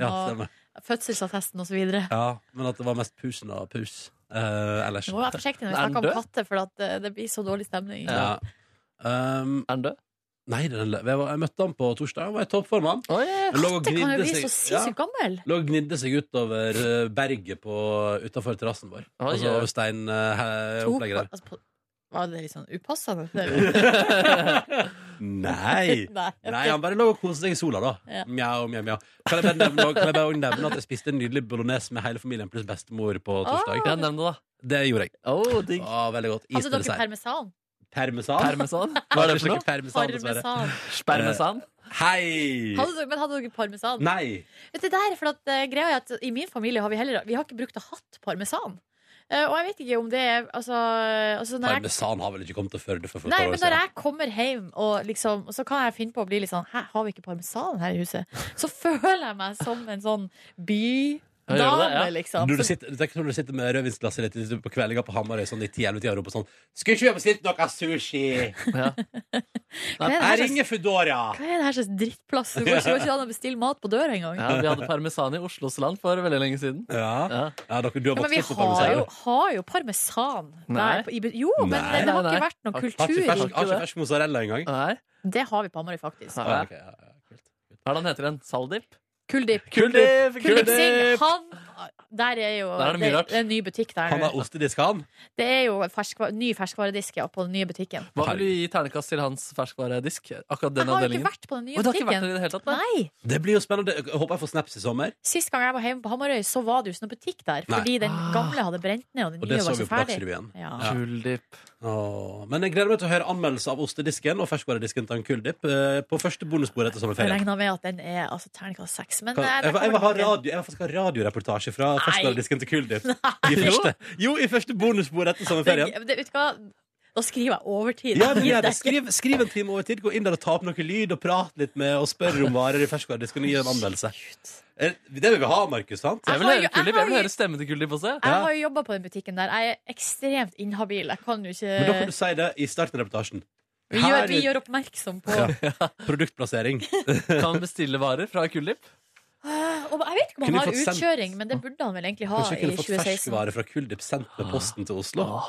B: ja, ja, stemmer.
C: og fødselsattesten osv. videre
B: Ja, men at det var mest Pusen og Pus eh, ellers.
C: Nå må jeg være forsiktig
B: Er
C: når vi
B: den
C: snakker om
B: død?
C: katter, for at eh, det blir så dårlig stemning.
B: Ja. er
L: han død?
B: Nei, den, jeg, var, jeg møtte han på torsdag. Han var i toppform, han. Han lå og
C: Katter kan jo
B: gnidde
C: bli
B: seg-
C: så sinnssykt gammel.
B: Lå og gnidde seg utover eh, berget på, utenfor terrassen vår.
L: Oi,
B: altså
L: oi.
B: over steinopplegget der.
C: Altså, på- var det litt sånn upassende?
B: Nei.
C: Nei, ok.
B: Nei, han bare lå og koste seg i sola, da.
C: Ja.
B: Mjau, mjau, mjau. Kan jeg bare nevne, også- kan jeg bare også nevne at jeg spiste en nydelig bolognese med hele familien pluss bestemor på torsdag?
C: Åh. Ja, nevn
L: det, da.
B: Det gjorde jeg.
L: Oh,
B: veldig godt. Is med
C: Hadde Ah. Altså, dere
B: dessert.
C: parmesan?
B: Parmesan?
L: Parmesan?
B: Hva er det for noe? Parmesan, dessverre.
C: Parmesan.
L: Parmesan?
B: Eh, Hei!
C: Hadde dere, men hadde dere parmesan?
B: Nei.
C: Vet du der, for at, eh, greia er at I min familie har vi heller Vi har ikke brukt å hatt parmesan. Eh, og jeg vet ikke om det er altså, altså når jeg,
B: Parmesan har vel ikke kommet til Førde for for et
C: Nei,
B: par år
C: men
B: siden?
C: når jeg kommer hjem, og liksom, så kan jeg finne på å bli litt sånn Hæ, har vi ikke parmesan her i huset? Så føler jeg meg som en sånn
B: Ja, gjør
C: bydame,
B: det, ja.
C: liksom.
B: Når du
C: Så,
B: sitter, tenk når du sitter med rødvinsglasset ditt ute på kveldinga på Hamarøy sånn i 10-11-tida og roper sånn 'Skal ikke vi bestilt noe sushi?'
C: Hva er det her
B: Jeg
C: slags-
B: ringer Foodora!
C: hva er det her slags drittplass? Det går ikke- går ikke an å bestille mat på døra engang.
L: Ja, vi hadde parmesan i Oslos land for veldig lenge siden.
B: Ja,
L: dere,
C: Ja, men vi har jo, har jo parmesan
L: Nei.
C: der. På, i, bu- jo, men
L: Nei,
C: det, det har
L: nei,
C: ikke
L: nei.
C: vært noen
L: Har ikke- har
C: kultur.
L: ikke fersk-
C: i-
L: har ikke fersk
B: mozzarella engang?
L: Nei.
C: Det har vi på Hamarøy, faktisk.
L: Ja, ok, Hva er det han heter igjen? Saldip?
C: Kuldip.
L: Kuldip,
C: Kuldip
L: kuldip.
C: Singh. Han Der er jo
L: Der er det mye rart.
C: er en ny butikk der.
B: Han har ostedisk, han.
C: Det er jo ferskva- ny ferskvaredisk ja, på den nye butikken.
L: Hva vil du gi ternekast til hans ferskvaredisk? Akkurat den
C: Jeg har jo
L: avdelingen.
C: ikke vært på den nye
L: Å, du har ikke vært
C: butikken.
L: der i det hele tatt?
C: Nei.
B: Det blir jo spennende. Jeg håper jeg får snaps i sommer.
C: Sist gang jeg var hjemme på Hamarøy, så var det jo ikke noen butikk der.
B: Nei.
C: Fordi den
L: Ah.
C: gamle hadde brent ned, og den
B: Og det
C: nye
B: så
C: var
B: vi
C: ikke
B: på
C: ferdig.
B: Dagsrevyen.
C: Ja.
L: Kuldip.
B: Men jeg gleder meg til å høre anmeldelse av ostedisken og ferskvaredisken til en kuldip eh, på første bonusbord etter
C: Jeg
B: sommerferien.
C: regna med at den er altså, terningkast seks. Men
B: Kan,
C: eh,
B: jeg,
C: det
B: vil- jeg,
C: kommer
B: vil ha
C: nok en-
B: radio, jeg vil faktisk ha radioreportasje fra
C: Nei.
B: ferskvaredisken til kuldip. I første, jo, i første bonusbord etter sommerferien.
C: Det- det- vet du hva? Da skriver jeg overtid.
B: Ja, men gjør det. Skriv, skriv en time over tid, gå inn der og ta opp noe lyd og prat litt med og spør om varer i ferskvaredisken og gi en anmeldelse. Eh, Det vil vi ha, Markus, sant?
C: Jeg vil høre Jeg har jo- Kuldip, jeg vil jeg har høre jo-
L: stemmen til Kuldip også.
C: Jeg har jo jobba på den butikken der. Jeg er ekstremt inhabil. Jeg kan jo ikke
B: Men da kan du si det i starten av reportasjen.
C: Eh. vi, gjør, vi gjør oppmerksom på
B: Ja. Produktplassering.
L: Kan bestille varer fra Kuldip.
C: Ah, og Jeg vet ikke om
B: Kunne
C: han har
B: fått sendt-
C: utkjøring, men det burde han vel egentlig ha
B: Kanskje jeg
C: i Ah.
B: kunne fått
C: 2016.
B: ferskvare fra Kuldip sendt med posten til Oslo.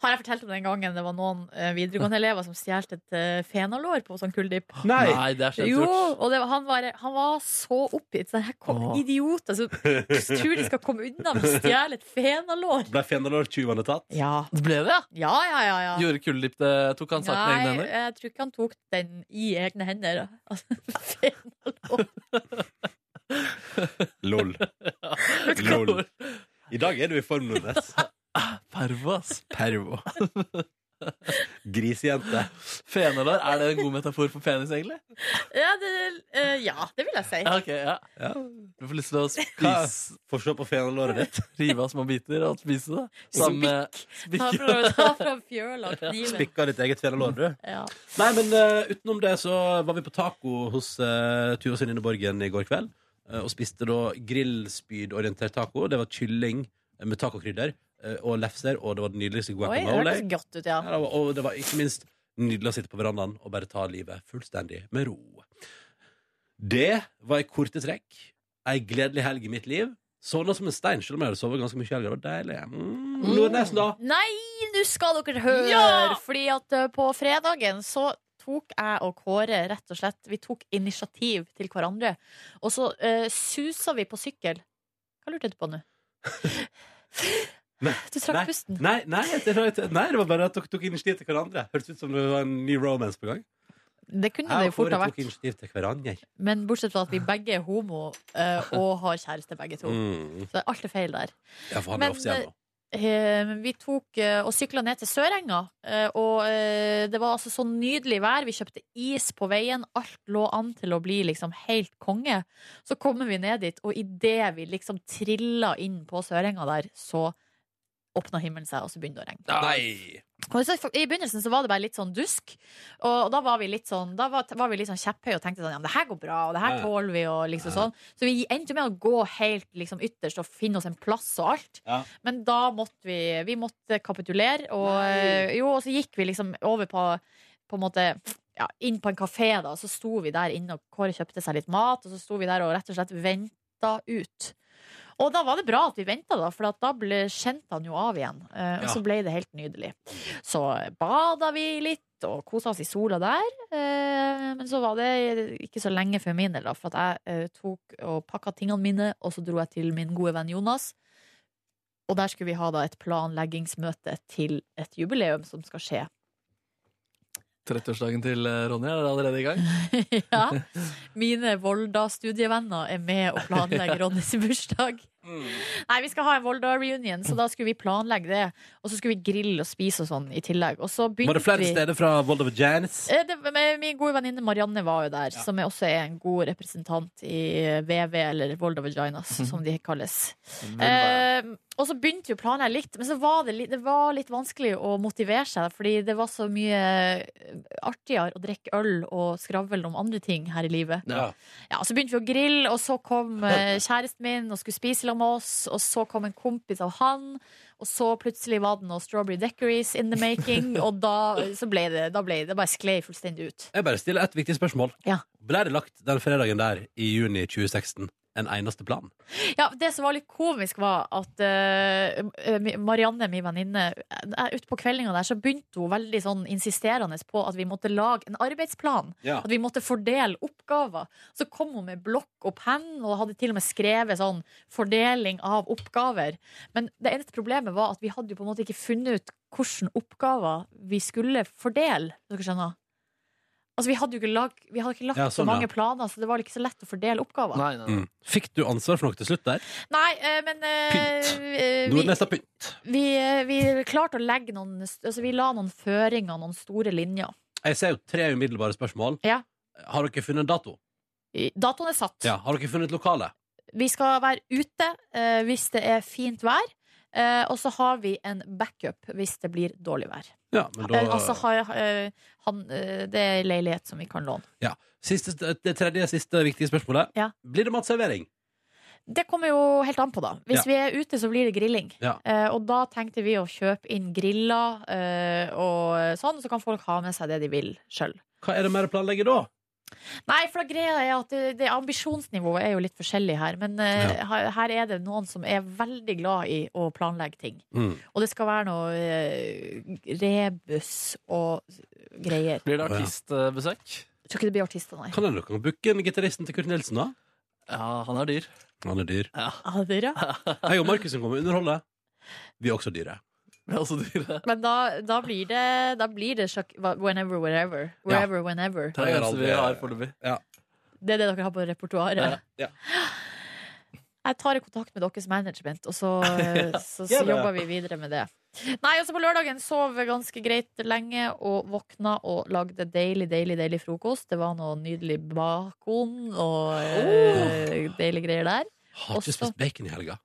C: Har jeg fortalt om den gangen det var noen eh, videregående elever som stjal et eh, fenalår på sånn kulldipp?
B: Nei. Nei, Ah, det er slemt
C: Jo,
B: gjort.
C: og det var, han, var, han var så oppgitt. Så her kom
B: Åh.
C: idioter som tror de skal komme unna med å stjele et fenalår.
B: Ble fenalårtyvene tatt?
C: Ja.
L: Ble det?
C: Ja, ja, ja. ja.
L: Gjorde Kuldip det? Tok han saken i egne
C: Nei,
L: hender?
C: jeg tror ikke han tok den i egne hender. Altså,
B: Lol. Lol. I dag er du i form, Nordnes.
L: Pervo, ass.
B: Pervo. Grisejente.
L: Fenalår, er det en god metafor for penis, egentlig?
C: ja, det, eh, ja, det vil jeg si.
L: Ja, ok, ja. Du får lyst til å spise
B: Få se på fenalåret ditt.
L: Rive av små biter og spise det. Sammen med-
C: Ta fra, ta fra fjøla og kniven.
B: Spikka ditt eget fenalår, du.
C: Ja.
B: Nei, men eh, utenom det så var vi på taco hos uh, Tuva Synine Borgen i går kveld. eh, og spiste da grillspydorientert taco. Det var kylling med tacokrydder eh, og lefser, og det var den nydeligste
C: Oi, det
B: guacamole.
C: hørtes godt ut, ja.
B: Ja, det var, og det var ikke minst Nydelig å sitte på verandaen og bare ta livet fullstendig med ro. Det var i korte trekk ei gledelig helg i mitt liv. Sovna som en stein, selv om jeg hadde sovet ganske mye i helga. Det var deilig. Mm. Nordnesen, da?
C: Nei, nå skal dere høre!
B: Ja!
C: Fordi at eh, på fredagen så tok jeg og Kåre rett og slett Vi tok initiativ til hverandre. Og så uh, susa vi på sykkel. Hva lurte du på nå?
B: Nei,
C: Du trakk
B: nei,
C: pusten.
B: Nei, nei, jeg tror ikke- nei, det var bare at dere tok initiativ til hverandre. Hørtes ut som det var en ny romance på gang.
C: Det kunne det
B: Jeg
C: jo fort ha
B: bare tok
C: vært.
B: initiativ til hverandre.
C: Men bortsett fra at vi begge er homo eh, og har kjæreste, begge to.
B: Mm.
C: Så alt er feil der.
B: Ja, for han er offisiell nå.
C: eh, men vi tok eh, og sykla ned til Sørenga, eh, og eh, det var altså så nydelig vær. Vi kjøpte is på veien. Alt lå an til å bli liksom helt konge. Så kommer vi ned dit, og idet vi liksom trilla inn på Sørenga der, så åpna himmelen seg, og så begynte det å regne.
B: Nei!
C: Og så, I begynnelsen så var det bare litt sånn dusk, og, og da var vi litt sånn Da var, var vi litt sånn kjepphøye og tenkte sånn Ja, men det her går bra, og det her
K: Ja.
C: tåler vi, og liksom sånn. Så vi endte jo med å gå helt liksom ytterst og finne oss en plass og alt.
K: Ja.
C: Men da måtte vi Vi måtte kapitulere, og, eh,
K: Nei.
C: jo, og så gikk vi liksom over på På en måte ja, inn på en kafé, da, og så sto vi der inne, og Kåre kjøpte seg litt mat, og så sto vi der og rett og slett venta ut. Og da var det bra at vi venta, da, for at da ble, skjente han jo av igjen. eh, Og
K: Ja.
C: så ble det helt nydelig. Så bada vi litt og kosa oss i sola der. eh, Men så var det ikke så lenge for min del, da, for at jeg eh, tok og pakka tingene mine, og så dro jeg til min gode venn Jonas. Og der skulle vi ha da et planleggingsmøte til et jubileum som skal skje.
D: 30-årsdagen til eh, Ronny er allerede i gang.
C: ja. Mine Volda-studievenner er med og planlegger Ronnys bursdag.
B: Mm.
C: Nei, vi skal ha en Volda-reunion, så da skulle vi planlegge det. Og så skulle vi grille og spise og sånn i tillegg. Og så
B: Var
C: begynte
B: det flere
C: vi
B: steder fra Volda Vajanis?
C: Eh, det, men Min gode venninne Marianne var jo der, som er også er en god representant i VV, eller Volda Vaginas, som de kalles. Eh, og så begynte vi å planlegge litt, men så var det, litt, det var litt vanskelig å motivere seg, fordi det var så mye eh, artigere å drikke øl og skravle om andre ting her i livet.
K: Ja.
C: Ja, Så begynte vi å grille, og så kom eh, kjæresten min og skulle spise sammen med oss, og så kom en kompis av han, og så plutselig var det noe strawberry decories in the making, og da, så ble det, da ble det bare sklei fullstendig ut.
B: Jeg bare stiller et viktig spørsmål.
C: Ja.
B: Ble det lagt den fredagen der i juni 2016 en eneste plan?
C: Ja, Det som var litt komisk, var at eh, eh, Marianne, min venninne, eh, ute på kveldinga der, så begynte hun veldig sånn insisterende på at vi måtte lage en arbeidsplan.
K: Ja.
C: At vi måtte fordele oppgaver. Så kom hun med blokk og penn, og hadde til og med skrevet sånn fordeling av oppgaver. Men det eneste problemet var at vi hadde jo på en måte ikke funnet ut hvilke oppgaver vi skulle fordele. Dere skjønner? Altså, vi hadde jo ikke, lag, vi hadde ikke lagt
B: Ja,
C: så
B: sånn, ja.
C: mange planer, så det var ikke så lett å fordele oppgaver.
B: Mm. Fikk du ansvar for noe til slutt der?
C: Nei, eh, men eh, eh, vi,
B: Nordnes har pynt.
C: vi, eh, vi klarte å legge noen Altså, vi la noen føringer, noen store linjer.
B: Jeg ser jo tre umiddelbare spørsmål.
C: Ja.
B: Har dere funnet en dato?
C: Datoen er satt.
B: Ja, Har dere funnet et lokale?
C: Vi skal være ute eh, hvis det er fint vær. eh, og så har vi en backup hvis det blir dårlig vær.
B: Ja, men da...
C: Eh, altså har, eh, han, eh, det er en leilighet som vi kan låne.
B: ja. Siste, det tredje siste viktige spørsmålet. Blir det matservering?
C: Det kommer jo helt an på, da. Hvis
B: Ja.
C: vi er ute, så blir det grilling.
B: Ja.
C: Eh, og da tenkte vi å kjøpe inn griller eh, og sånn, så kan folk ha med seg det de vil sjøl.
B: Hva er det mer å planlegge da?
C: Nei, for da greia er at det, det ambisjonsnivået er jo litt forskjellig her. Men eh, her, her er det noen som er veldig glad i å planlegge ting.
B: Mm.
C: Og det skal være noe eh, rebus og greier.
D: Blir det artistbesøk?
C: Jeg tror ikke det blir artister, nei.
B: Kan hende dere kan booke en gitaristen til Kurt Nilsen, da?
D: Ja, han er dyr.
B: Han er dyr.
C: Ja, Ah, det er det.
B: Jeg og Markusen kommer og underholder. Vi er også dyre.
D: Vi er også dyre.
C: Men da, da blir det, da blir det sjokk, whenever, wherever. Wherever, whenever.
D: Det er det eneste vi har foreløpig.
C: Det er det dere har på repertoaret.
B: Ja.
C: Jeg tar i kontakt med deres management, og så, så, så
K: Gjør det.
C: jobber vi videre med det. Nei, også på lørdagen sov jeg ganske greit lenge og våkna og lagde deilig, deilig, deilig frokost. Det var noe nydelig bacon og
B: Oh!
C: eh, deilige greier der.
B: Har ikke spist bacon i helga.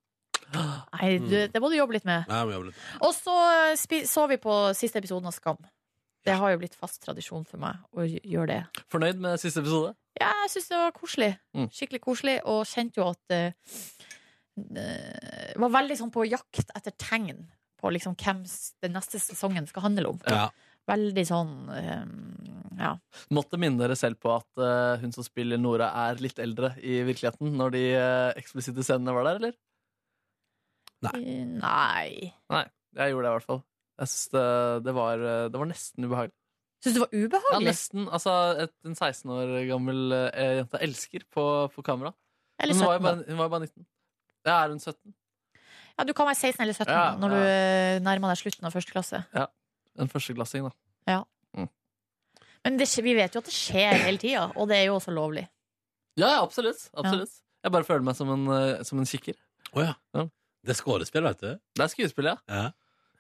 C: Nei, du,
D: Mm.
C: det må du jobbe litt med.
B: Nei, jeg må jobbe litt.
C: Og så eh, spi- så vi på siste episoden av Skam. Det har jo blitt fast tradisjon for meg å gj- gjøre det.
D: Fornøyd med siste episode?
C: Ja, jeg syns det var koselig.
D: Mm.
C: Skikkelig koselig. Og kjente jo at eh, eh, Var veldig sånn på jakt etter tegn på liksom hvem s- den neste sesongen skal handle om.
B: Ja.
C: Veldig sånn eh, Ja.
D: Måtte minne dere selv på at eh, hun som spiller Nora, er litt eldre i virkeligheten når de eh, eksplisitte scenene var der, eller?
C: Nei. Nei.
D: Nei, jeg gjorde det i hvert fall. Jeg synes det, det, var, eh, det var nesten ubehagelig.
C: Syns du det var
D: Ja,
C: ubehagelig?
D: nesten. Altså, et, en 16 år gammel eh, jente jeg elsker på, på kamera.
C: Eller
D: Men hun
C: 17
D: var jo bare, hun var jo bare 19. Ja, er hun 17?
C: Ja, du kan være 16 eller 17
D: Ja,
C: når
D: ja.
C: du eh, nærmer deg slutten av første klasse.
D: Ja. En førsteklassing, da.
C: Ja.
D: Mm.
C: Men det, skje- vi vet jo at det skjer hele tida, og det er jo også lovlig.
D: Ja, ja, absolutt. absolutt. Jeg bare føler meg som en, eh, som en kikker. ja.
B: Det er skuespill, vet du.
D: Det er skuespill, ja.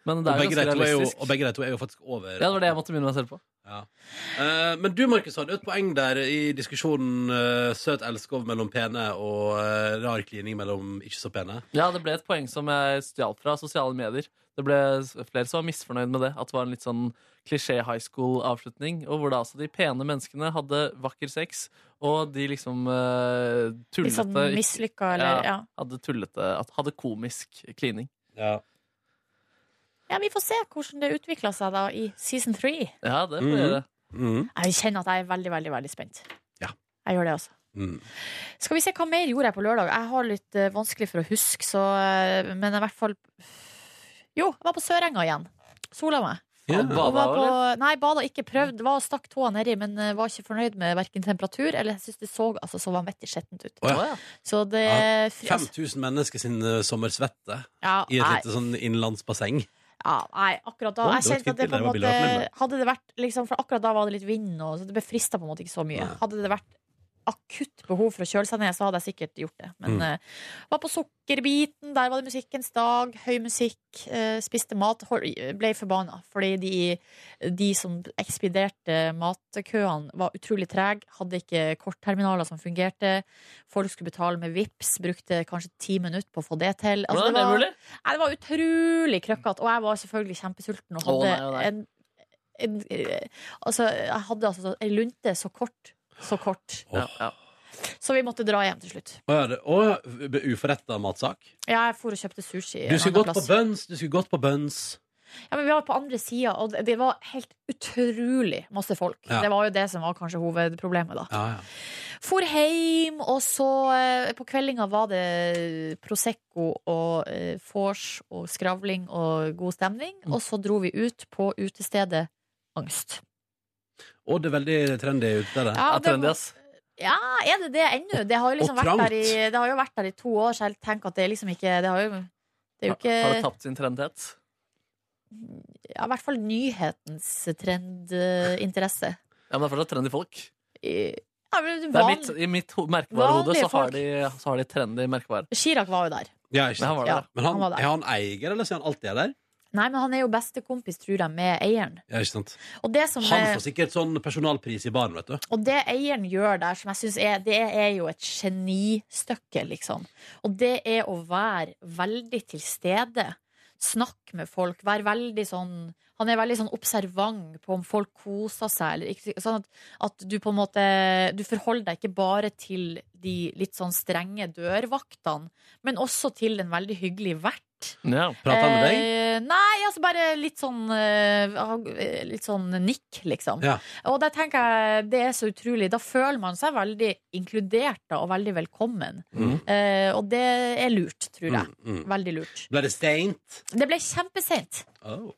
D: Men
B: Og
D: det er
B: begge
D: ganske
B: de to er jo-
D: realistisk.
B: og begge de to er jo faktisk over
D: Ja, det var det jeg måtte minne meg selv på.
B: Eh, men du, Markus, hadde jo et poeng der i diskusjonen eh, søt elskov mellom pene og eh, rar klining mellom ikke så pene.
D: Ja, det ble et poeng som jeg stjal fra sosiale medier. Det ble s- flere som var misfornøyd med det. At det var en litt sånn klisjé high school-avslutning. Og hvor da altså de pene menneskene hadde vakker sex, og de liksom eh, tullete
C: Litt sånn mislykka, eller- ja.
D: Hadde tullete at- Hadde komisk klining.
B: Ja.
C: Ja, Vi får se hvordan det utvikla seg da i season three.
D: det
B: Mm.
D: får vi gjøre.
C: Jeg kjenner at jeg er veldig, veldig veldig spent.
B: Ja.
C: Jeg gjør det, altså.
B: Mm.
C: Skal vi se hva mer gjorde jeg på lørdag? Jeg har litt eh, vanskelig for å huske, så eh, Men i hvert fall Jo, jeg var på Sørenga igjen. Sola meg.
D: Ja,
C: Og
D: bada
C: var på,
D: også,
C: nei, bada ikke. Prøvd. Var og stakk tåa nedi, men eh, var ikke fornøyd med verken temperatur eller Jeg syns det så altså, så vanvittig skjettent ut.
B: Å, ja.
C: Så det
B: Ja,
C: fri- altså,
B: 5000 mennesker sin eh, sommersvette
C: Ja,
B: i et
C: nei.
B: lite sånn innenlandsbasseng.
C: ja, nei, akkurat da
B: Oi,
C: Jeg
B: det var et
C: kjente at det
B: fint
C: på en
B: bilde. Det var bilde
C: måte
B: av filmen.
C: Hadde det vært liksom For akkurat da var det litt vind, og så det befrista på en måte ikke så mye. Hadde det vært akutt behov for å kjøle seg ned, så hadde jeg sikkert gjort det. Men
K: Mm.
C: eh, var på Sukkerbiten, der var det musikkens dag, høy musikk, eh, spiste mat. hol- Ble forbanna fordi de, de som ekspederte matkøene, var utrolig trege. Hadde ikke kortterminaler som fungerte. Folk skulle betale med VIPs, brukte kanskje ti minutter på å få Altså, det til.
D: Hvordan er det
C: var,
D: mulig?
C: Nei, det var utrolig krøkkete, og jeg var selvfølgelig kjempesulten og hadde
D: Å, nei, å, nei.
C: en en, altså, jeg hadde altså ei lunte så kort, så kort.
B: Ja,
C: Så vi måtte dra hjem til slutt.
B: Å, ja, det- å, be- uforretta matsak.
C: Ja, jeg for og kjøpte sushi.
B: Du
C: en
B: skulle gått
C: annen
B: på
C: plass.
B: bønns. Du skulle gått på bønns.
C: Ja, men vi var på andre sida, og det- det var helt utrolig masse folk.
B: Ja.
C: Det var jo det som var kanskje hovedproblemet, da.
B: Ja, ja.
C: For hjem, og så eh, På kveldinga var det eh, Prosecco og eh, vors og skravling og god stemning.
B: Mm.
C: Og så dro vi ut på utestedet Angst.
B: Og det er veldig trendy ute der.
C: Ja, Ja, det trendy, var- ass. Ja, er det det ennå? Det har jo liksom
B: Og
C: vært
B: trangt.
C: der i, det har jo vært der i to år, så jeg tenker at det er liksom ikke Det har jo, det er jo ikke
D: Har det tapt sin trendhet?
C: ja, I hvert fall nyhetens trendinteresse.
D: Ja, men det er fortsatt trendy folk.
C: Ja, men
D: Det er
C: van-
D: mitt, I mitt ho- merkevarehode
C: vanlige
D: så har
C: folk.
D: de, så har de trendy merkevarer.
C: Chirag var jo der.
B: Ja, ikke sant?
D: Men han var der.
B: Men han,
C: Han var der.
B: er han eier, eller så er han alltid der?
C: Nei, men han er jo bestekompis, tror jeg, med eieren.
B: Ja, ikke sant?
C: Og det som
B: Han
C: er-
B: får sikkert sånn personalpris i baren, vet du.
C: Og det eieren gjør der, som jeg synes er Det er jo et genistykke, liksom. Og det er å være veldig til stede. Snakke med folk. Være veldig sånn Han er veldig sånn observant på om folk koser seg eller ikke. Sånn at, at du på en måte Du forholder deg ikke bare til de litt sånn strenge dørvaktene, men også til en veldig hyggelig vert.
D: Ja,
C: Eh, nei, altså bare litt sånn eh, ha- Litt sånn nikk, liksom.
B: Ja.
C: Og da tenker jeg det er så utrolig. Da føler man seg veldig inkludert da, og veldig velkommen.
B: Mhm.
C: Eh, og det er lurt, tror jeg.
B: Mm, mm.
C: Veldig lurt.
B: Ble det steint?
C: Det ble kjempeseint.
B: Oh.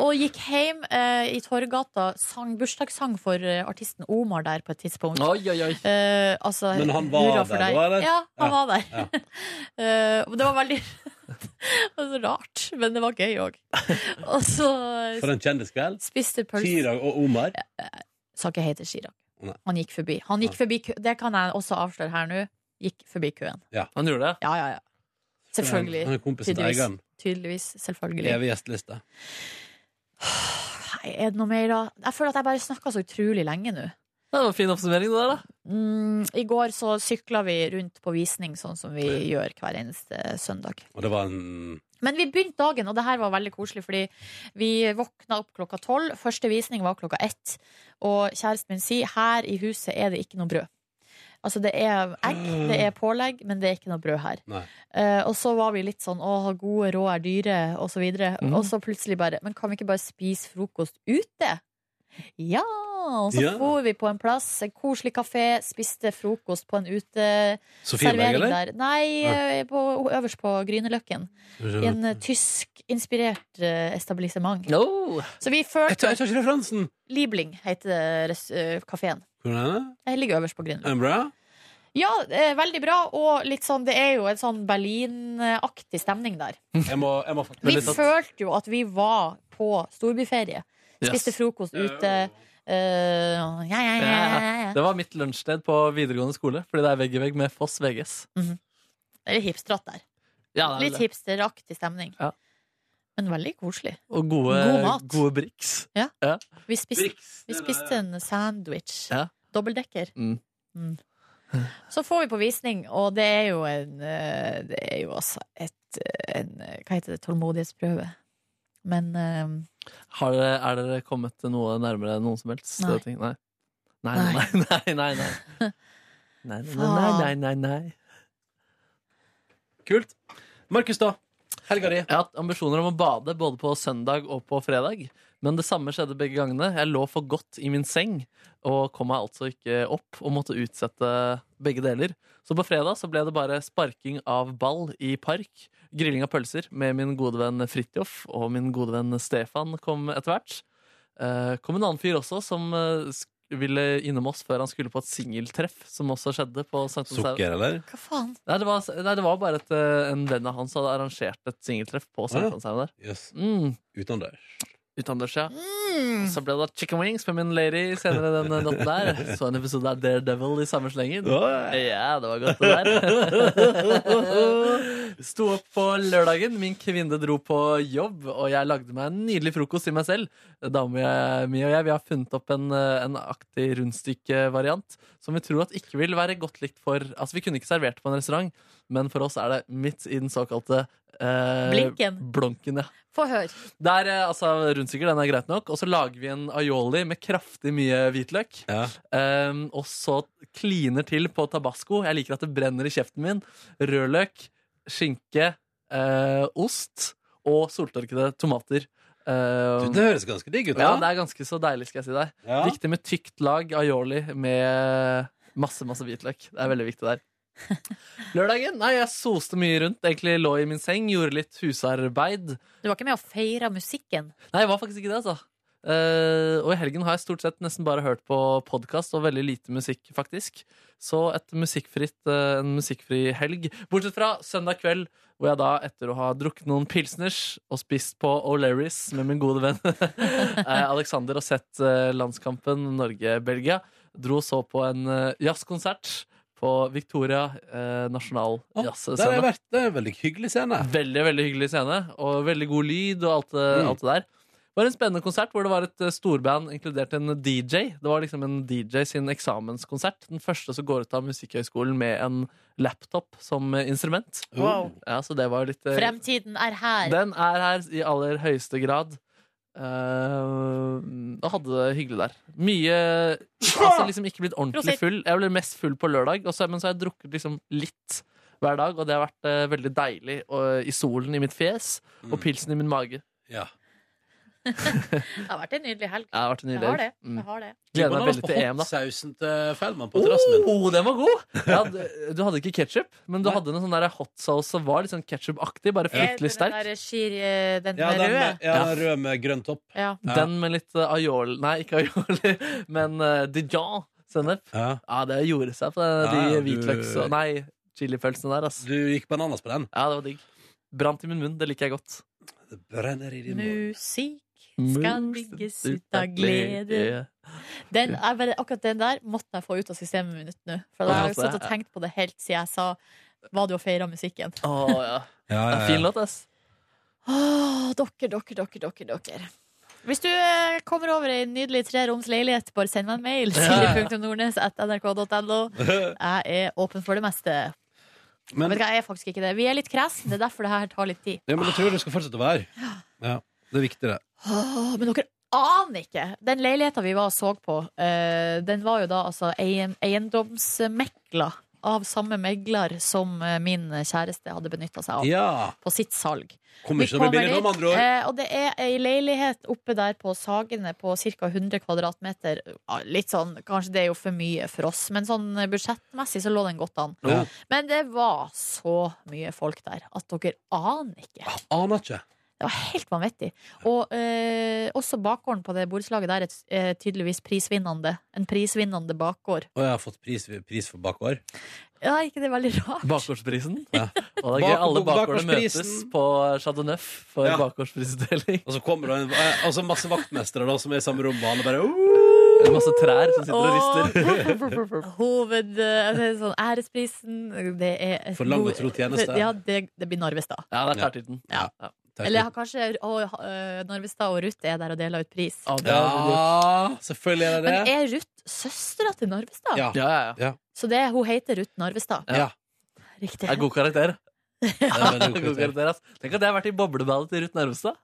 C: Og gikk hjem eh, i Torgata, sang bursdagssang for eh, artisten Omar der på et tidspunkt.
D: Oi, oi, oi.
C: Eh, altså,
B: Men han var
C: hurra for
B: der
C: deg.
B: da, eller?
C: Ja, han
B: Ja,
C: var der. Eh, og det var veldig det var så rart, men det var gøy òg. Og så eh,
B: For en kjendiskveld.
C: spiste pølse
B: Chirag og Omar.
C: Sa ikke hei til Chirag.
B: Nei.
C: Han gikk forbi. Han gikk forbi kø Det kan jeg også avsløre her nå. Gikk forbi køen.
B: Ja.
D: Han gjorde det?
C: Ja, ja, ja. Selvfølgelig.
B: Han er kompisen til
C: Tydeligvis.
B: eieren.
C: Tydeligvis. Selvfølgelig.
B: Evig gjesteliste.
C: Nei, er det noe mer, da? Jeg føler at jeg bare snakka så utrolig lenge nå.
D: Det var en fin oppsummering, det der, da.
C: Mm, I går så sykla vi rundt på visning, sånn som vi gjør hver eneste søndag.
B: Og det var en
C: Men vi begynte dagen, og det her var veldig koselig, fordi vi våkna opp klokka tolv. Første visning var klokka ett. Og kjæresten min sier her i huset er det ikke noe brød. Altså, det er egg, det er pålegg, men det er ikke noe brød her.
B: Nei.
C: Eh, og så var vi litt sånn å, gode råd er dyre, og så videre.
B: Mm.
C: Og så plutselig bare Men kan vi ikke bare spise frokost ute? Ja! Og så
B: Ja.
C: for vi på en plass, en koselig kafé, spiste frokost på en
B: Sofienberg,
C: uteservering
B: eller?
C: der.
B: Nei.
C: Nei, eh, på, øverst på Grünerløkken. I en eh, tyskinspirert eh, etablissement. Så vi følte Jeg
B: tar, ikke referansen!
C: Liebling heter uh, kafeen.
B: Hvordan er det?
C: Jeg ligger øverst på Grünerløkken.
B: Er det bra?
C: Ja, eh, veldig bra, og litt sånn, det er jo en sånn Berlin-aktig stemning der.
B: Jeg må, jeg må faktisk
C: Vi
D: sånn-
C: følte jo at vi var på storbyferie.
D: Yes.
C: Spiste frokost ute. eh, ja, ja, ja, ja, ja.
D: Det var mitt lunsjsted på videregående skole, fordi det er vegg i vegg med Foss VGS.
C: Det er hipstratt der.
D: Ja, det er
C: Litt
D: det.
C: hipsteraktig stemning.
D: Ja.
C: Men veldig koselig.
D: Og gode,
C: God mat.
D: gode briks.
C: Ja.
D: Ja.
C: Vi spiste, vi spiste en sandwich.
D: Ja.
C: Dobbeldekker.
D: Mm.
C: Mm. Så får vi på visning, og det er jo en eh, Det er jo altså et eh, en, eh, Hva heter det? Tålmodighetsprøve. Men eh,
D: Har dere, er dere kommet noe nærmere noen som helst?
C: Nei.
D: ting? Nei. Nei, nei, nei, nei, nei. Nei, nei, nei, nei, nei, nei.
B: Kult. Markus, da? Helga di?
D: Jeg har hatt ambisjoner om å bade både på søndag og på fredag. Men det samme skjedde begge gangene. Jeg lå for godt i min seng og kom meg altså ikke opp og måtte utsette begge deler. Så på fredag så ble det bare sparking av ball i park, grilling av pølser med min gode venn Fridtjof, og min gode venn Stefan kom etter hvert. Eh, kom en annen fyr også som eh, sk- ville innom oss før han skulle på et singeltreff, som også skjedde på Sankt Hanshaugen.
B: Sukker, eller?
C: hva faen?
D: Nei, det var, nei, det var bare et, eh, en venn av hans som hadde arrangert et singeltreff på Sankthanshaugen der.
B: Yes.
D: Mm.
B: Utendørs.
D: Utendørs, ja.
C: Mm.
D: Så ble det chicken wings med min lady senere den eh, natten der. Så en episode av Daredevil i samme slengen.
B: Ja.
D: Ja, det var godt, det der. Sto opp på lørdagen, min kvinne dro på jobb, og jeg lagde meg en nydelig frokost til meg selv. Dama mi og jeg vi har funnet opp en, eh, en aktig rundstykkevariant som vi tror at ikke vil være godt likt for Altså, vi kunne ikke servert det på en restaurant, men for oss er det midt i den såkalte eh,
C: Blinken.
D: Blonken, ja.
C: Få høre.
D: Der, eh, altså, Rundstykker den er greit nok. Og så lager vi en aioli med kraftig mye hvitløk. Um, og så kliner til på tabasco. Jeg liker at det brenner i kjeften min. Rødløk, skinke, eh, ost og soltørkede tomater.
B: Du,
D: Um,
B: det høres ganske digg ut,
D: Ja,
B: da.
D: det er ganske så deilig, skal jeg si deg.
B: Ja.
D: Viktig med tykt lag aioli med masse, masse hvitløk. Det er veldig viktig der. Lørdagen? Nei, jeg soste mye rundt. Egentlig lå i min seng, gjorde litt husarbeid.
C: Du var ikke med og feira musikken?
D: Nei, jeg var faktisk ikke det, altså. Eh, og i helgen har jeg stort sett nesten bare hørt på podkast og veldig lite musikk, faktisk. Så et musikkfritt, eh, en musikkfri helg. Bortsett fra søndag kveld, hvor jeg da, etter å ha drukket noen pilsners og spist på O'Lerris med min gode venn eh, Alexander og sett eh, landskampen Norge-Belgia, dro så på en eh, jazzkonsert på Victoria eh, Nasjonal
B: Der har jeg
D: Jazzscene.
B: vært. Det er en veldig hyggelig scene.
D: Veldig veldig hyggelig scene, og veldig god lyd og alt, det-
B: Mm.
D: alt det der. Det var en spennende konsert hvor det var et eh, storband inkludert en DJ. Det var liksom en DJ sin eksamenskonsert. Den første som går ut av Musikkhøgskolen med en laptop som eh, instrument.
C: Wow.
B: Oh.
D: Ja, så det var litt eh,
C: Fremtiden er her.
D: Den er her i aller høyeste grad. Eh, og hadde det hyggelig der. Mye Altså liksom ikke blitt ordentlig
C: Prosit.
D: full. Jeg ble mest full på lørdag, og så, men så har jeg drukket liksom litt hver dag, og det har vært eh, veldig deilig og, i solen i mitt fjes og pilsen i min mage.
B: Ja.
C: Det har vært en nydelig helg.
D: Det har vært en
C: Jeg
D: nydelig
C: har det.
D: helg. Mm.
C: Jeg har det.
D: Gleder meg veldig til EM, da.
B: Sausen til Feldman på terrassen min.
D: Oh, den var god! Ja, du, du hadde ikke ketsjup, men du hadde en sånn der hot sauce som var litt sånn ketsjupaktig, bare fryktelig
C: Den
D: sterk.
C: der, skir, eh, den
B: Ja,
C: med
B: den
C: røde.
B: med, ja, den rød med grønn topp.
C: Ja.
D: Den med litt eh, aioli Nei, ikke aioli, men uh, dijon sennep.
B: Ja.
D: det gjorde seg på eh, de
B: Ja, ja, du-
D: hvitløks... og- Nei, chilipølsene der, ass.
B: Du gikk bananas på den.
D: Ja, det var digg. Brant i min munn. Det liker jeg godt.
B: Det brenner i din
C: Musikk skal
D: Mus-
C: bygges ut av glede.
D: eh,
C: Den, jeg bare, akkurat den der måtte jeg få ut av systemet mitt nå. For
D: Ja,
C: jeg har
D: altså,
C: satt og
D: ja.
C: tenkt på det helt siden jeg sa Var du og feira musikken?
D: Å, ja.
B: Ja,
D: Det er
B: ja,
D: en
B: ja.
D: fin låt, ass.
C: Åh, dere, dere, dere, dere, dere. Hvis du eh, kommer over ei nydelig treroms leilighet, bare send meg en mail.
B: Ja.
C: Silje.nordnes.nrk.no. Jeg er åpen for det meste.
B: Men-
C: Vet du hva, jeg er faktisk ikke det. Vi er litt kresne, det er derfor det her tar litt tid.
B: Ja, men det tror jeg du skal fortsette å være. Ja, det er viktig, det.
C: Åh, men dere aner ikke. Den leiligheta vi var og så på, eh, den var jo da altså eiend- eiendomsmekla av samme megler som eh, min kjæreste hadde benytta seg av
B: Ja.
C: på sitt salg.
B: Kommer ikke til
C: Vi
B: å bli
C: kommer
B: billig nå, med
C: dit,
B: andre ord.
C: eh, Og det er ei leilighet oppe der på Sagene på ca. 100 kvadratmeter. Ja, Litt sånn, kanskje det er jo for mye for oss, men sånn budsjettmessig så lå den godt an.
B: Ja.
C: Men det var så mye folk der at dere aner ikke.
B: Aner ikke.
C: Det var helt vanvittig. Og eh, også bakgården på det borettslaget der er t- er tydeligvis prisvinnende. En prisvinnende bakgård.
B: Og jeg har fått pris, pris for bakår.
C: Ja, er ikke det veldig rart?
D: Bakgårdsprisen.
B: Ja.
D: Og det er gøy, alle
B: Bak-
D: bakgårdene møtes
B: bakgårdsprisen.
D: på Chateau Neuf for
B: Ja.
D: bakgårdsprisutdeling.
B: Og så kommer det en, eh, og så masse vaktmestere da, som er i samme rom, og alle bare
D: Masse trær som sitter og rister.
C: Og Hoved... eh, det er sånn æresprisen Det er et
B: For lang og
C: god-
B: tro tjeneste.
C: Ja, det, det blir Narvestad.
D: Ja, det er tartitten.
C: Ja.
B: Takk.
C: Eller kanskje og, eh, Narvestad og Ruth er der og deler ut pris.
B: Ja, selvfølgelig er det
C: Men
B: det.
C: er Ruth søstera til Narvestad?
B: Ja.
D: Ja,
B: ja.
C: Så det, hun heter Ruth Narvestad?
B: Ja.
C: Riktig.
D: Det er god karakter.
B: Ja,
D: Det er god karakter, ass. Tenk at jeg har vært i bobleballet til Ruth Narvestad.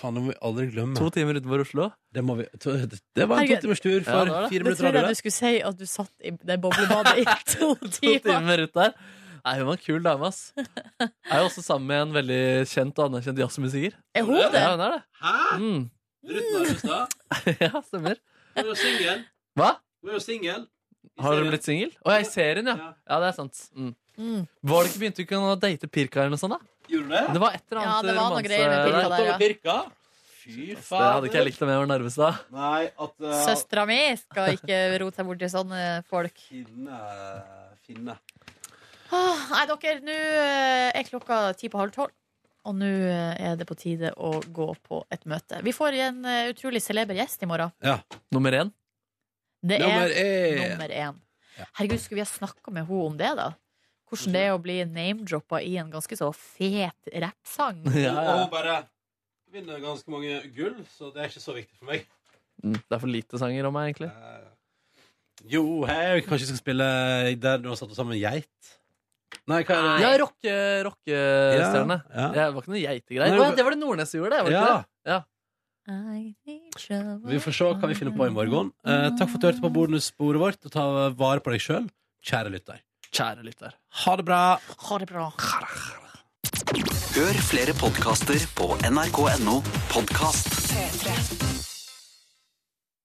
B: Faen, det må vi aldri glemme.
D: To timer utenfor Oslo.
B: Det, må vi, to, det var en
C: Herregud.
B: totimers tur
D: Ja,
B: for
D: det var det.
B: fire
C: Det
B: minutter
C: trodde jeg
B: radio.
C: du skulle si at du satt i det boblebadet i to
D: To
C: timer.
D: timer ut der. Nei, hun var en kul dame, ass. Jeg er jo også sammen med en veldig kjent og anerkjent jazzmusiker.
C: Er hun det?
D: Ja, hun er det.
B: Hæ?
D: Mm.
B: Ruth Narvestad?
D: Ja, stemmer.
B: Hun er jo singel.
D: Hva?
B: Hun er jo singel.
D: Har dere blitt singel? Å, jeg ser serien, ja. Ja, det er sant. Mm.
C: Mm.
D: Var det ikke begynt du ikke å date Pirka eller noe sånt? da?
B: Gjorde det?
D: Det var et eller
C: Ja,
D: annet
C: det var noe
D: romanse
C: greier med Pirka der, ja.
B: Pirka? Fy
D: Det hadde ikke jeg likt om jeg var Narvestad.
B: Nei, at uh,
C: Søstera mi skal ikke rote seg borti sånne folk.
B: Finne Finne.
C: Ah, Nei, dere, nå eh, er klokka ti på halv tolv. Og nå eh, er det på tide å gå på et møte. Vi får en eh, utrolig celeber gjest i morgen.
B: Ja.
D: Nummer én.
C: Det er
B: Nummer
C: nummer
B: én.
C: én. Herregud, skulle vi ha snakka med henne om det, da? Hvordan det er å bli name-droppa i en ganske så fet rappsang.
B: Og hun bare vinner ganske mange gull, så det er ikke så viktig for meg.
D: Mm, Det er for lite sanger om meg, egentlig.
B: Jo, hei, kanskje vi skal spille der du har satt oss sammen med geit? Nei, hva er det?
D: Ja, rocke, rockestjerne.
B: Ja, ja.
D: Det var ikke noe
B: Nei,
D: geitegreier. Å, ja, det var det Nordnes som gjorde, det. Var det
B: Ja.
D: ikke det? Ja.
B: Vi får se hva vi finner på i morgen. Eh, takk for at du hørte på bonussporet vårt, og ta vare på deg sjøl, kjære lytter.
D: Kjære lytter.
B: Ha det bra.
C: Ha det bra.
K: Hør flere podkaster på nrk.no podkast.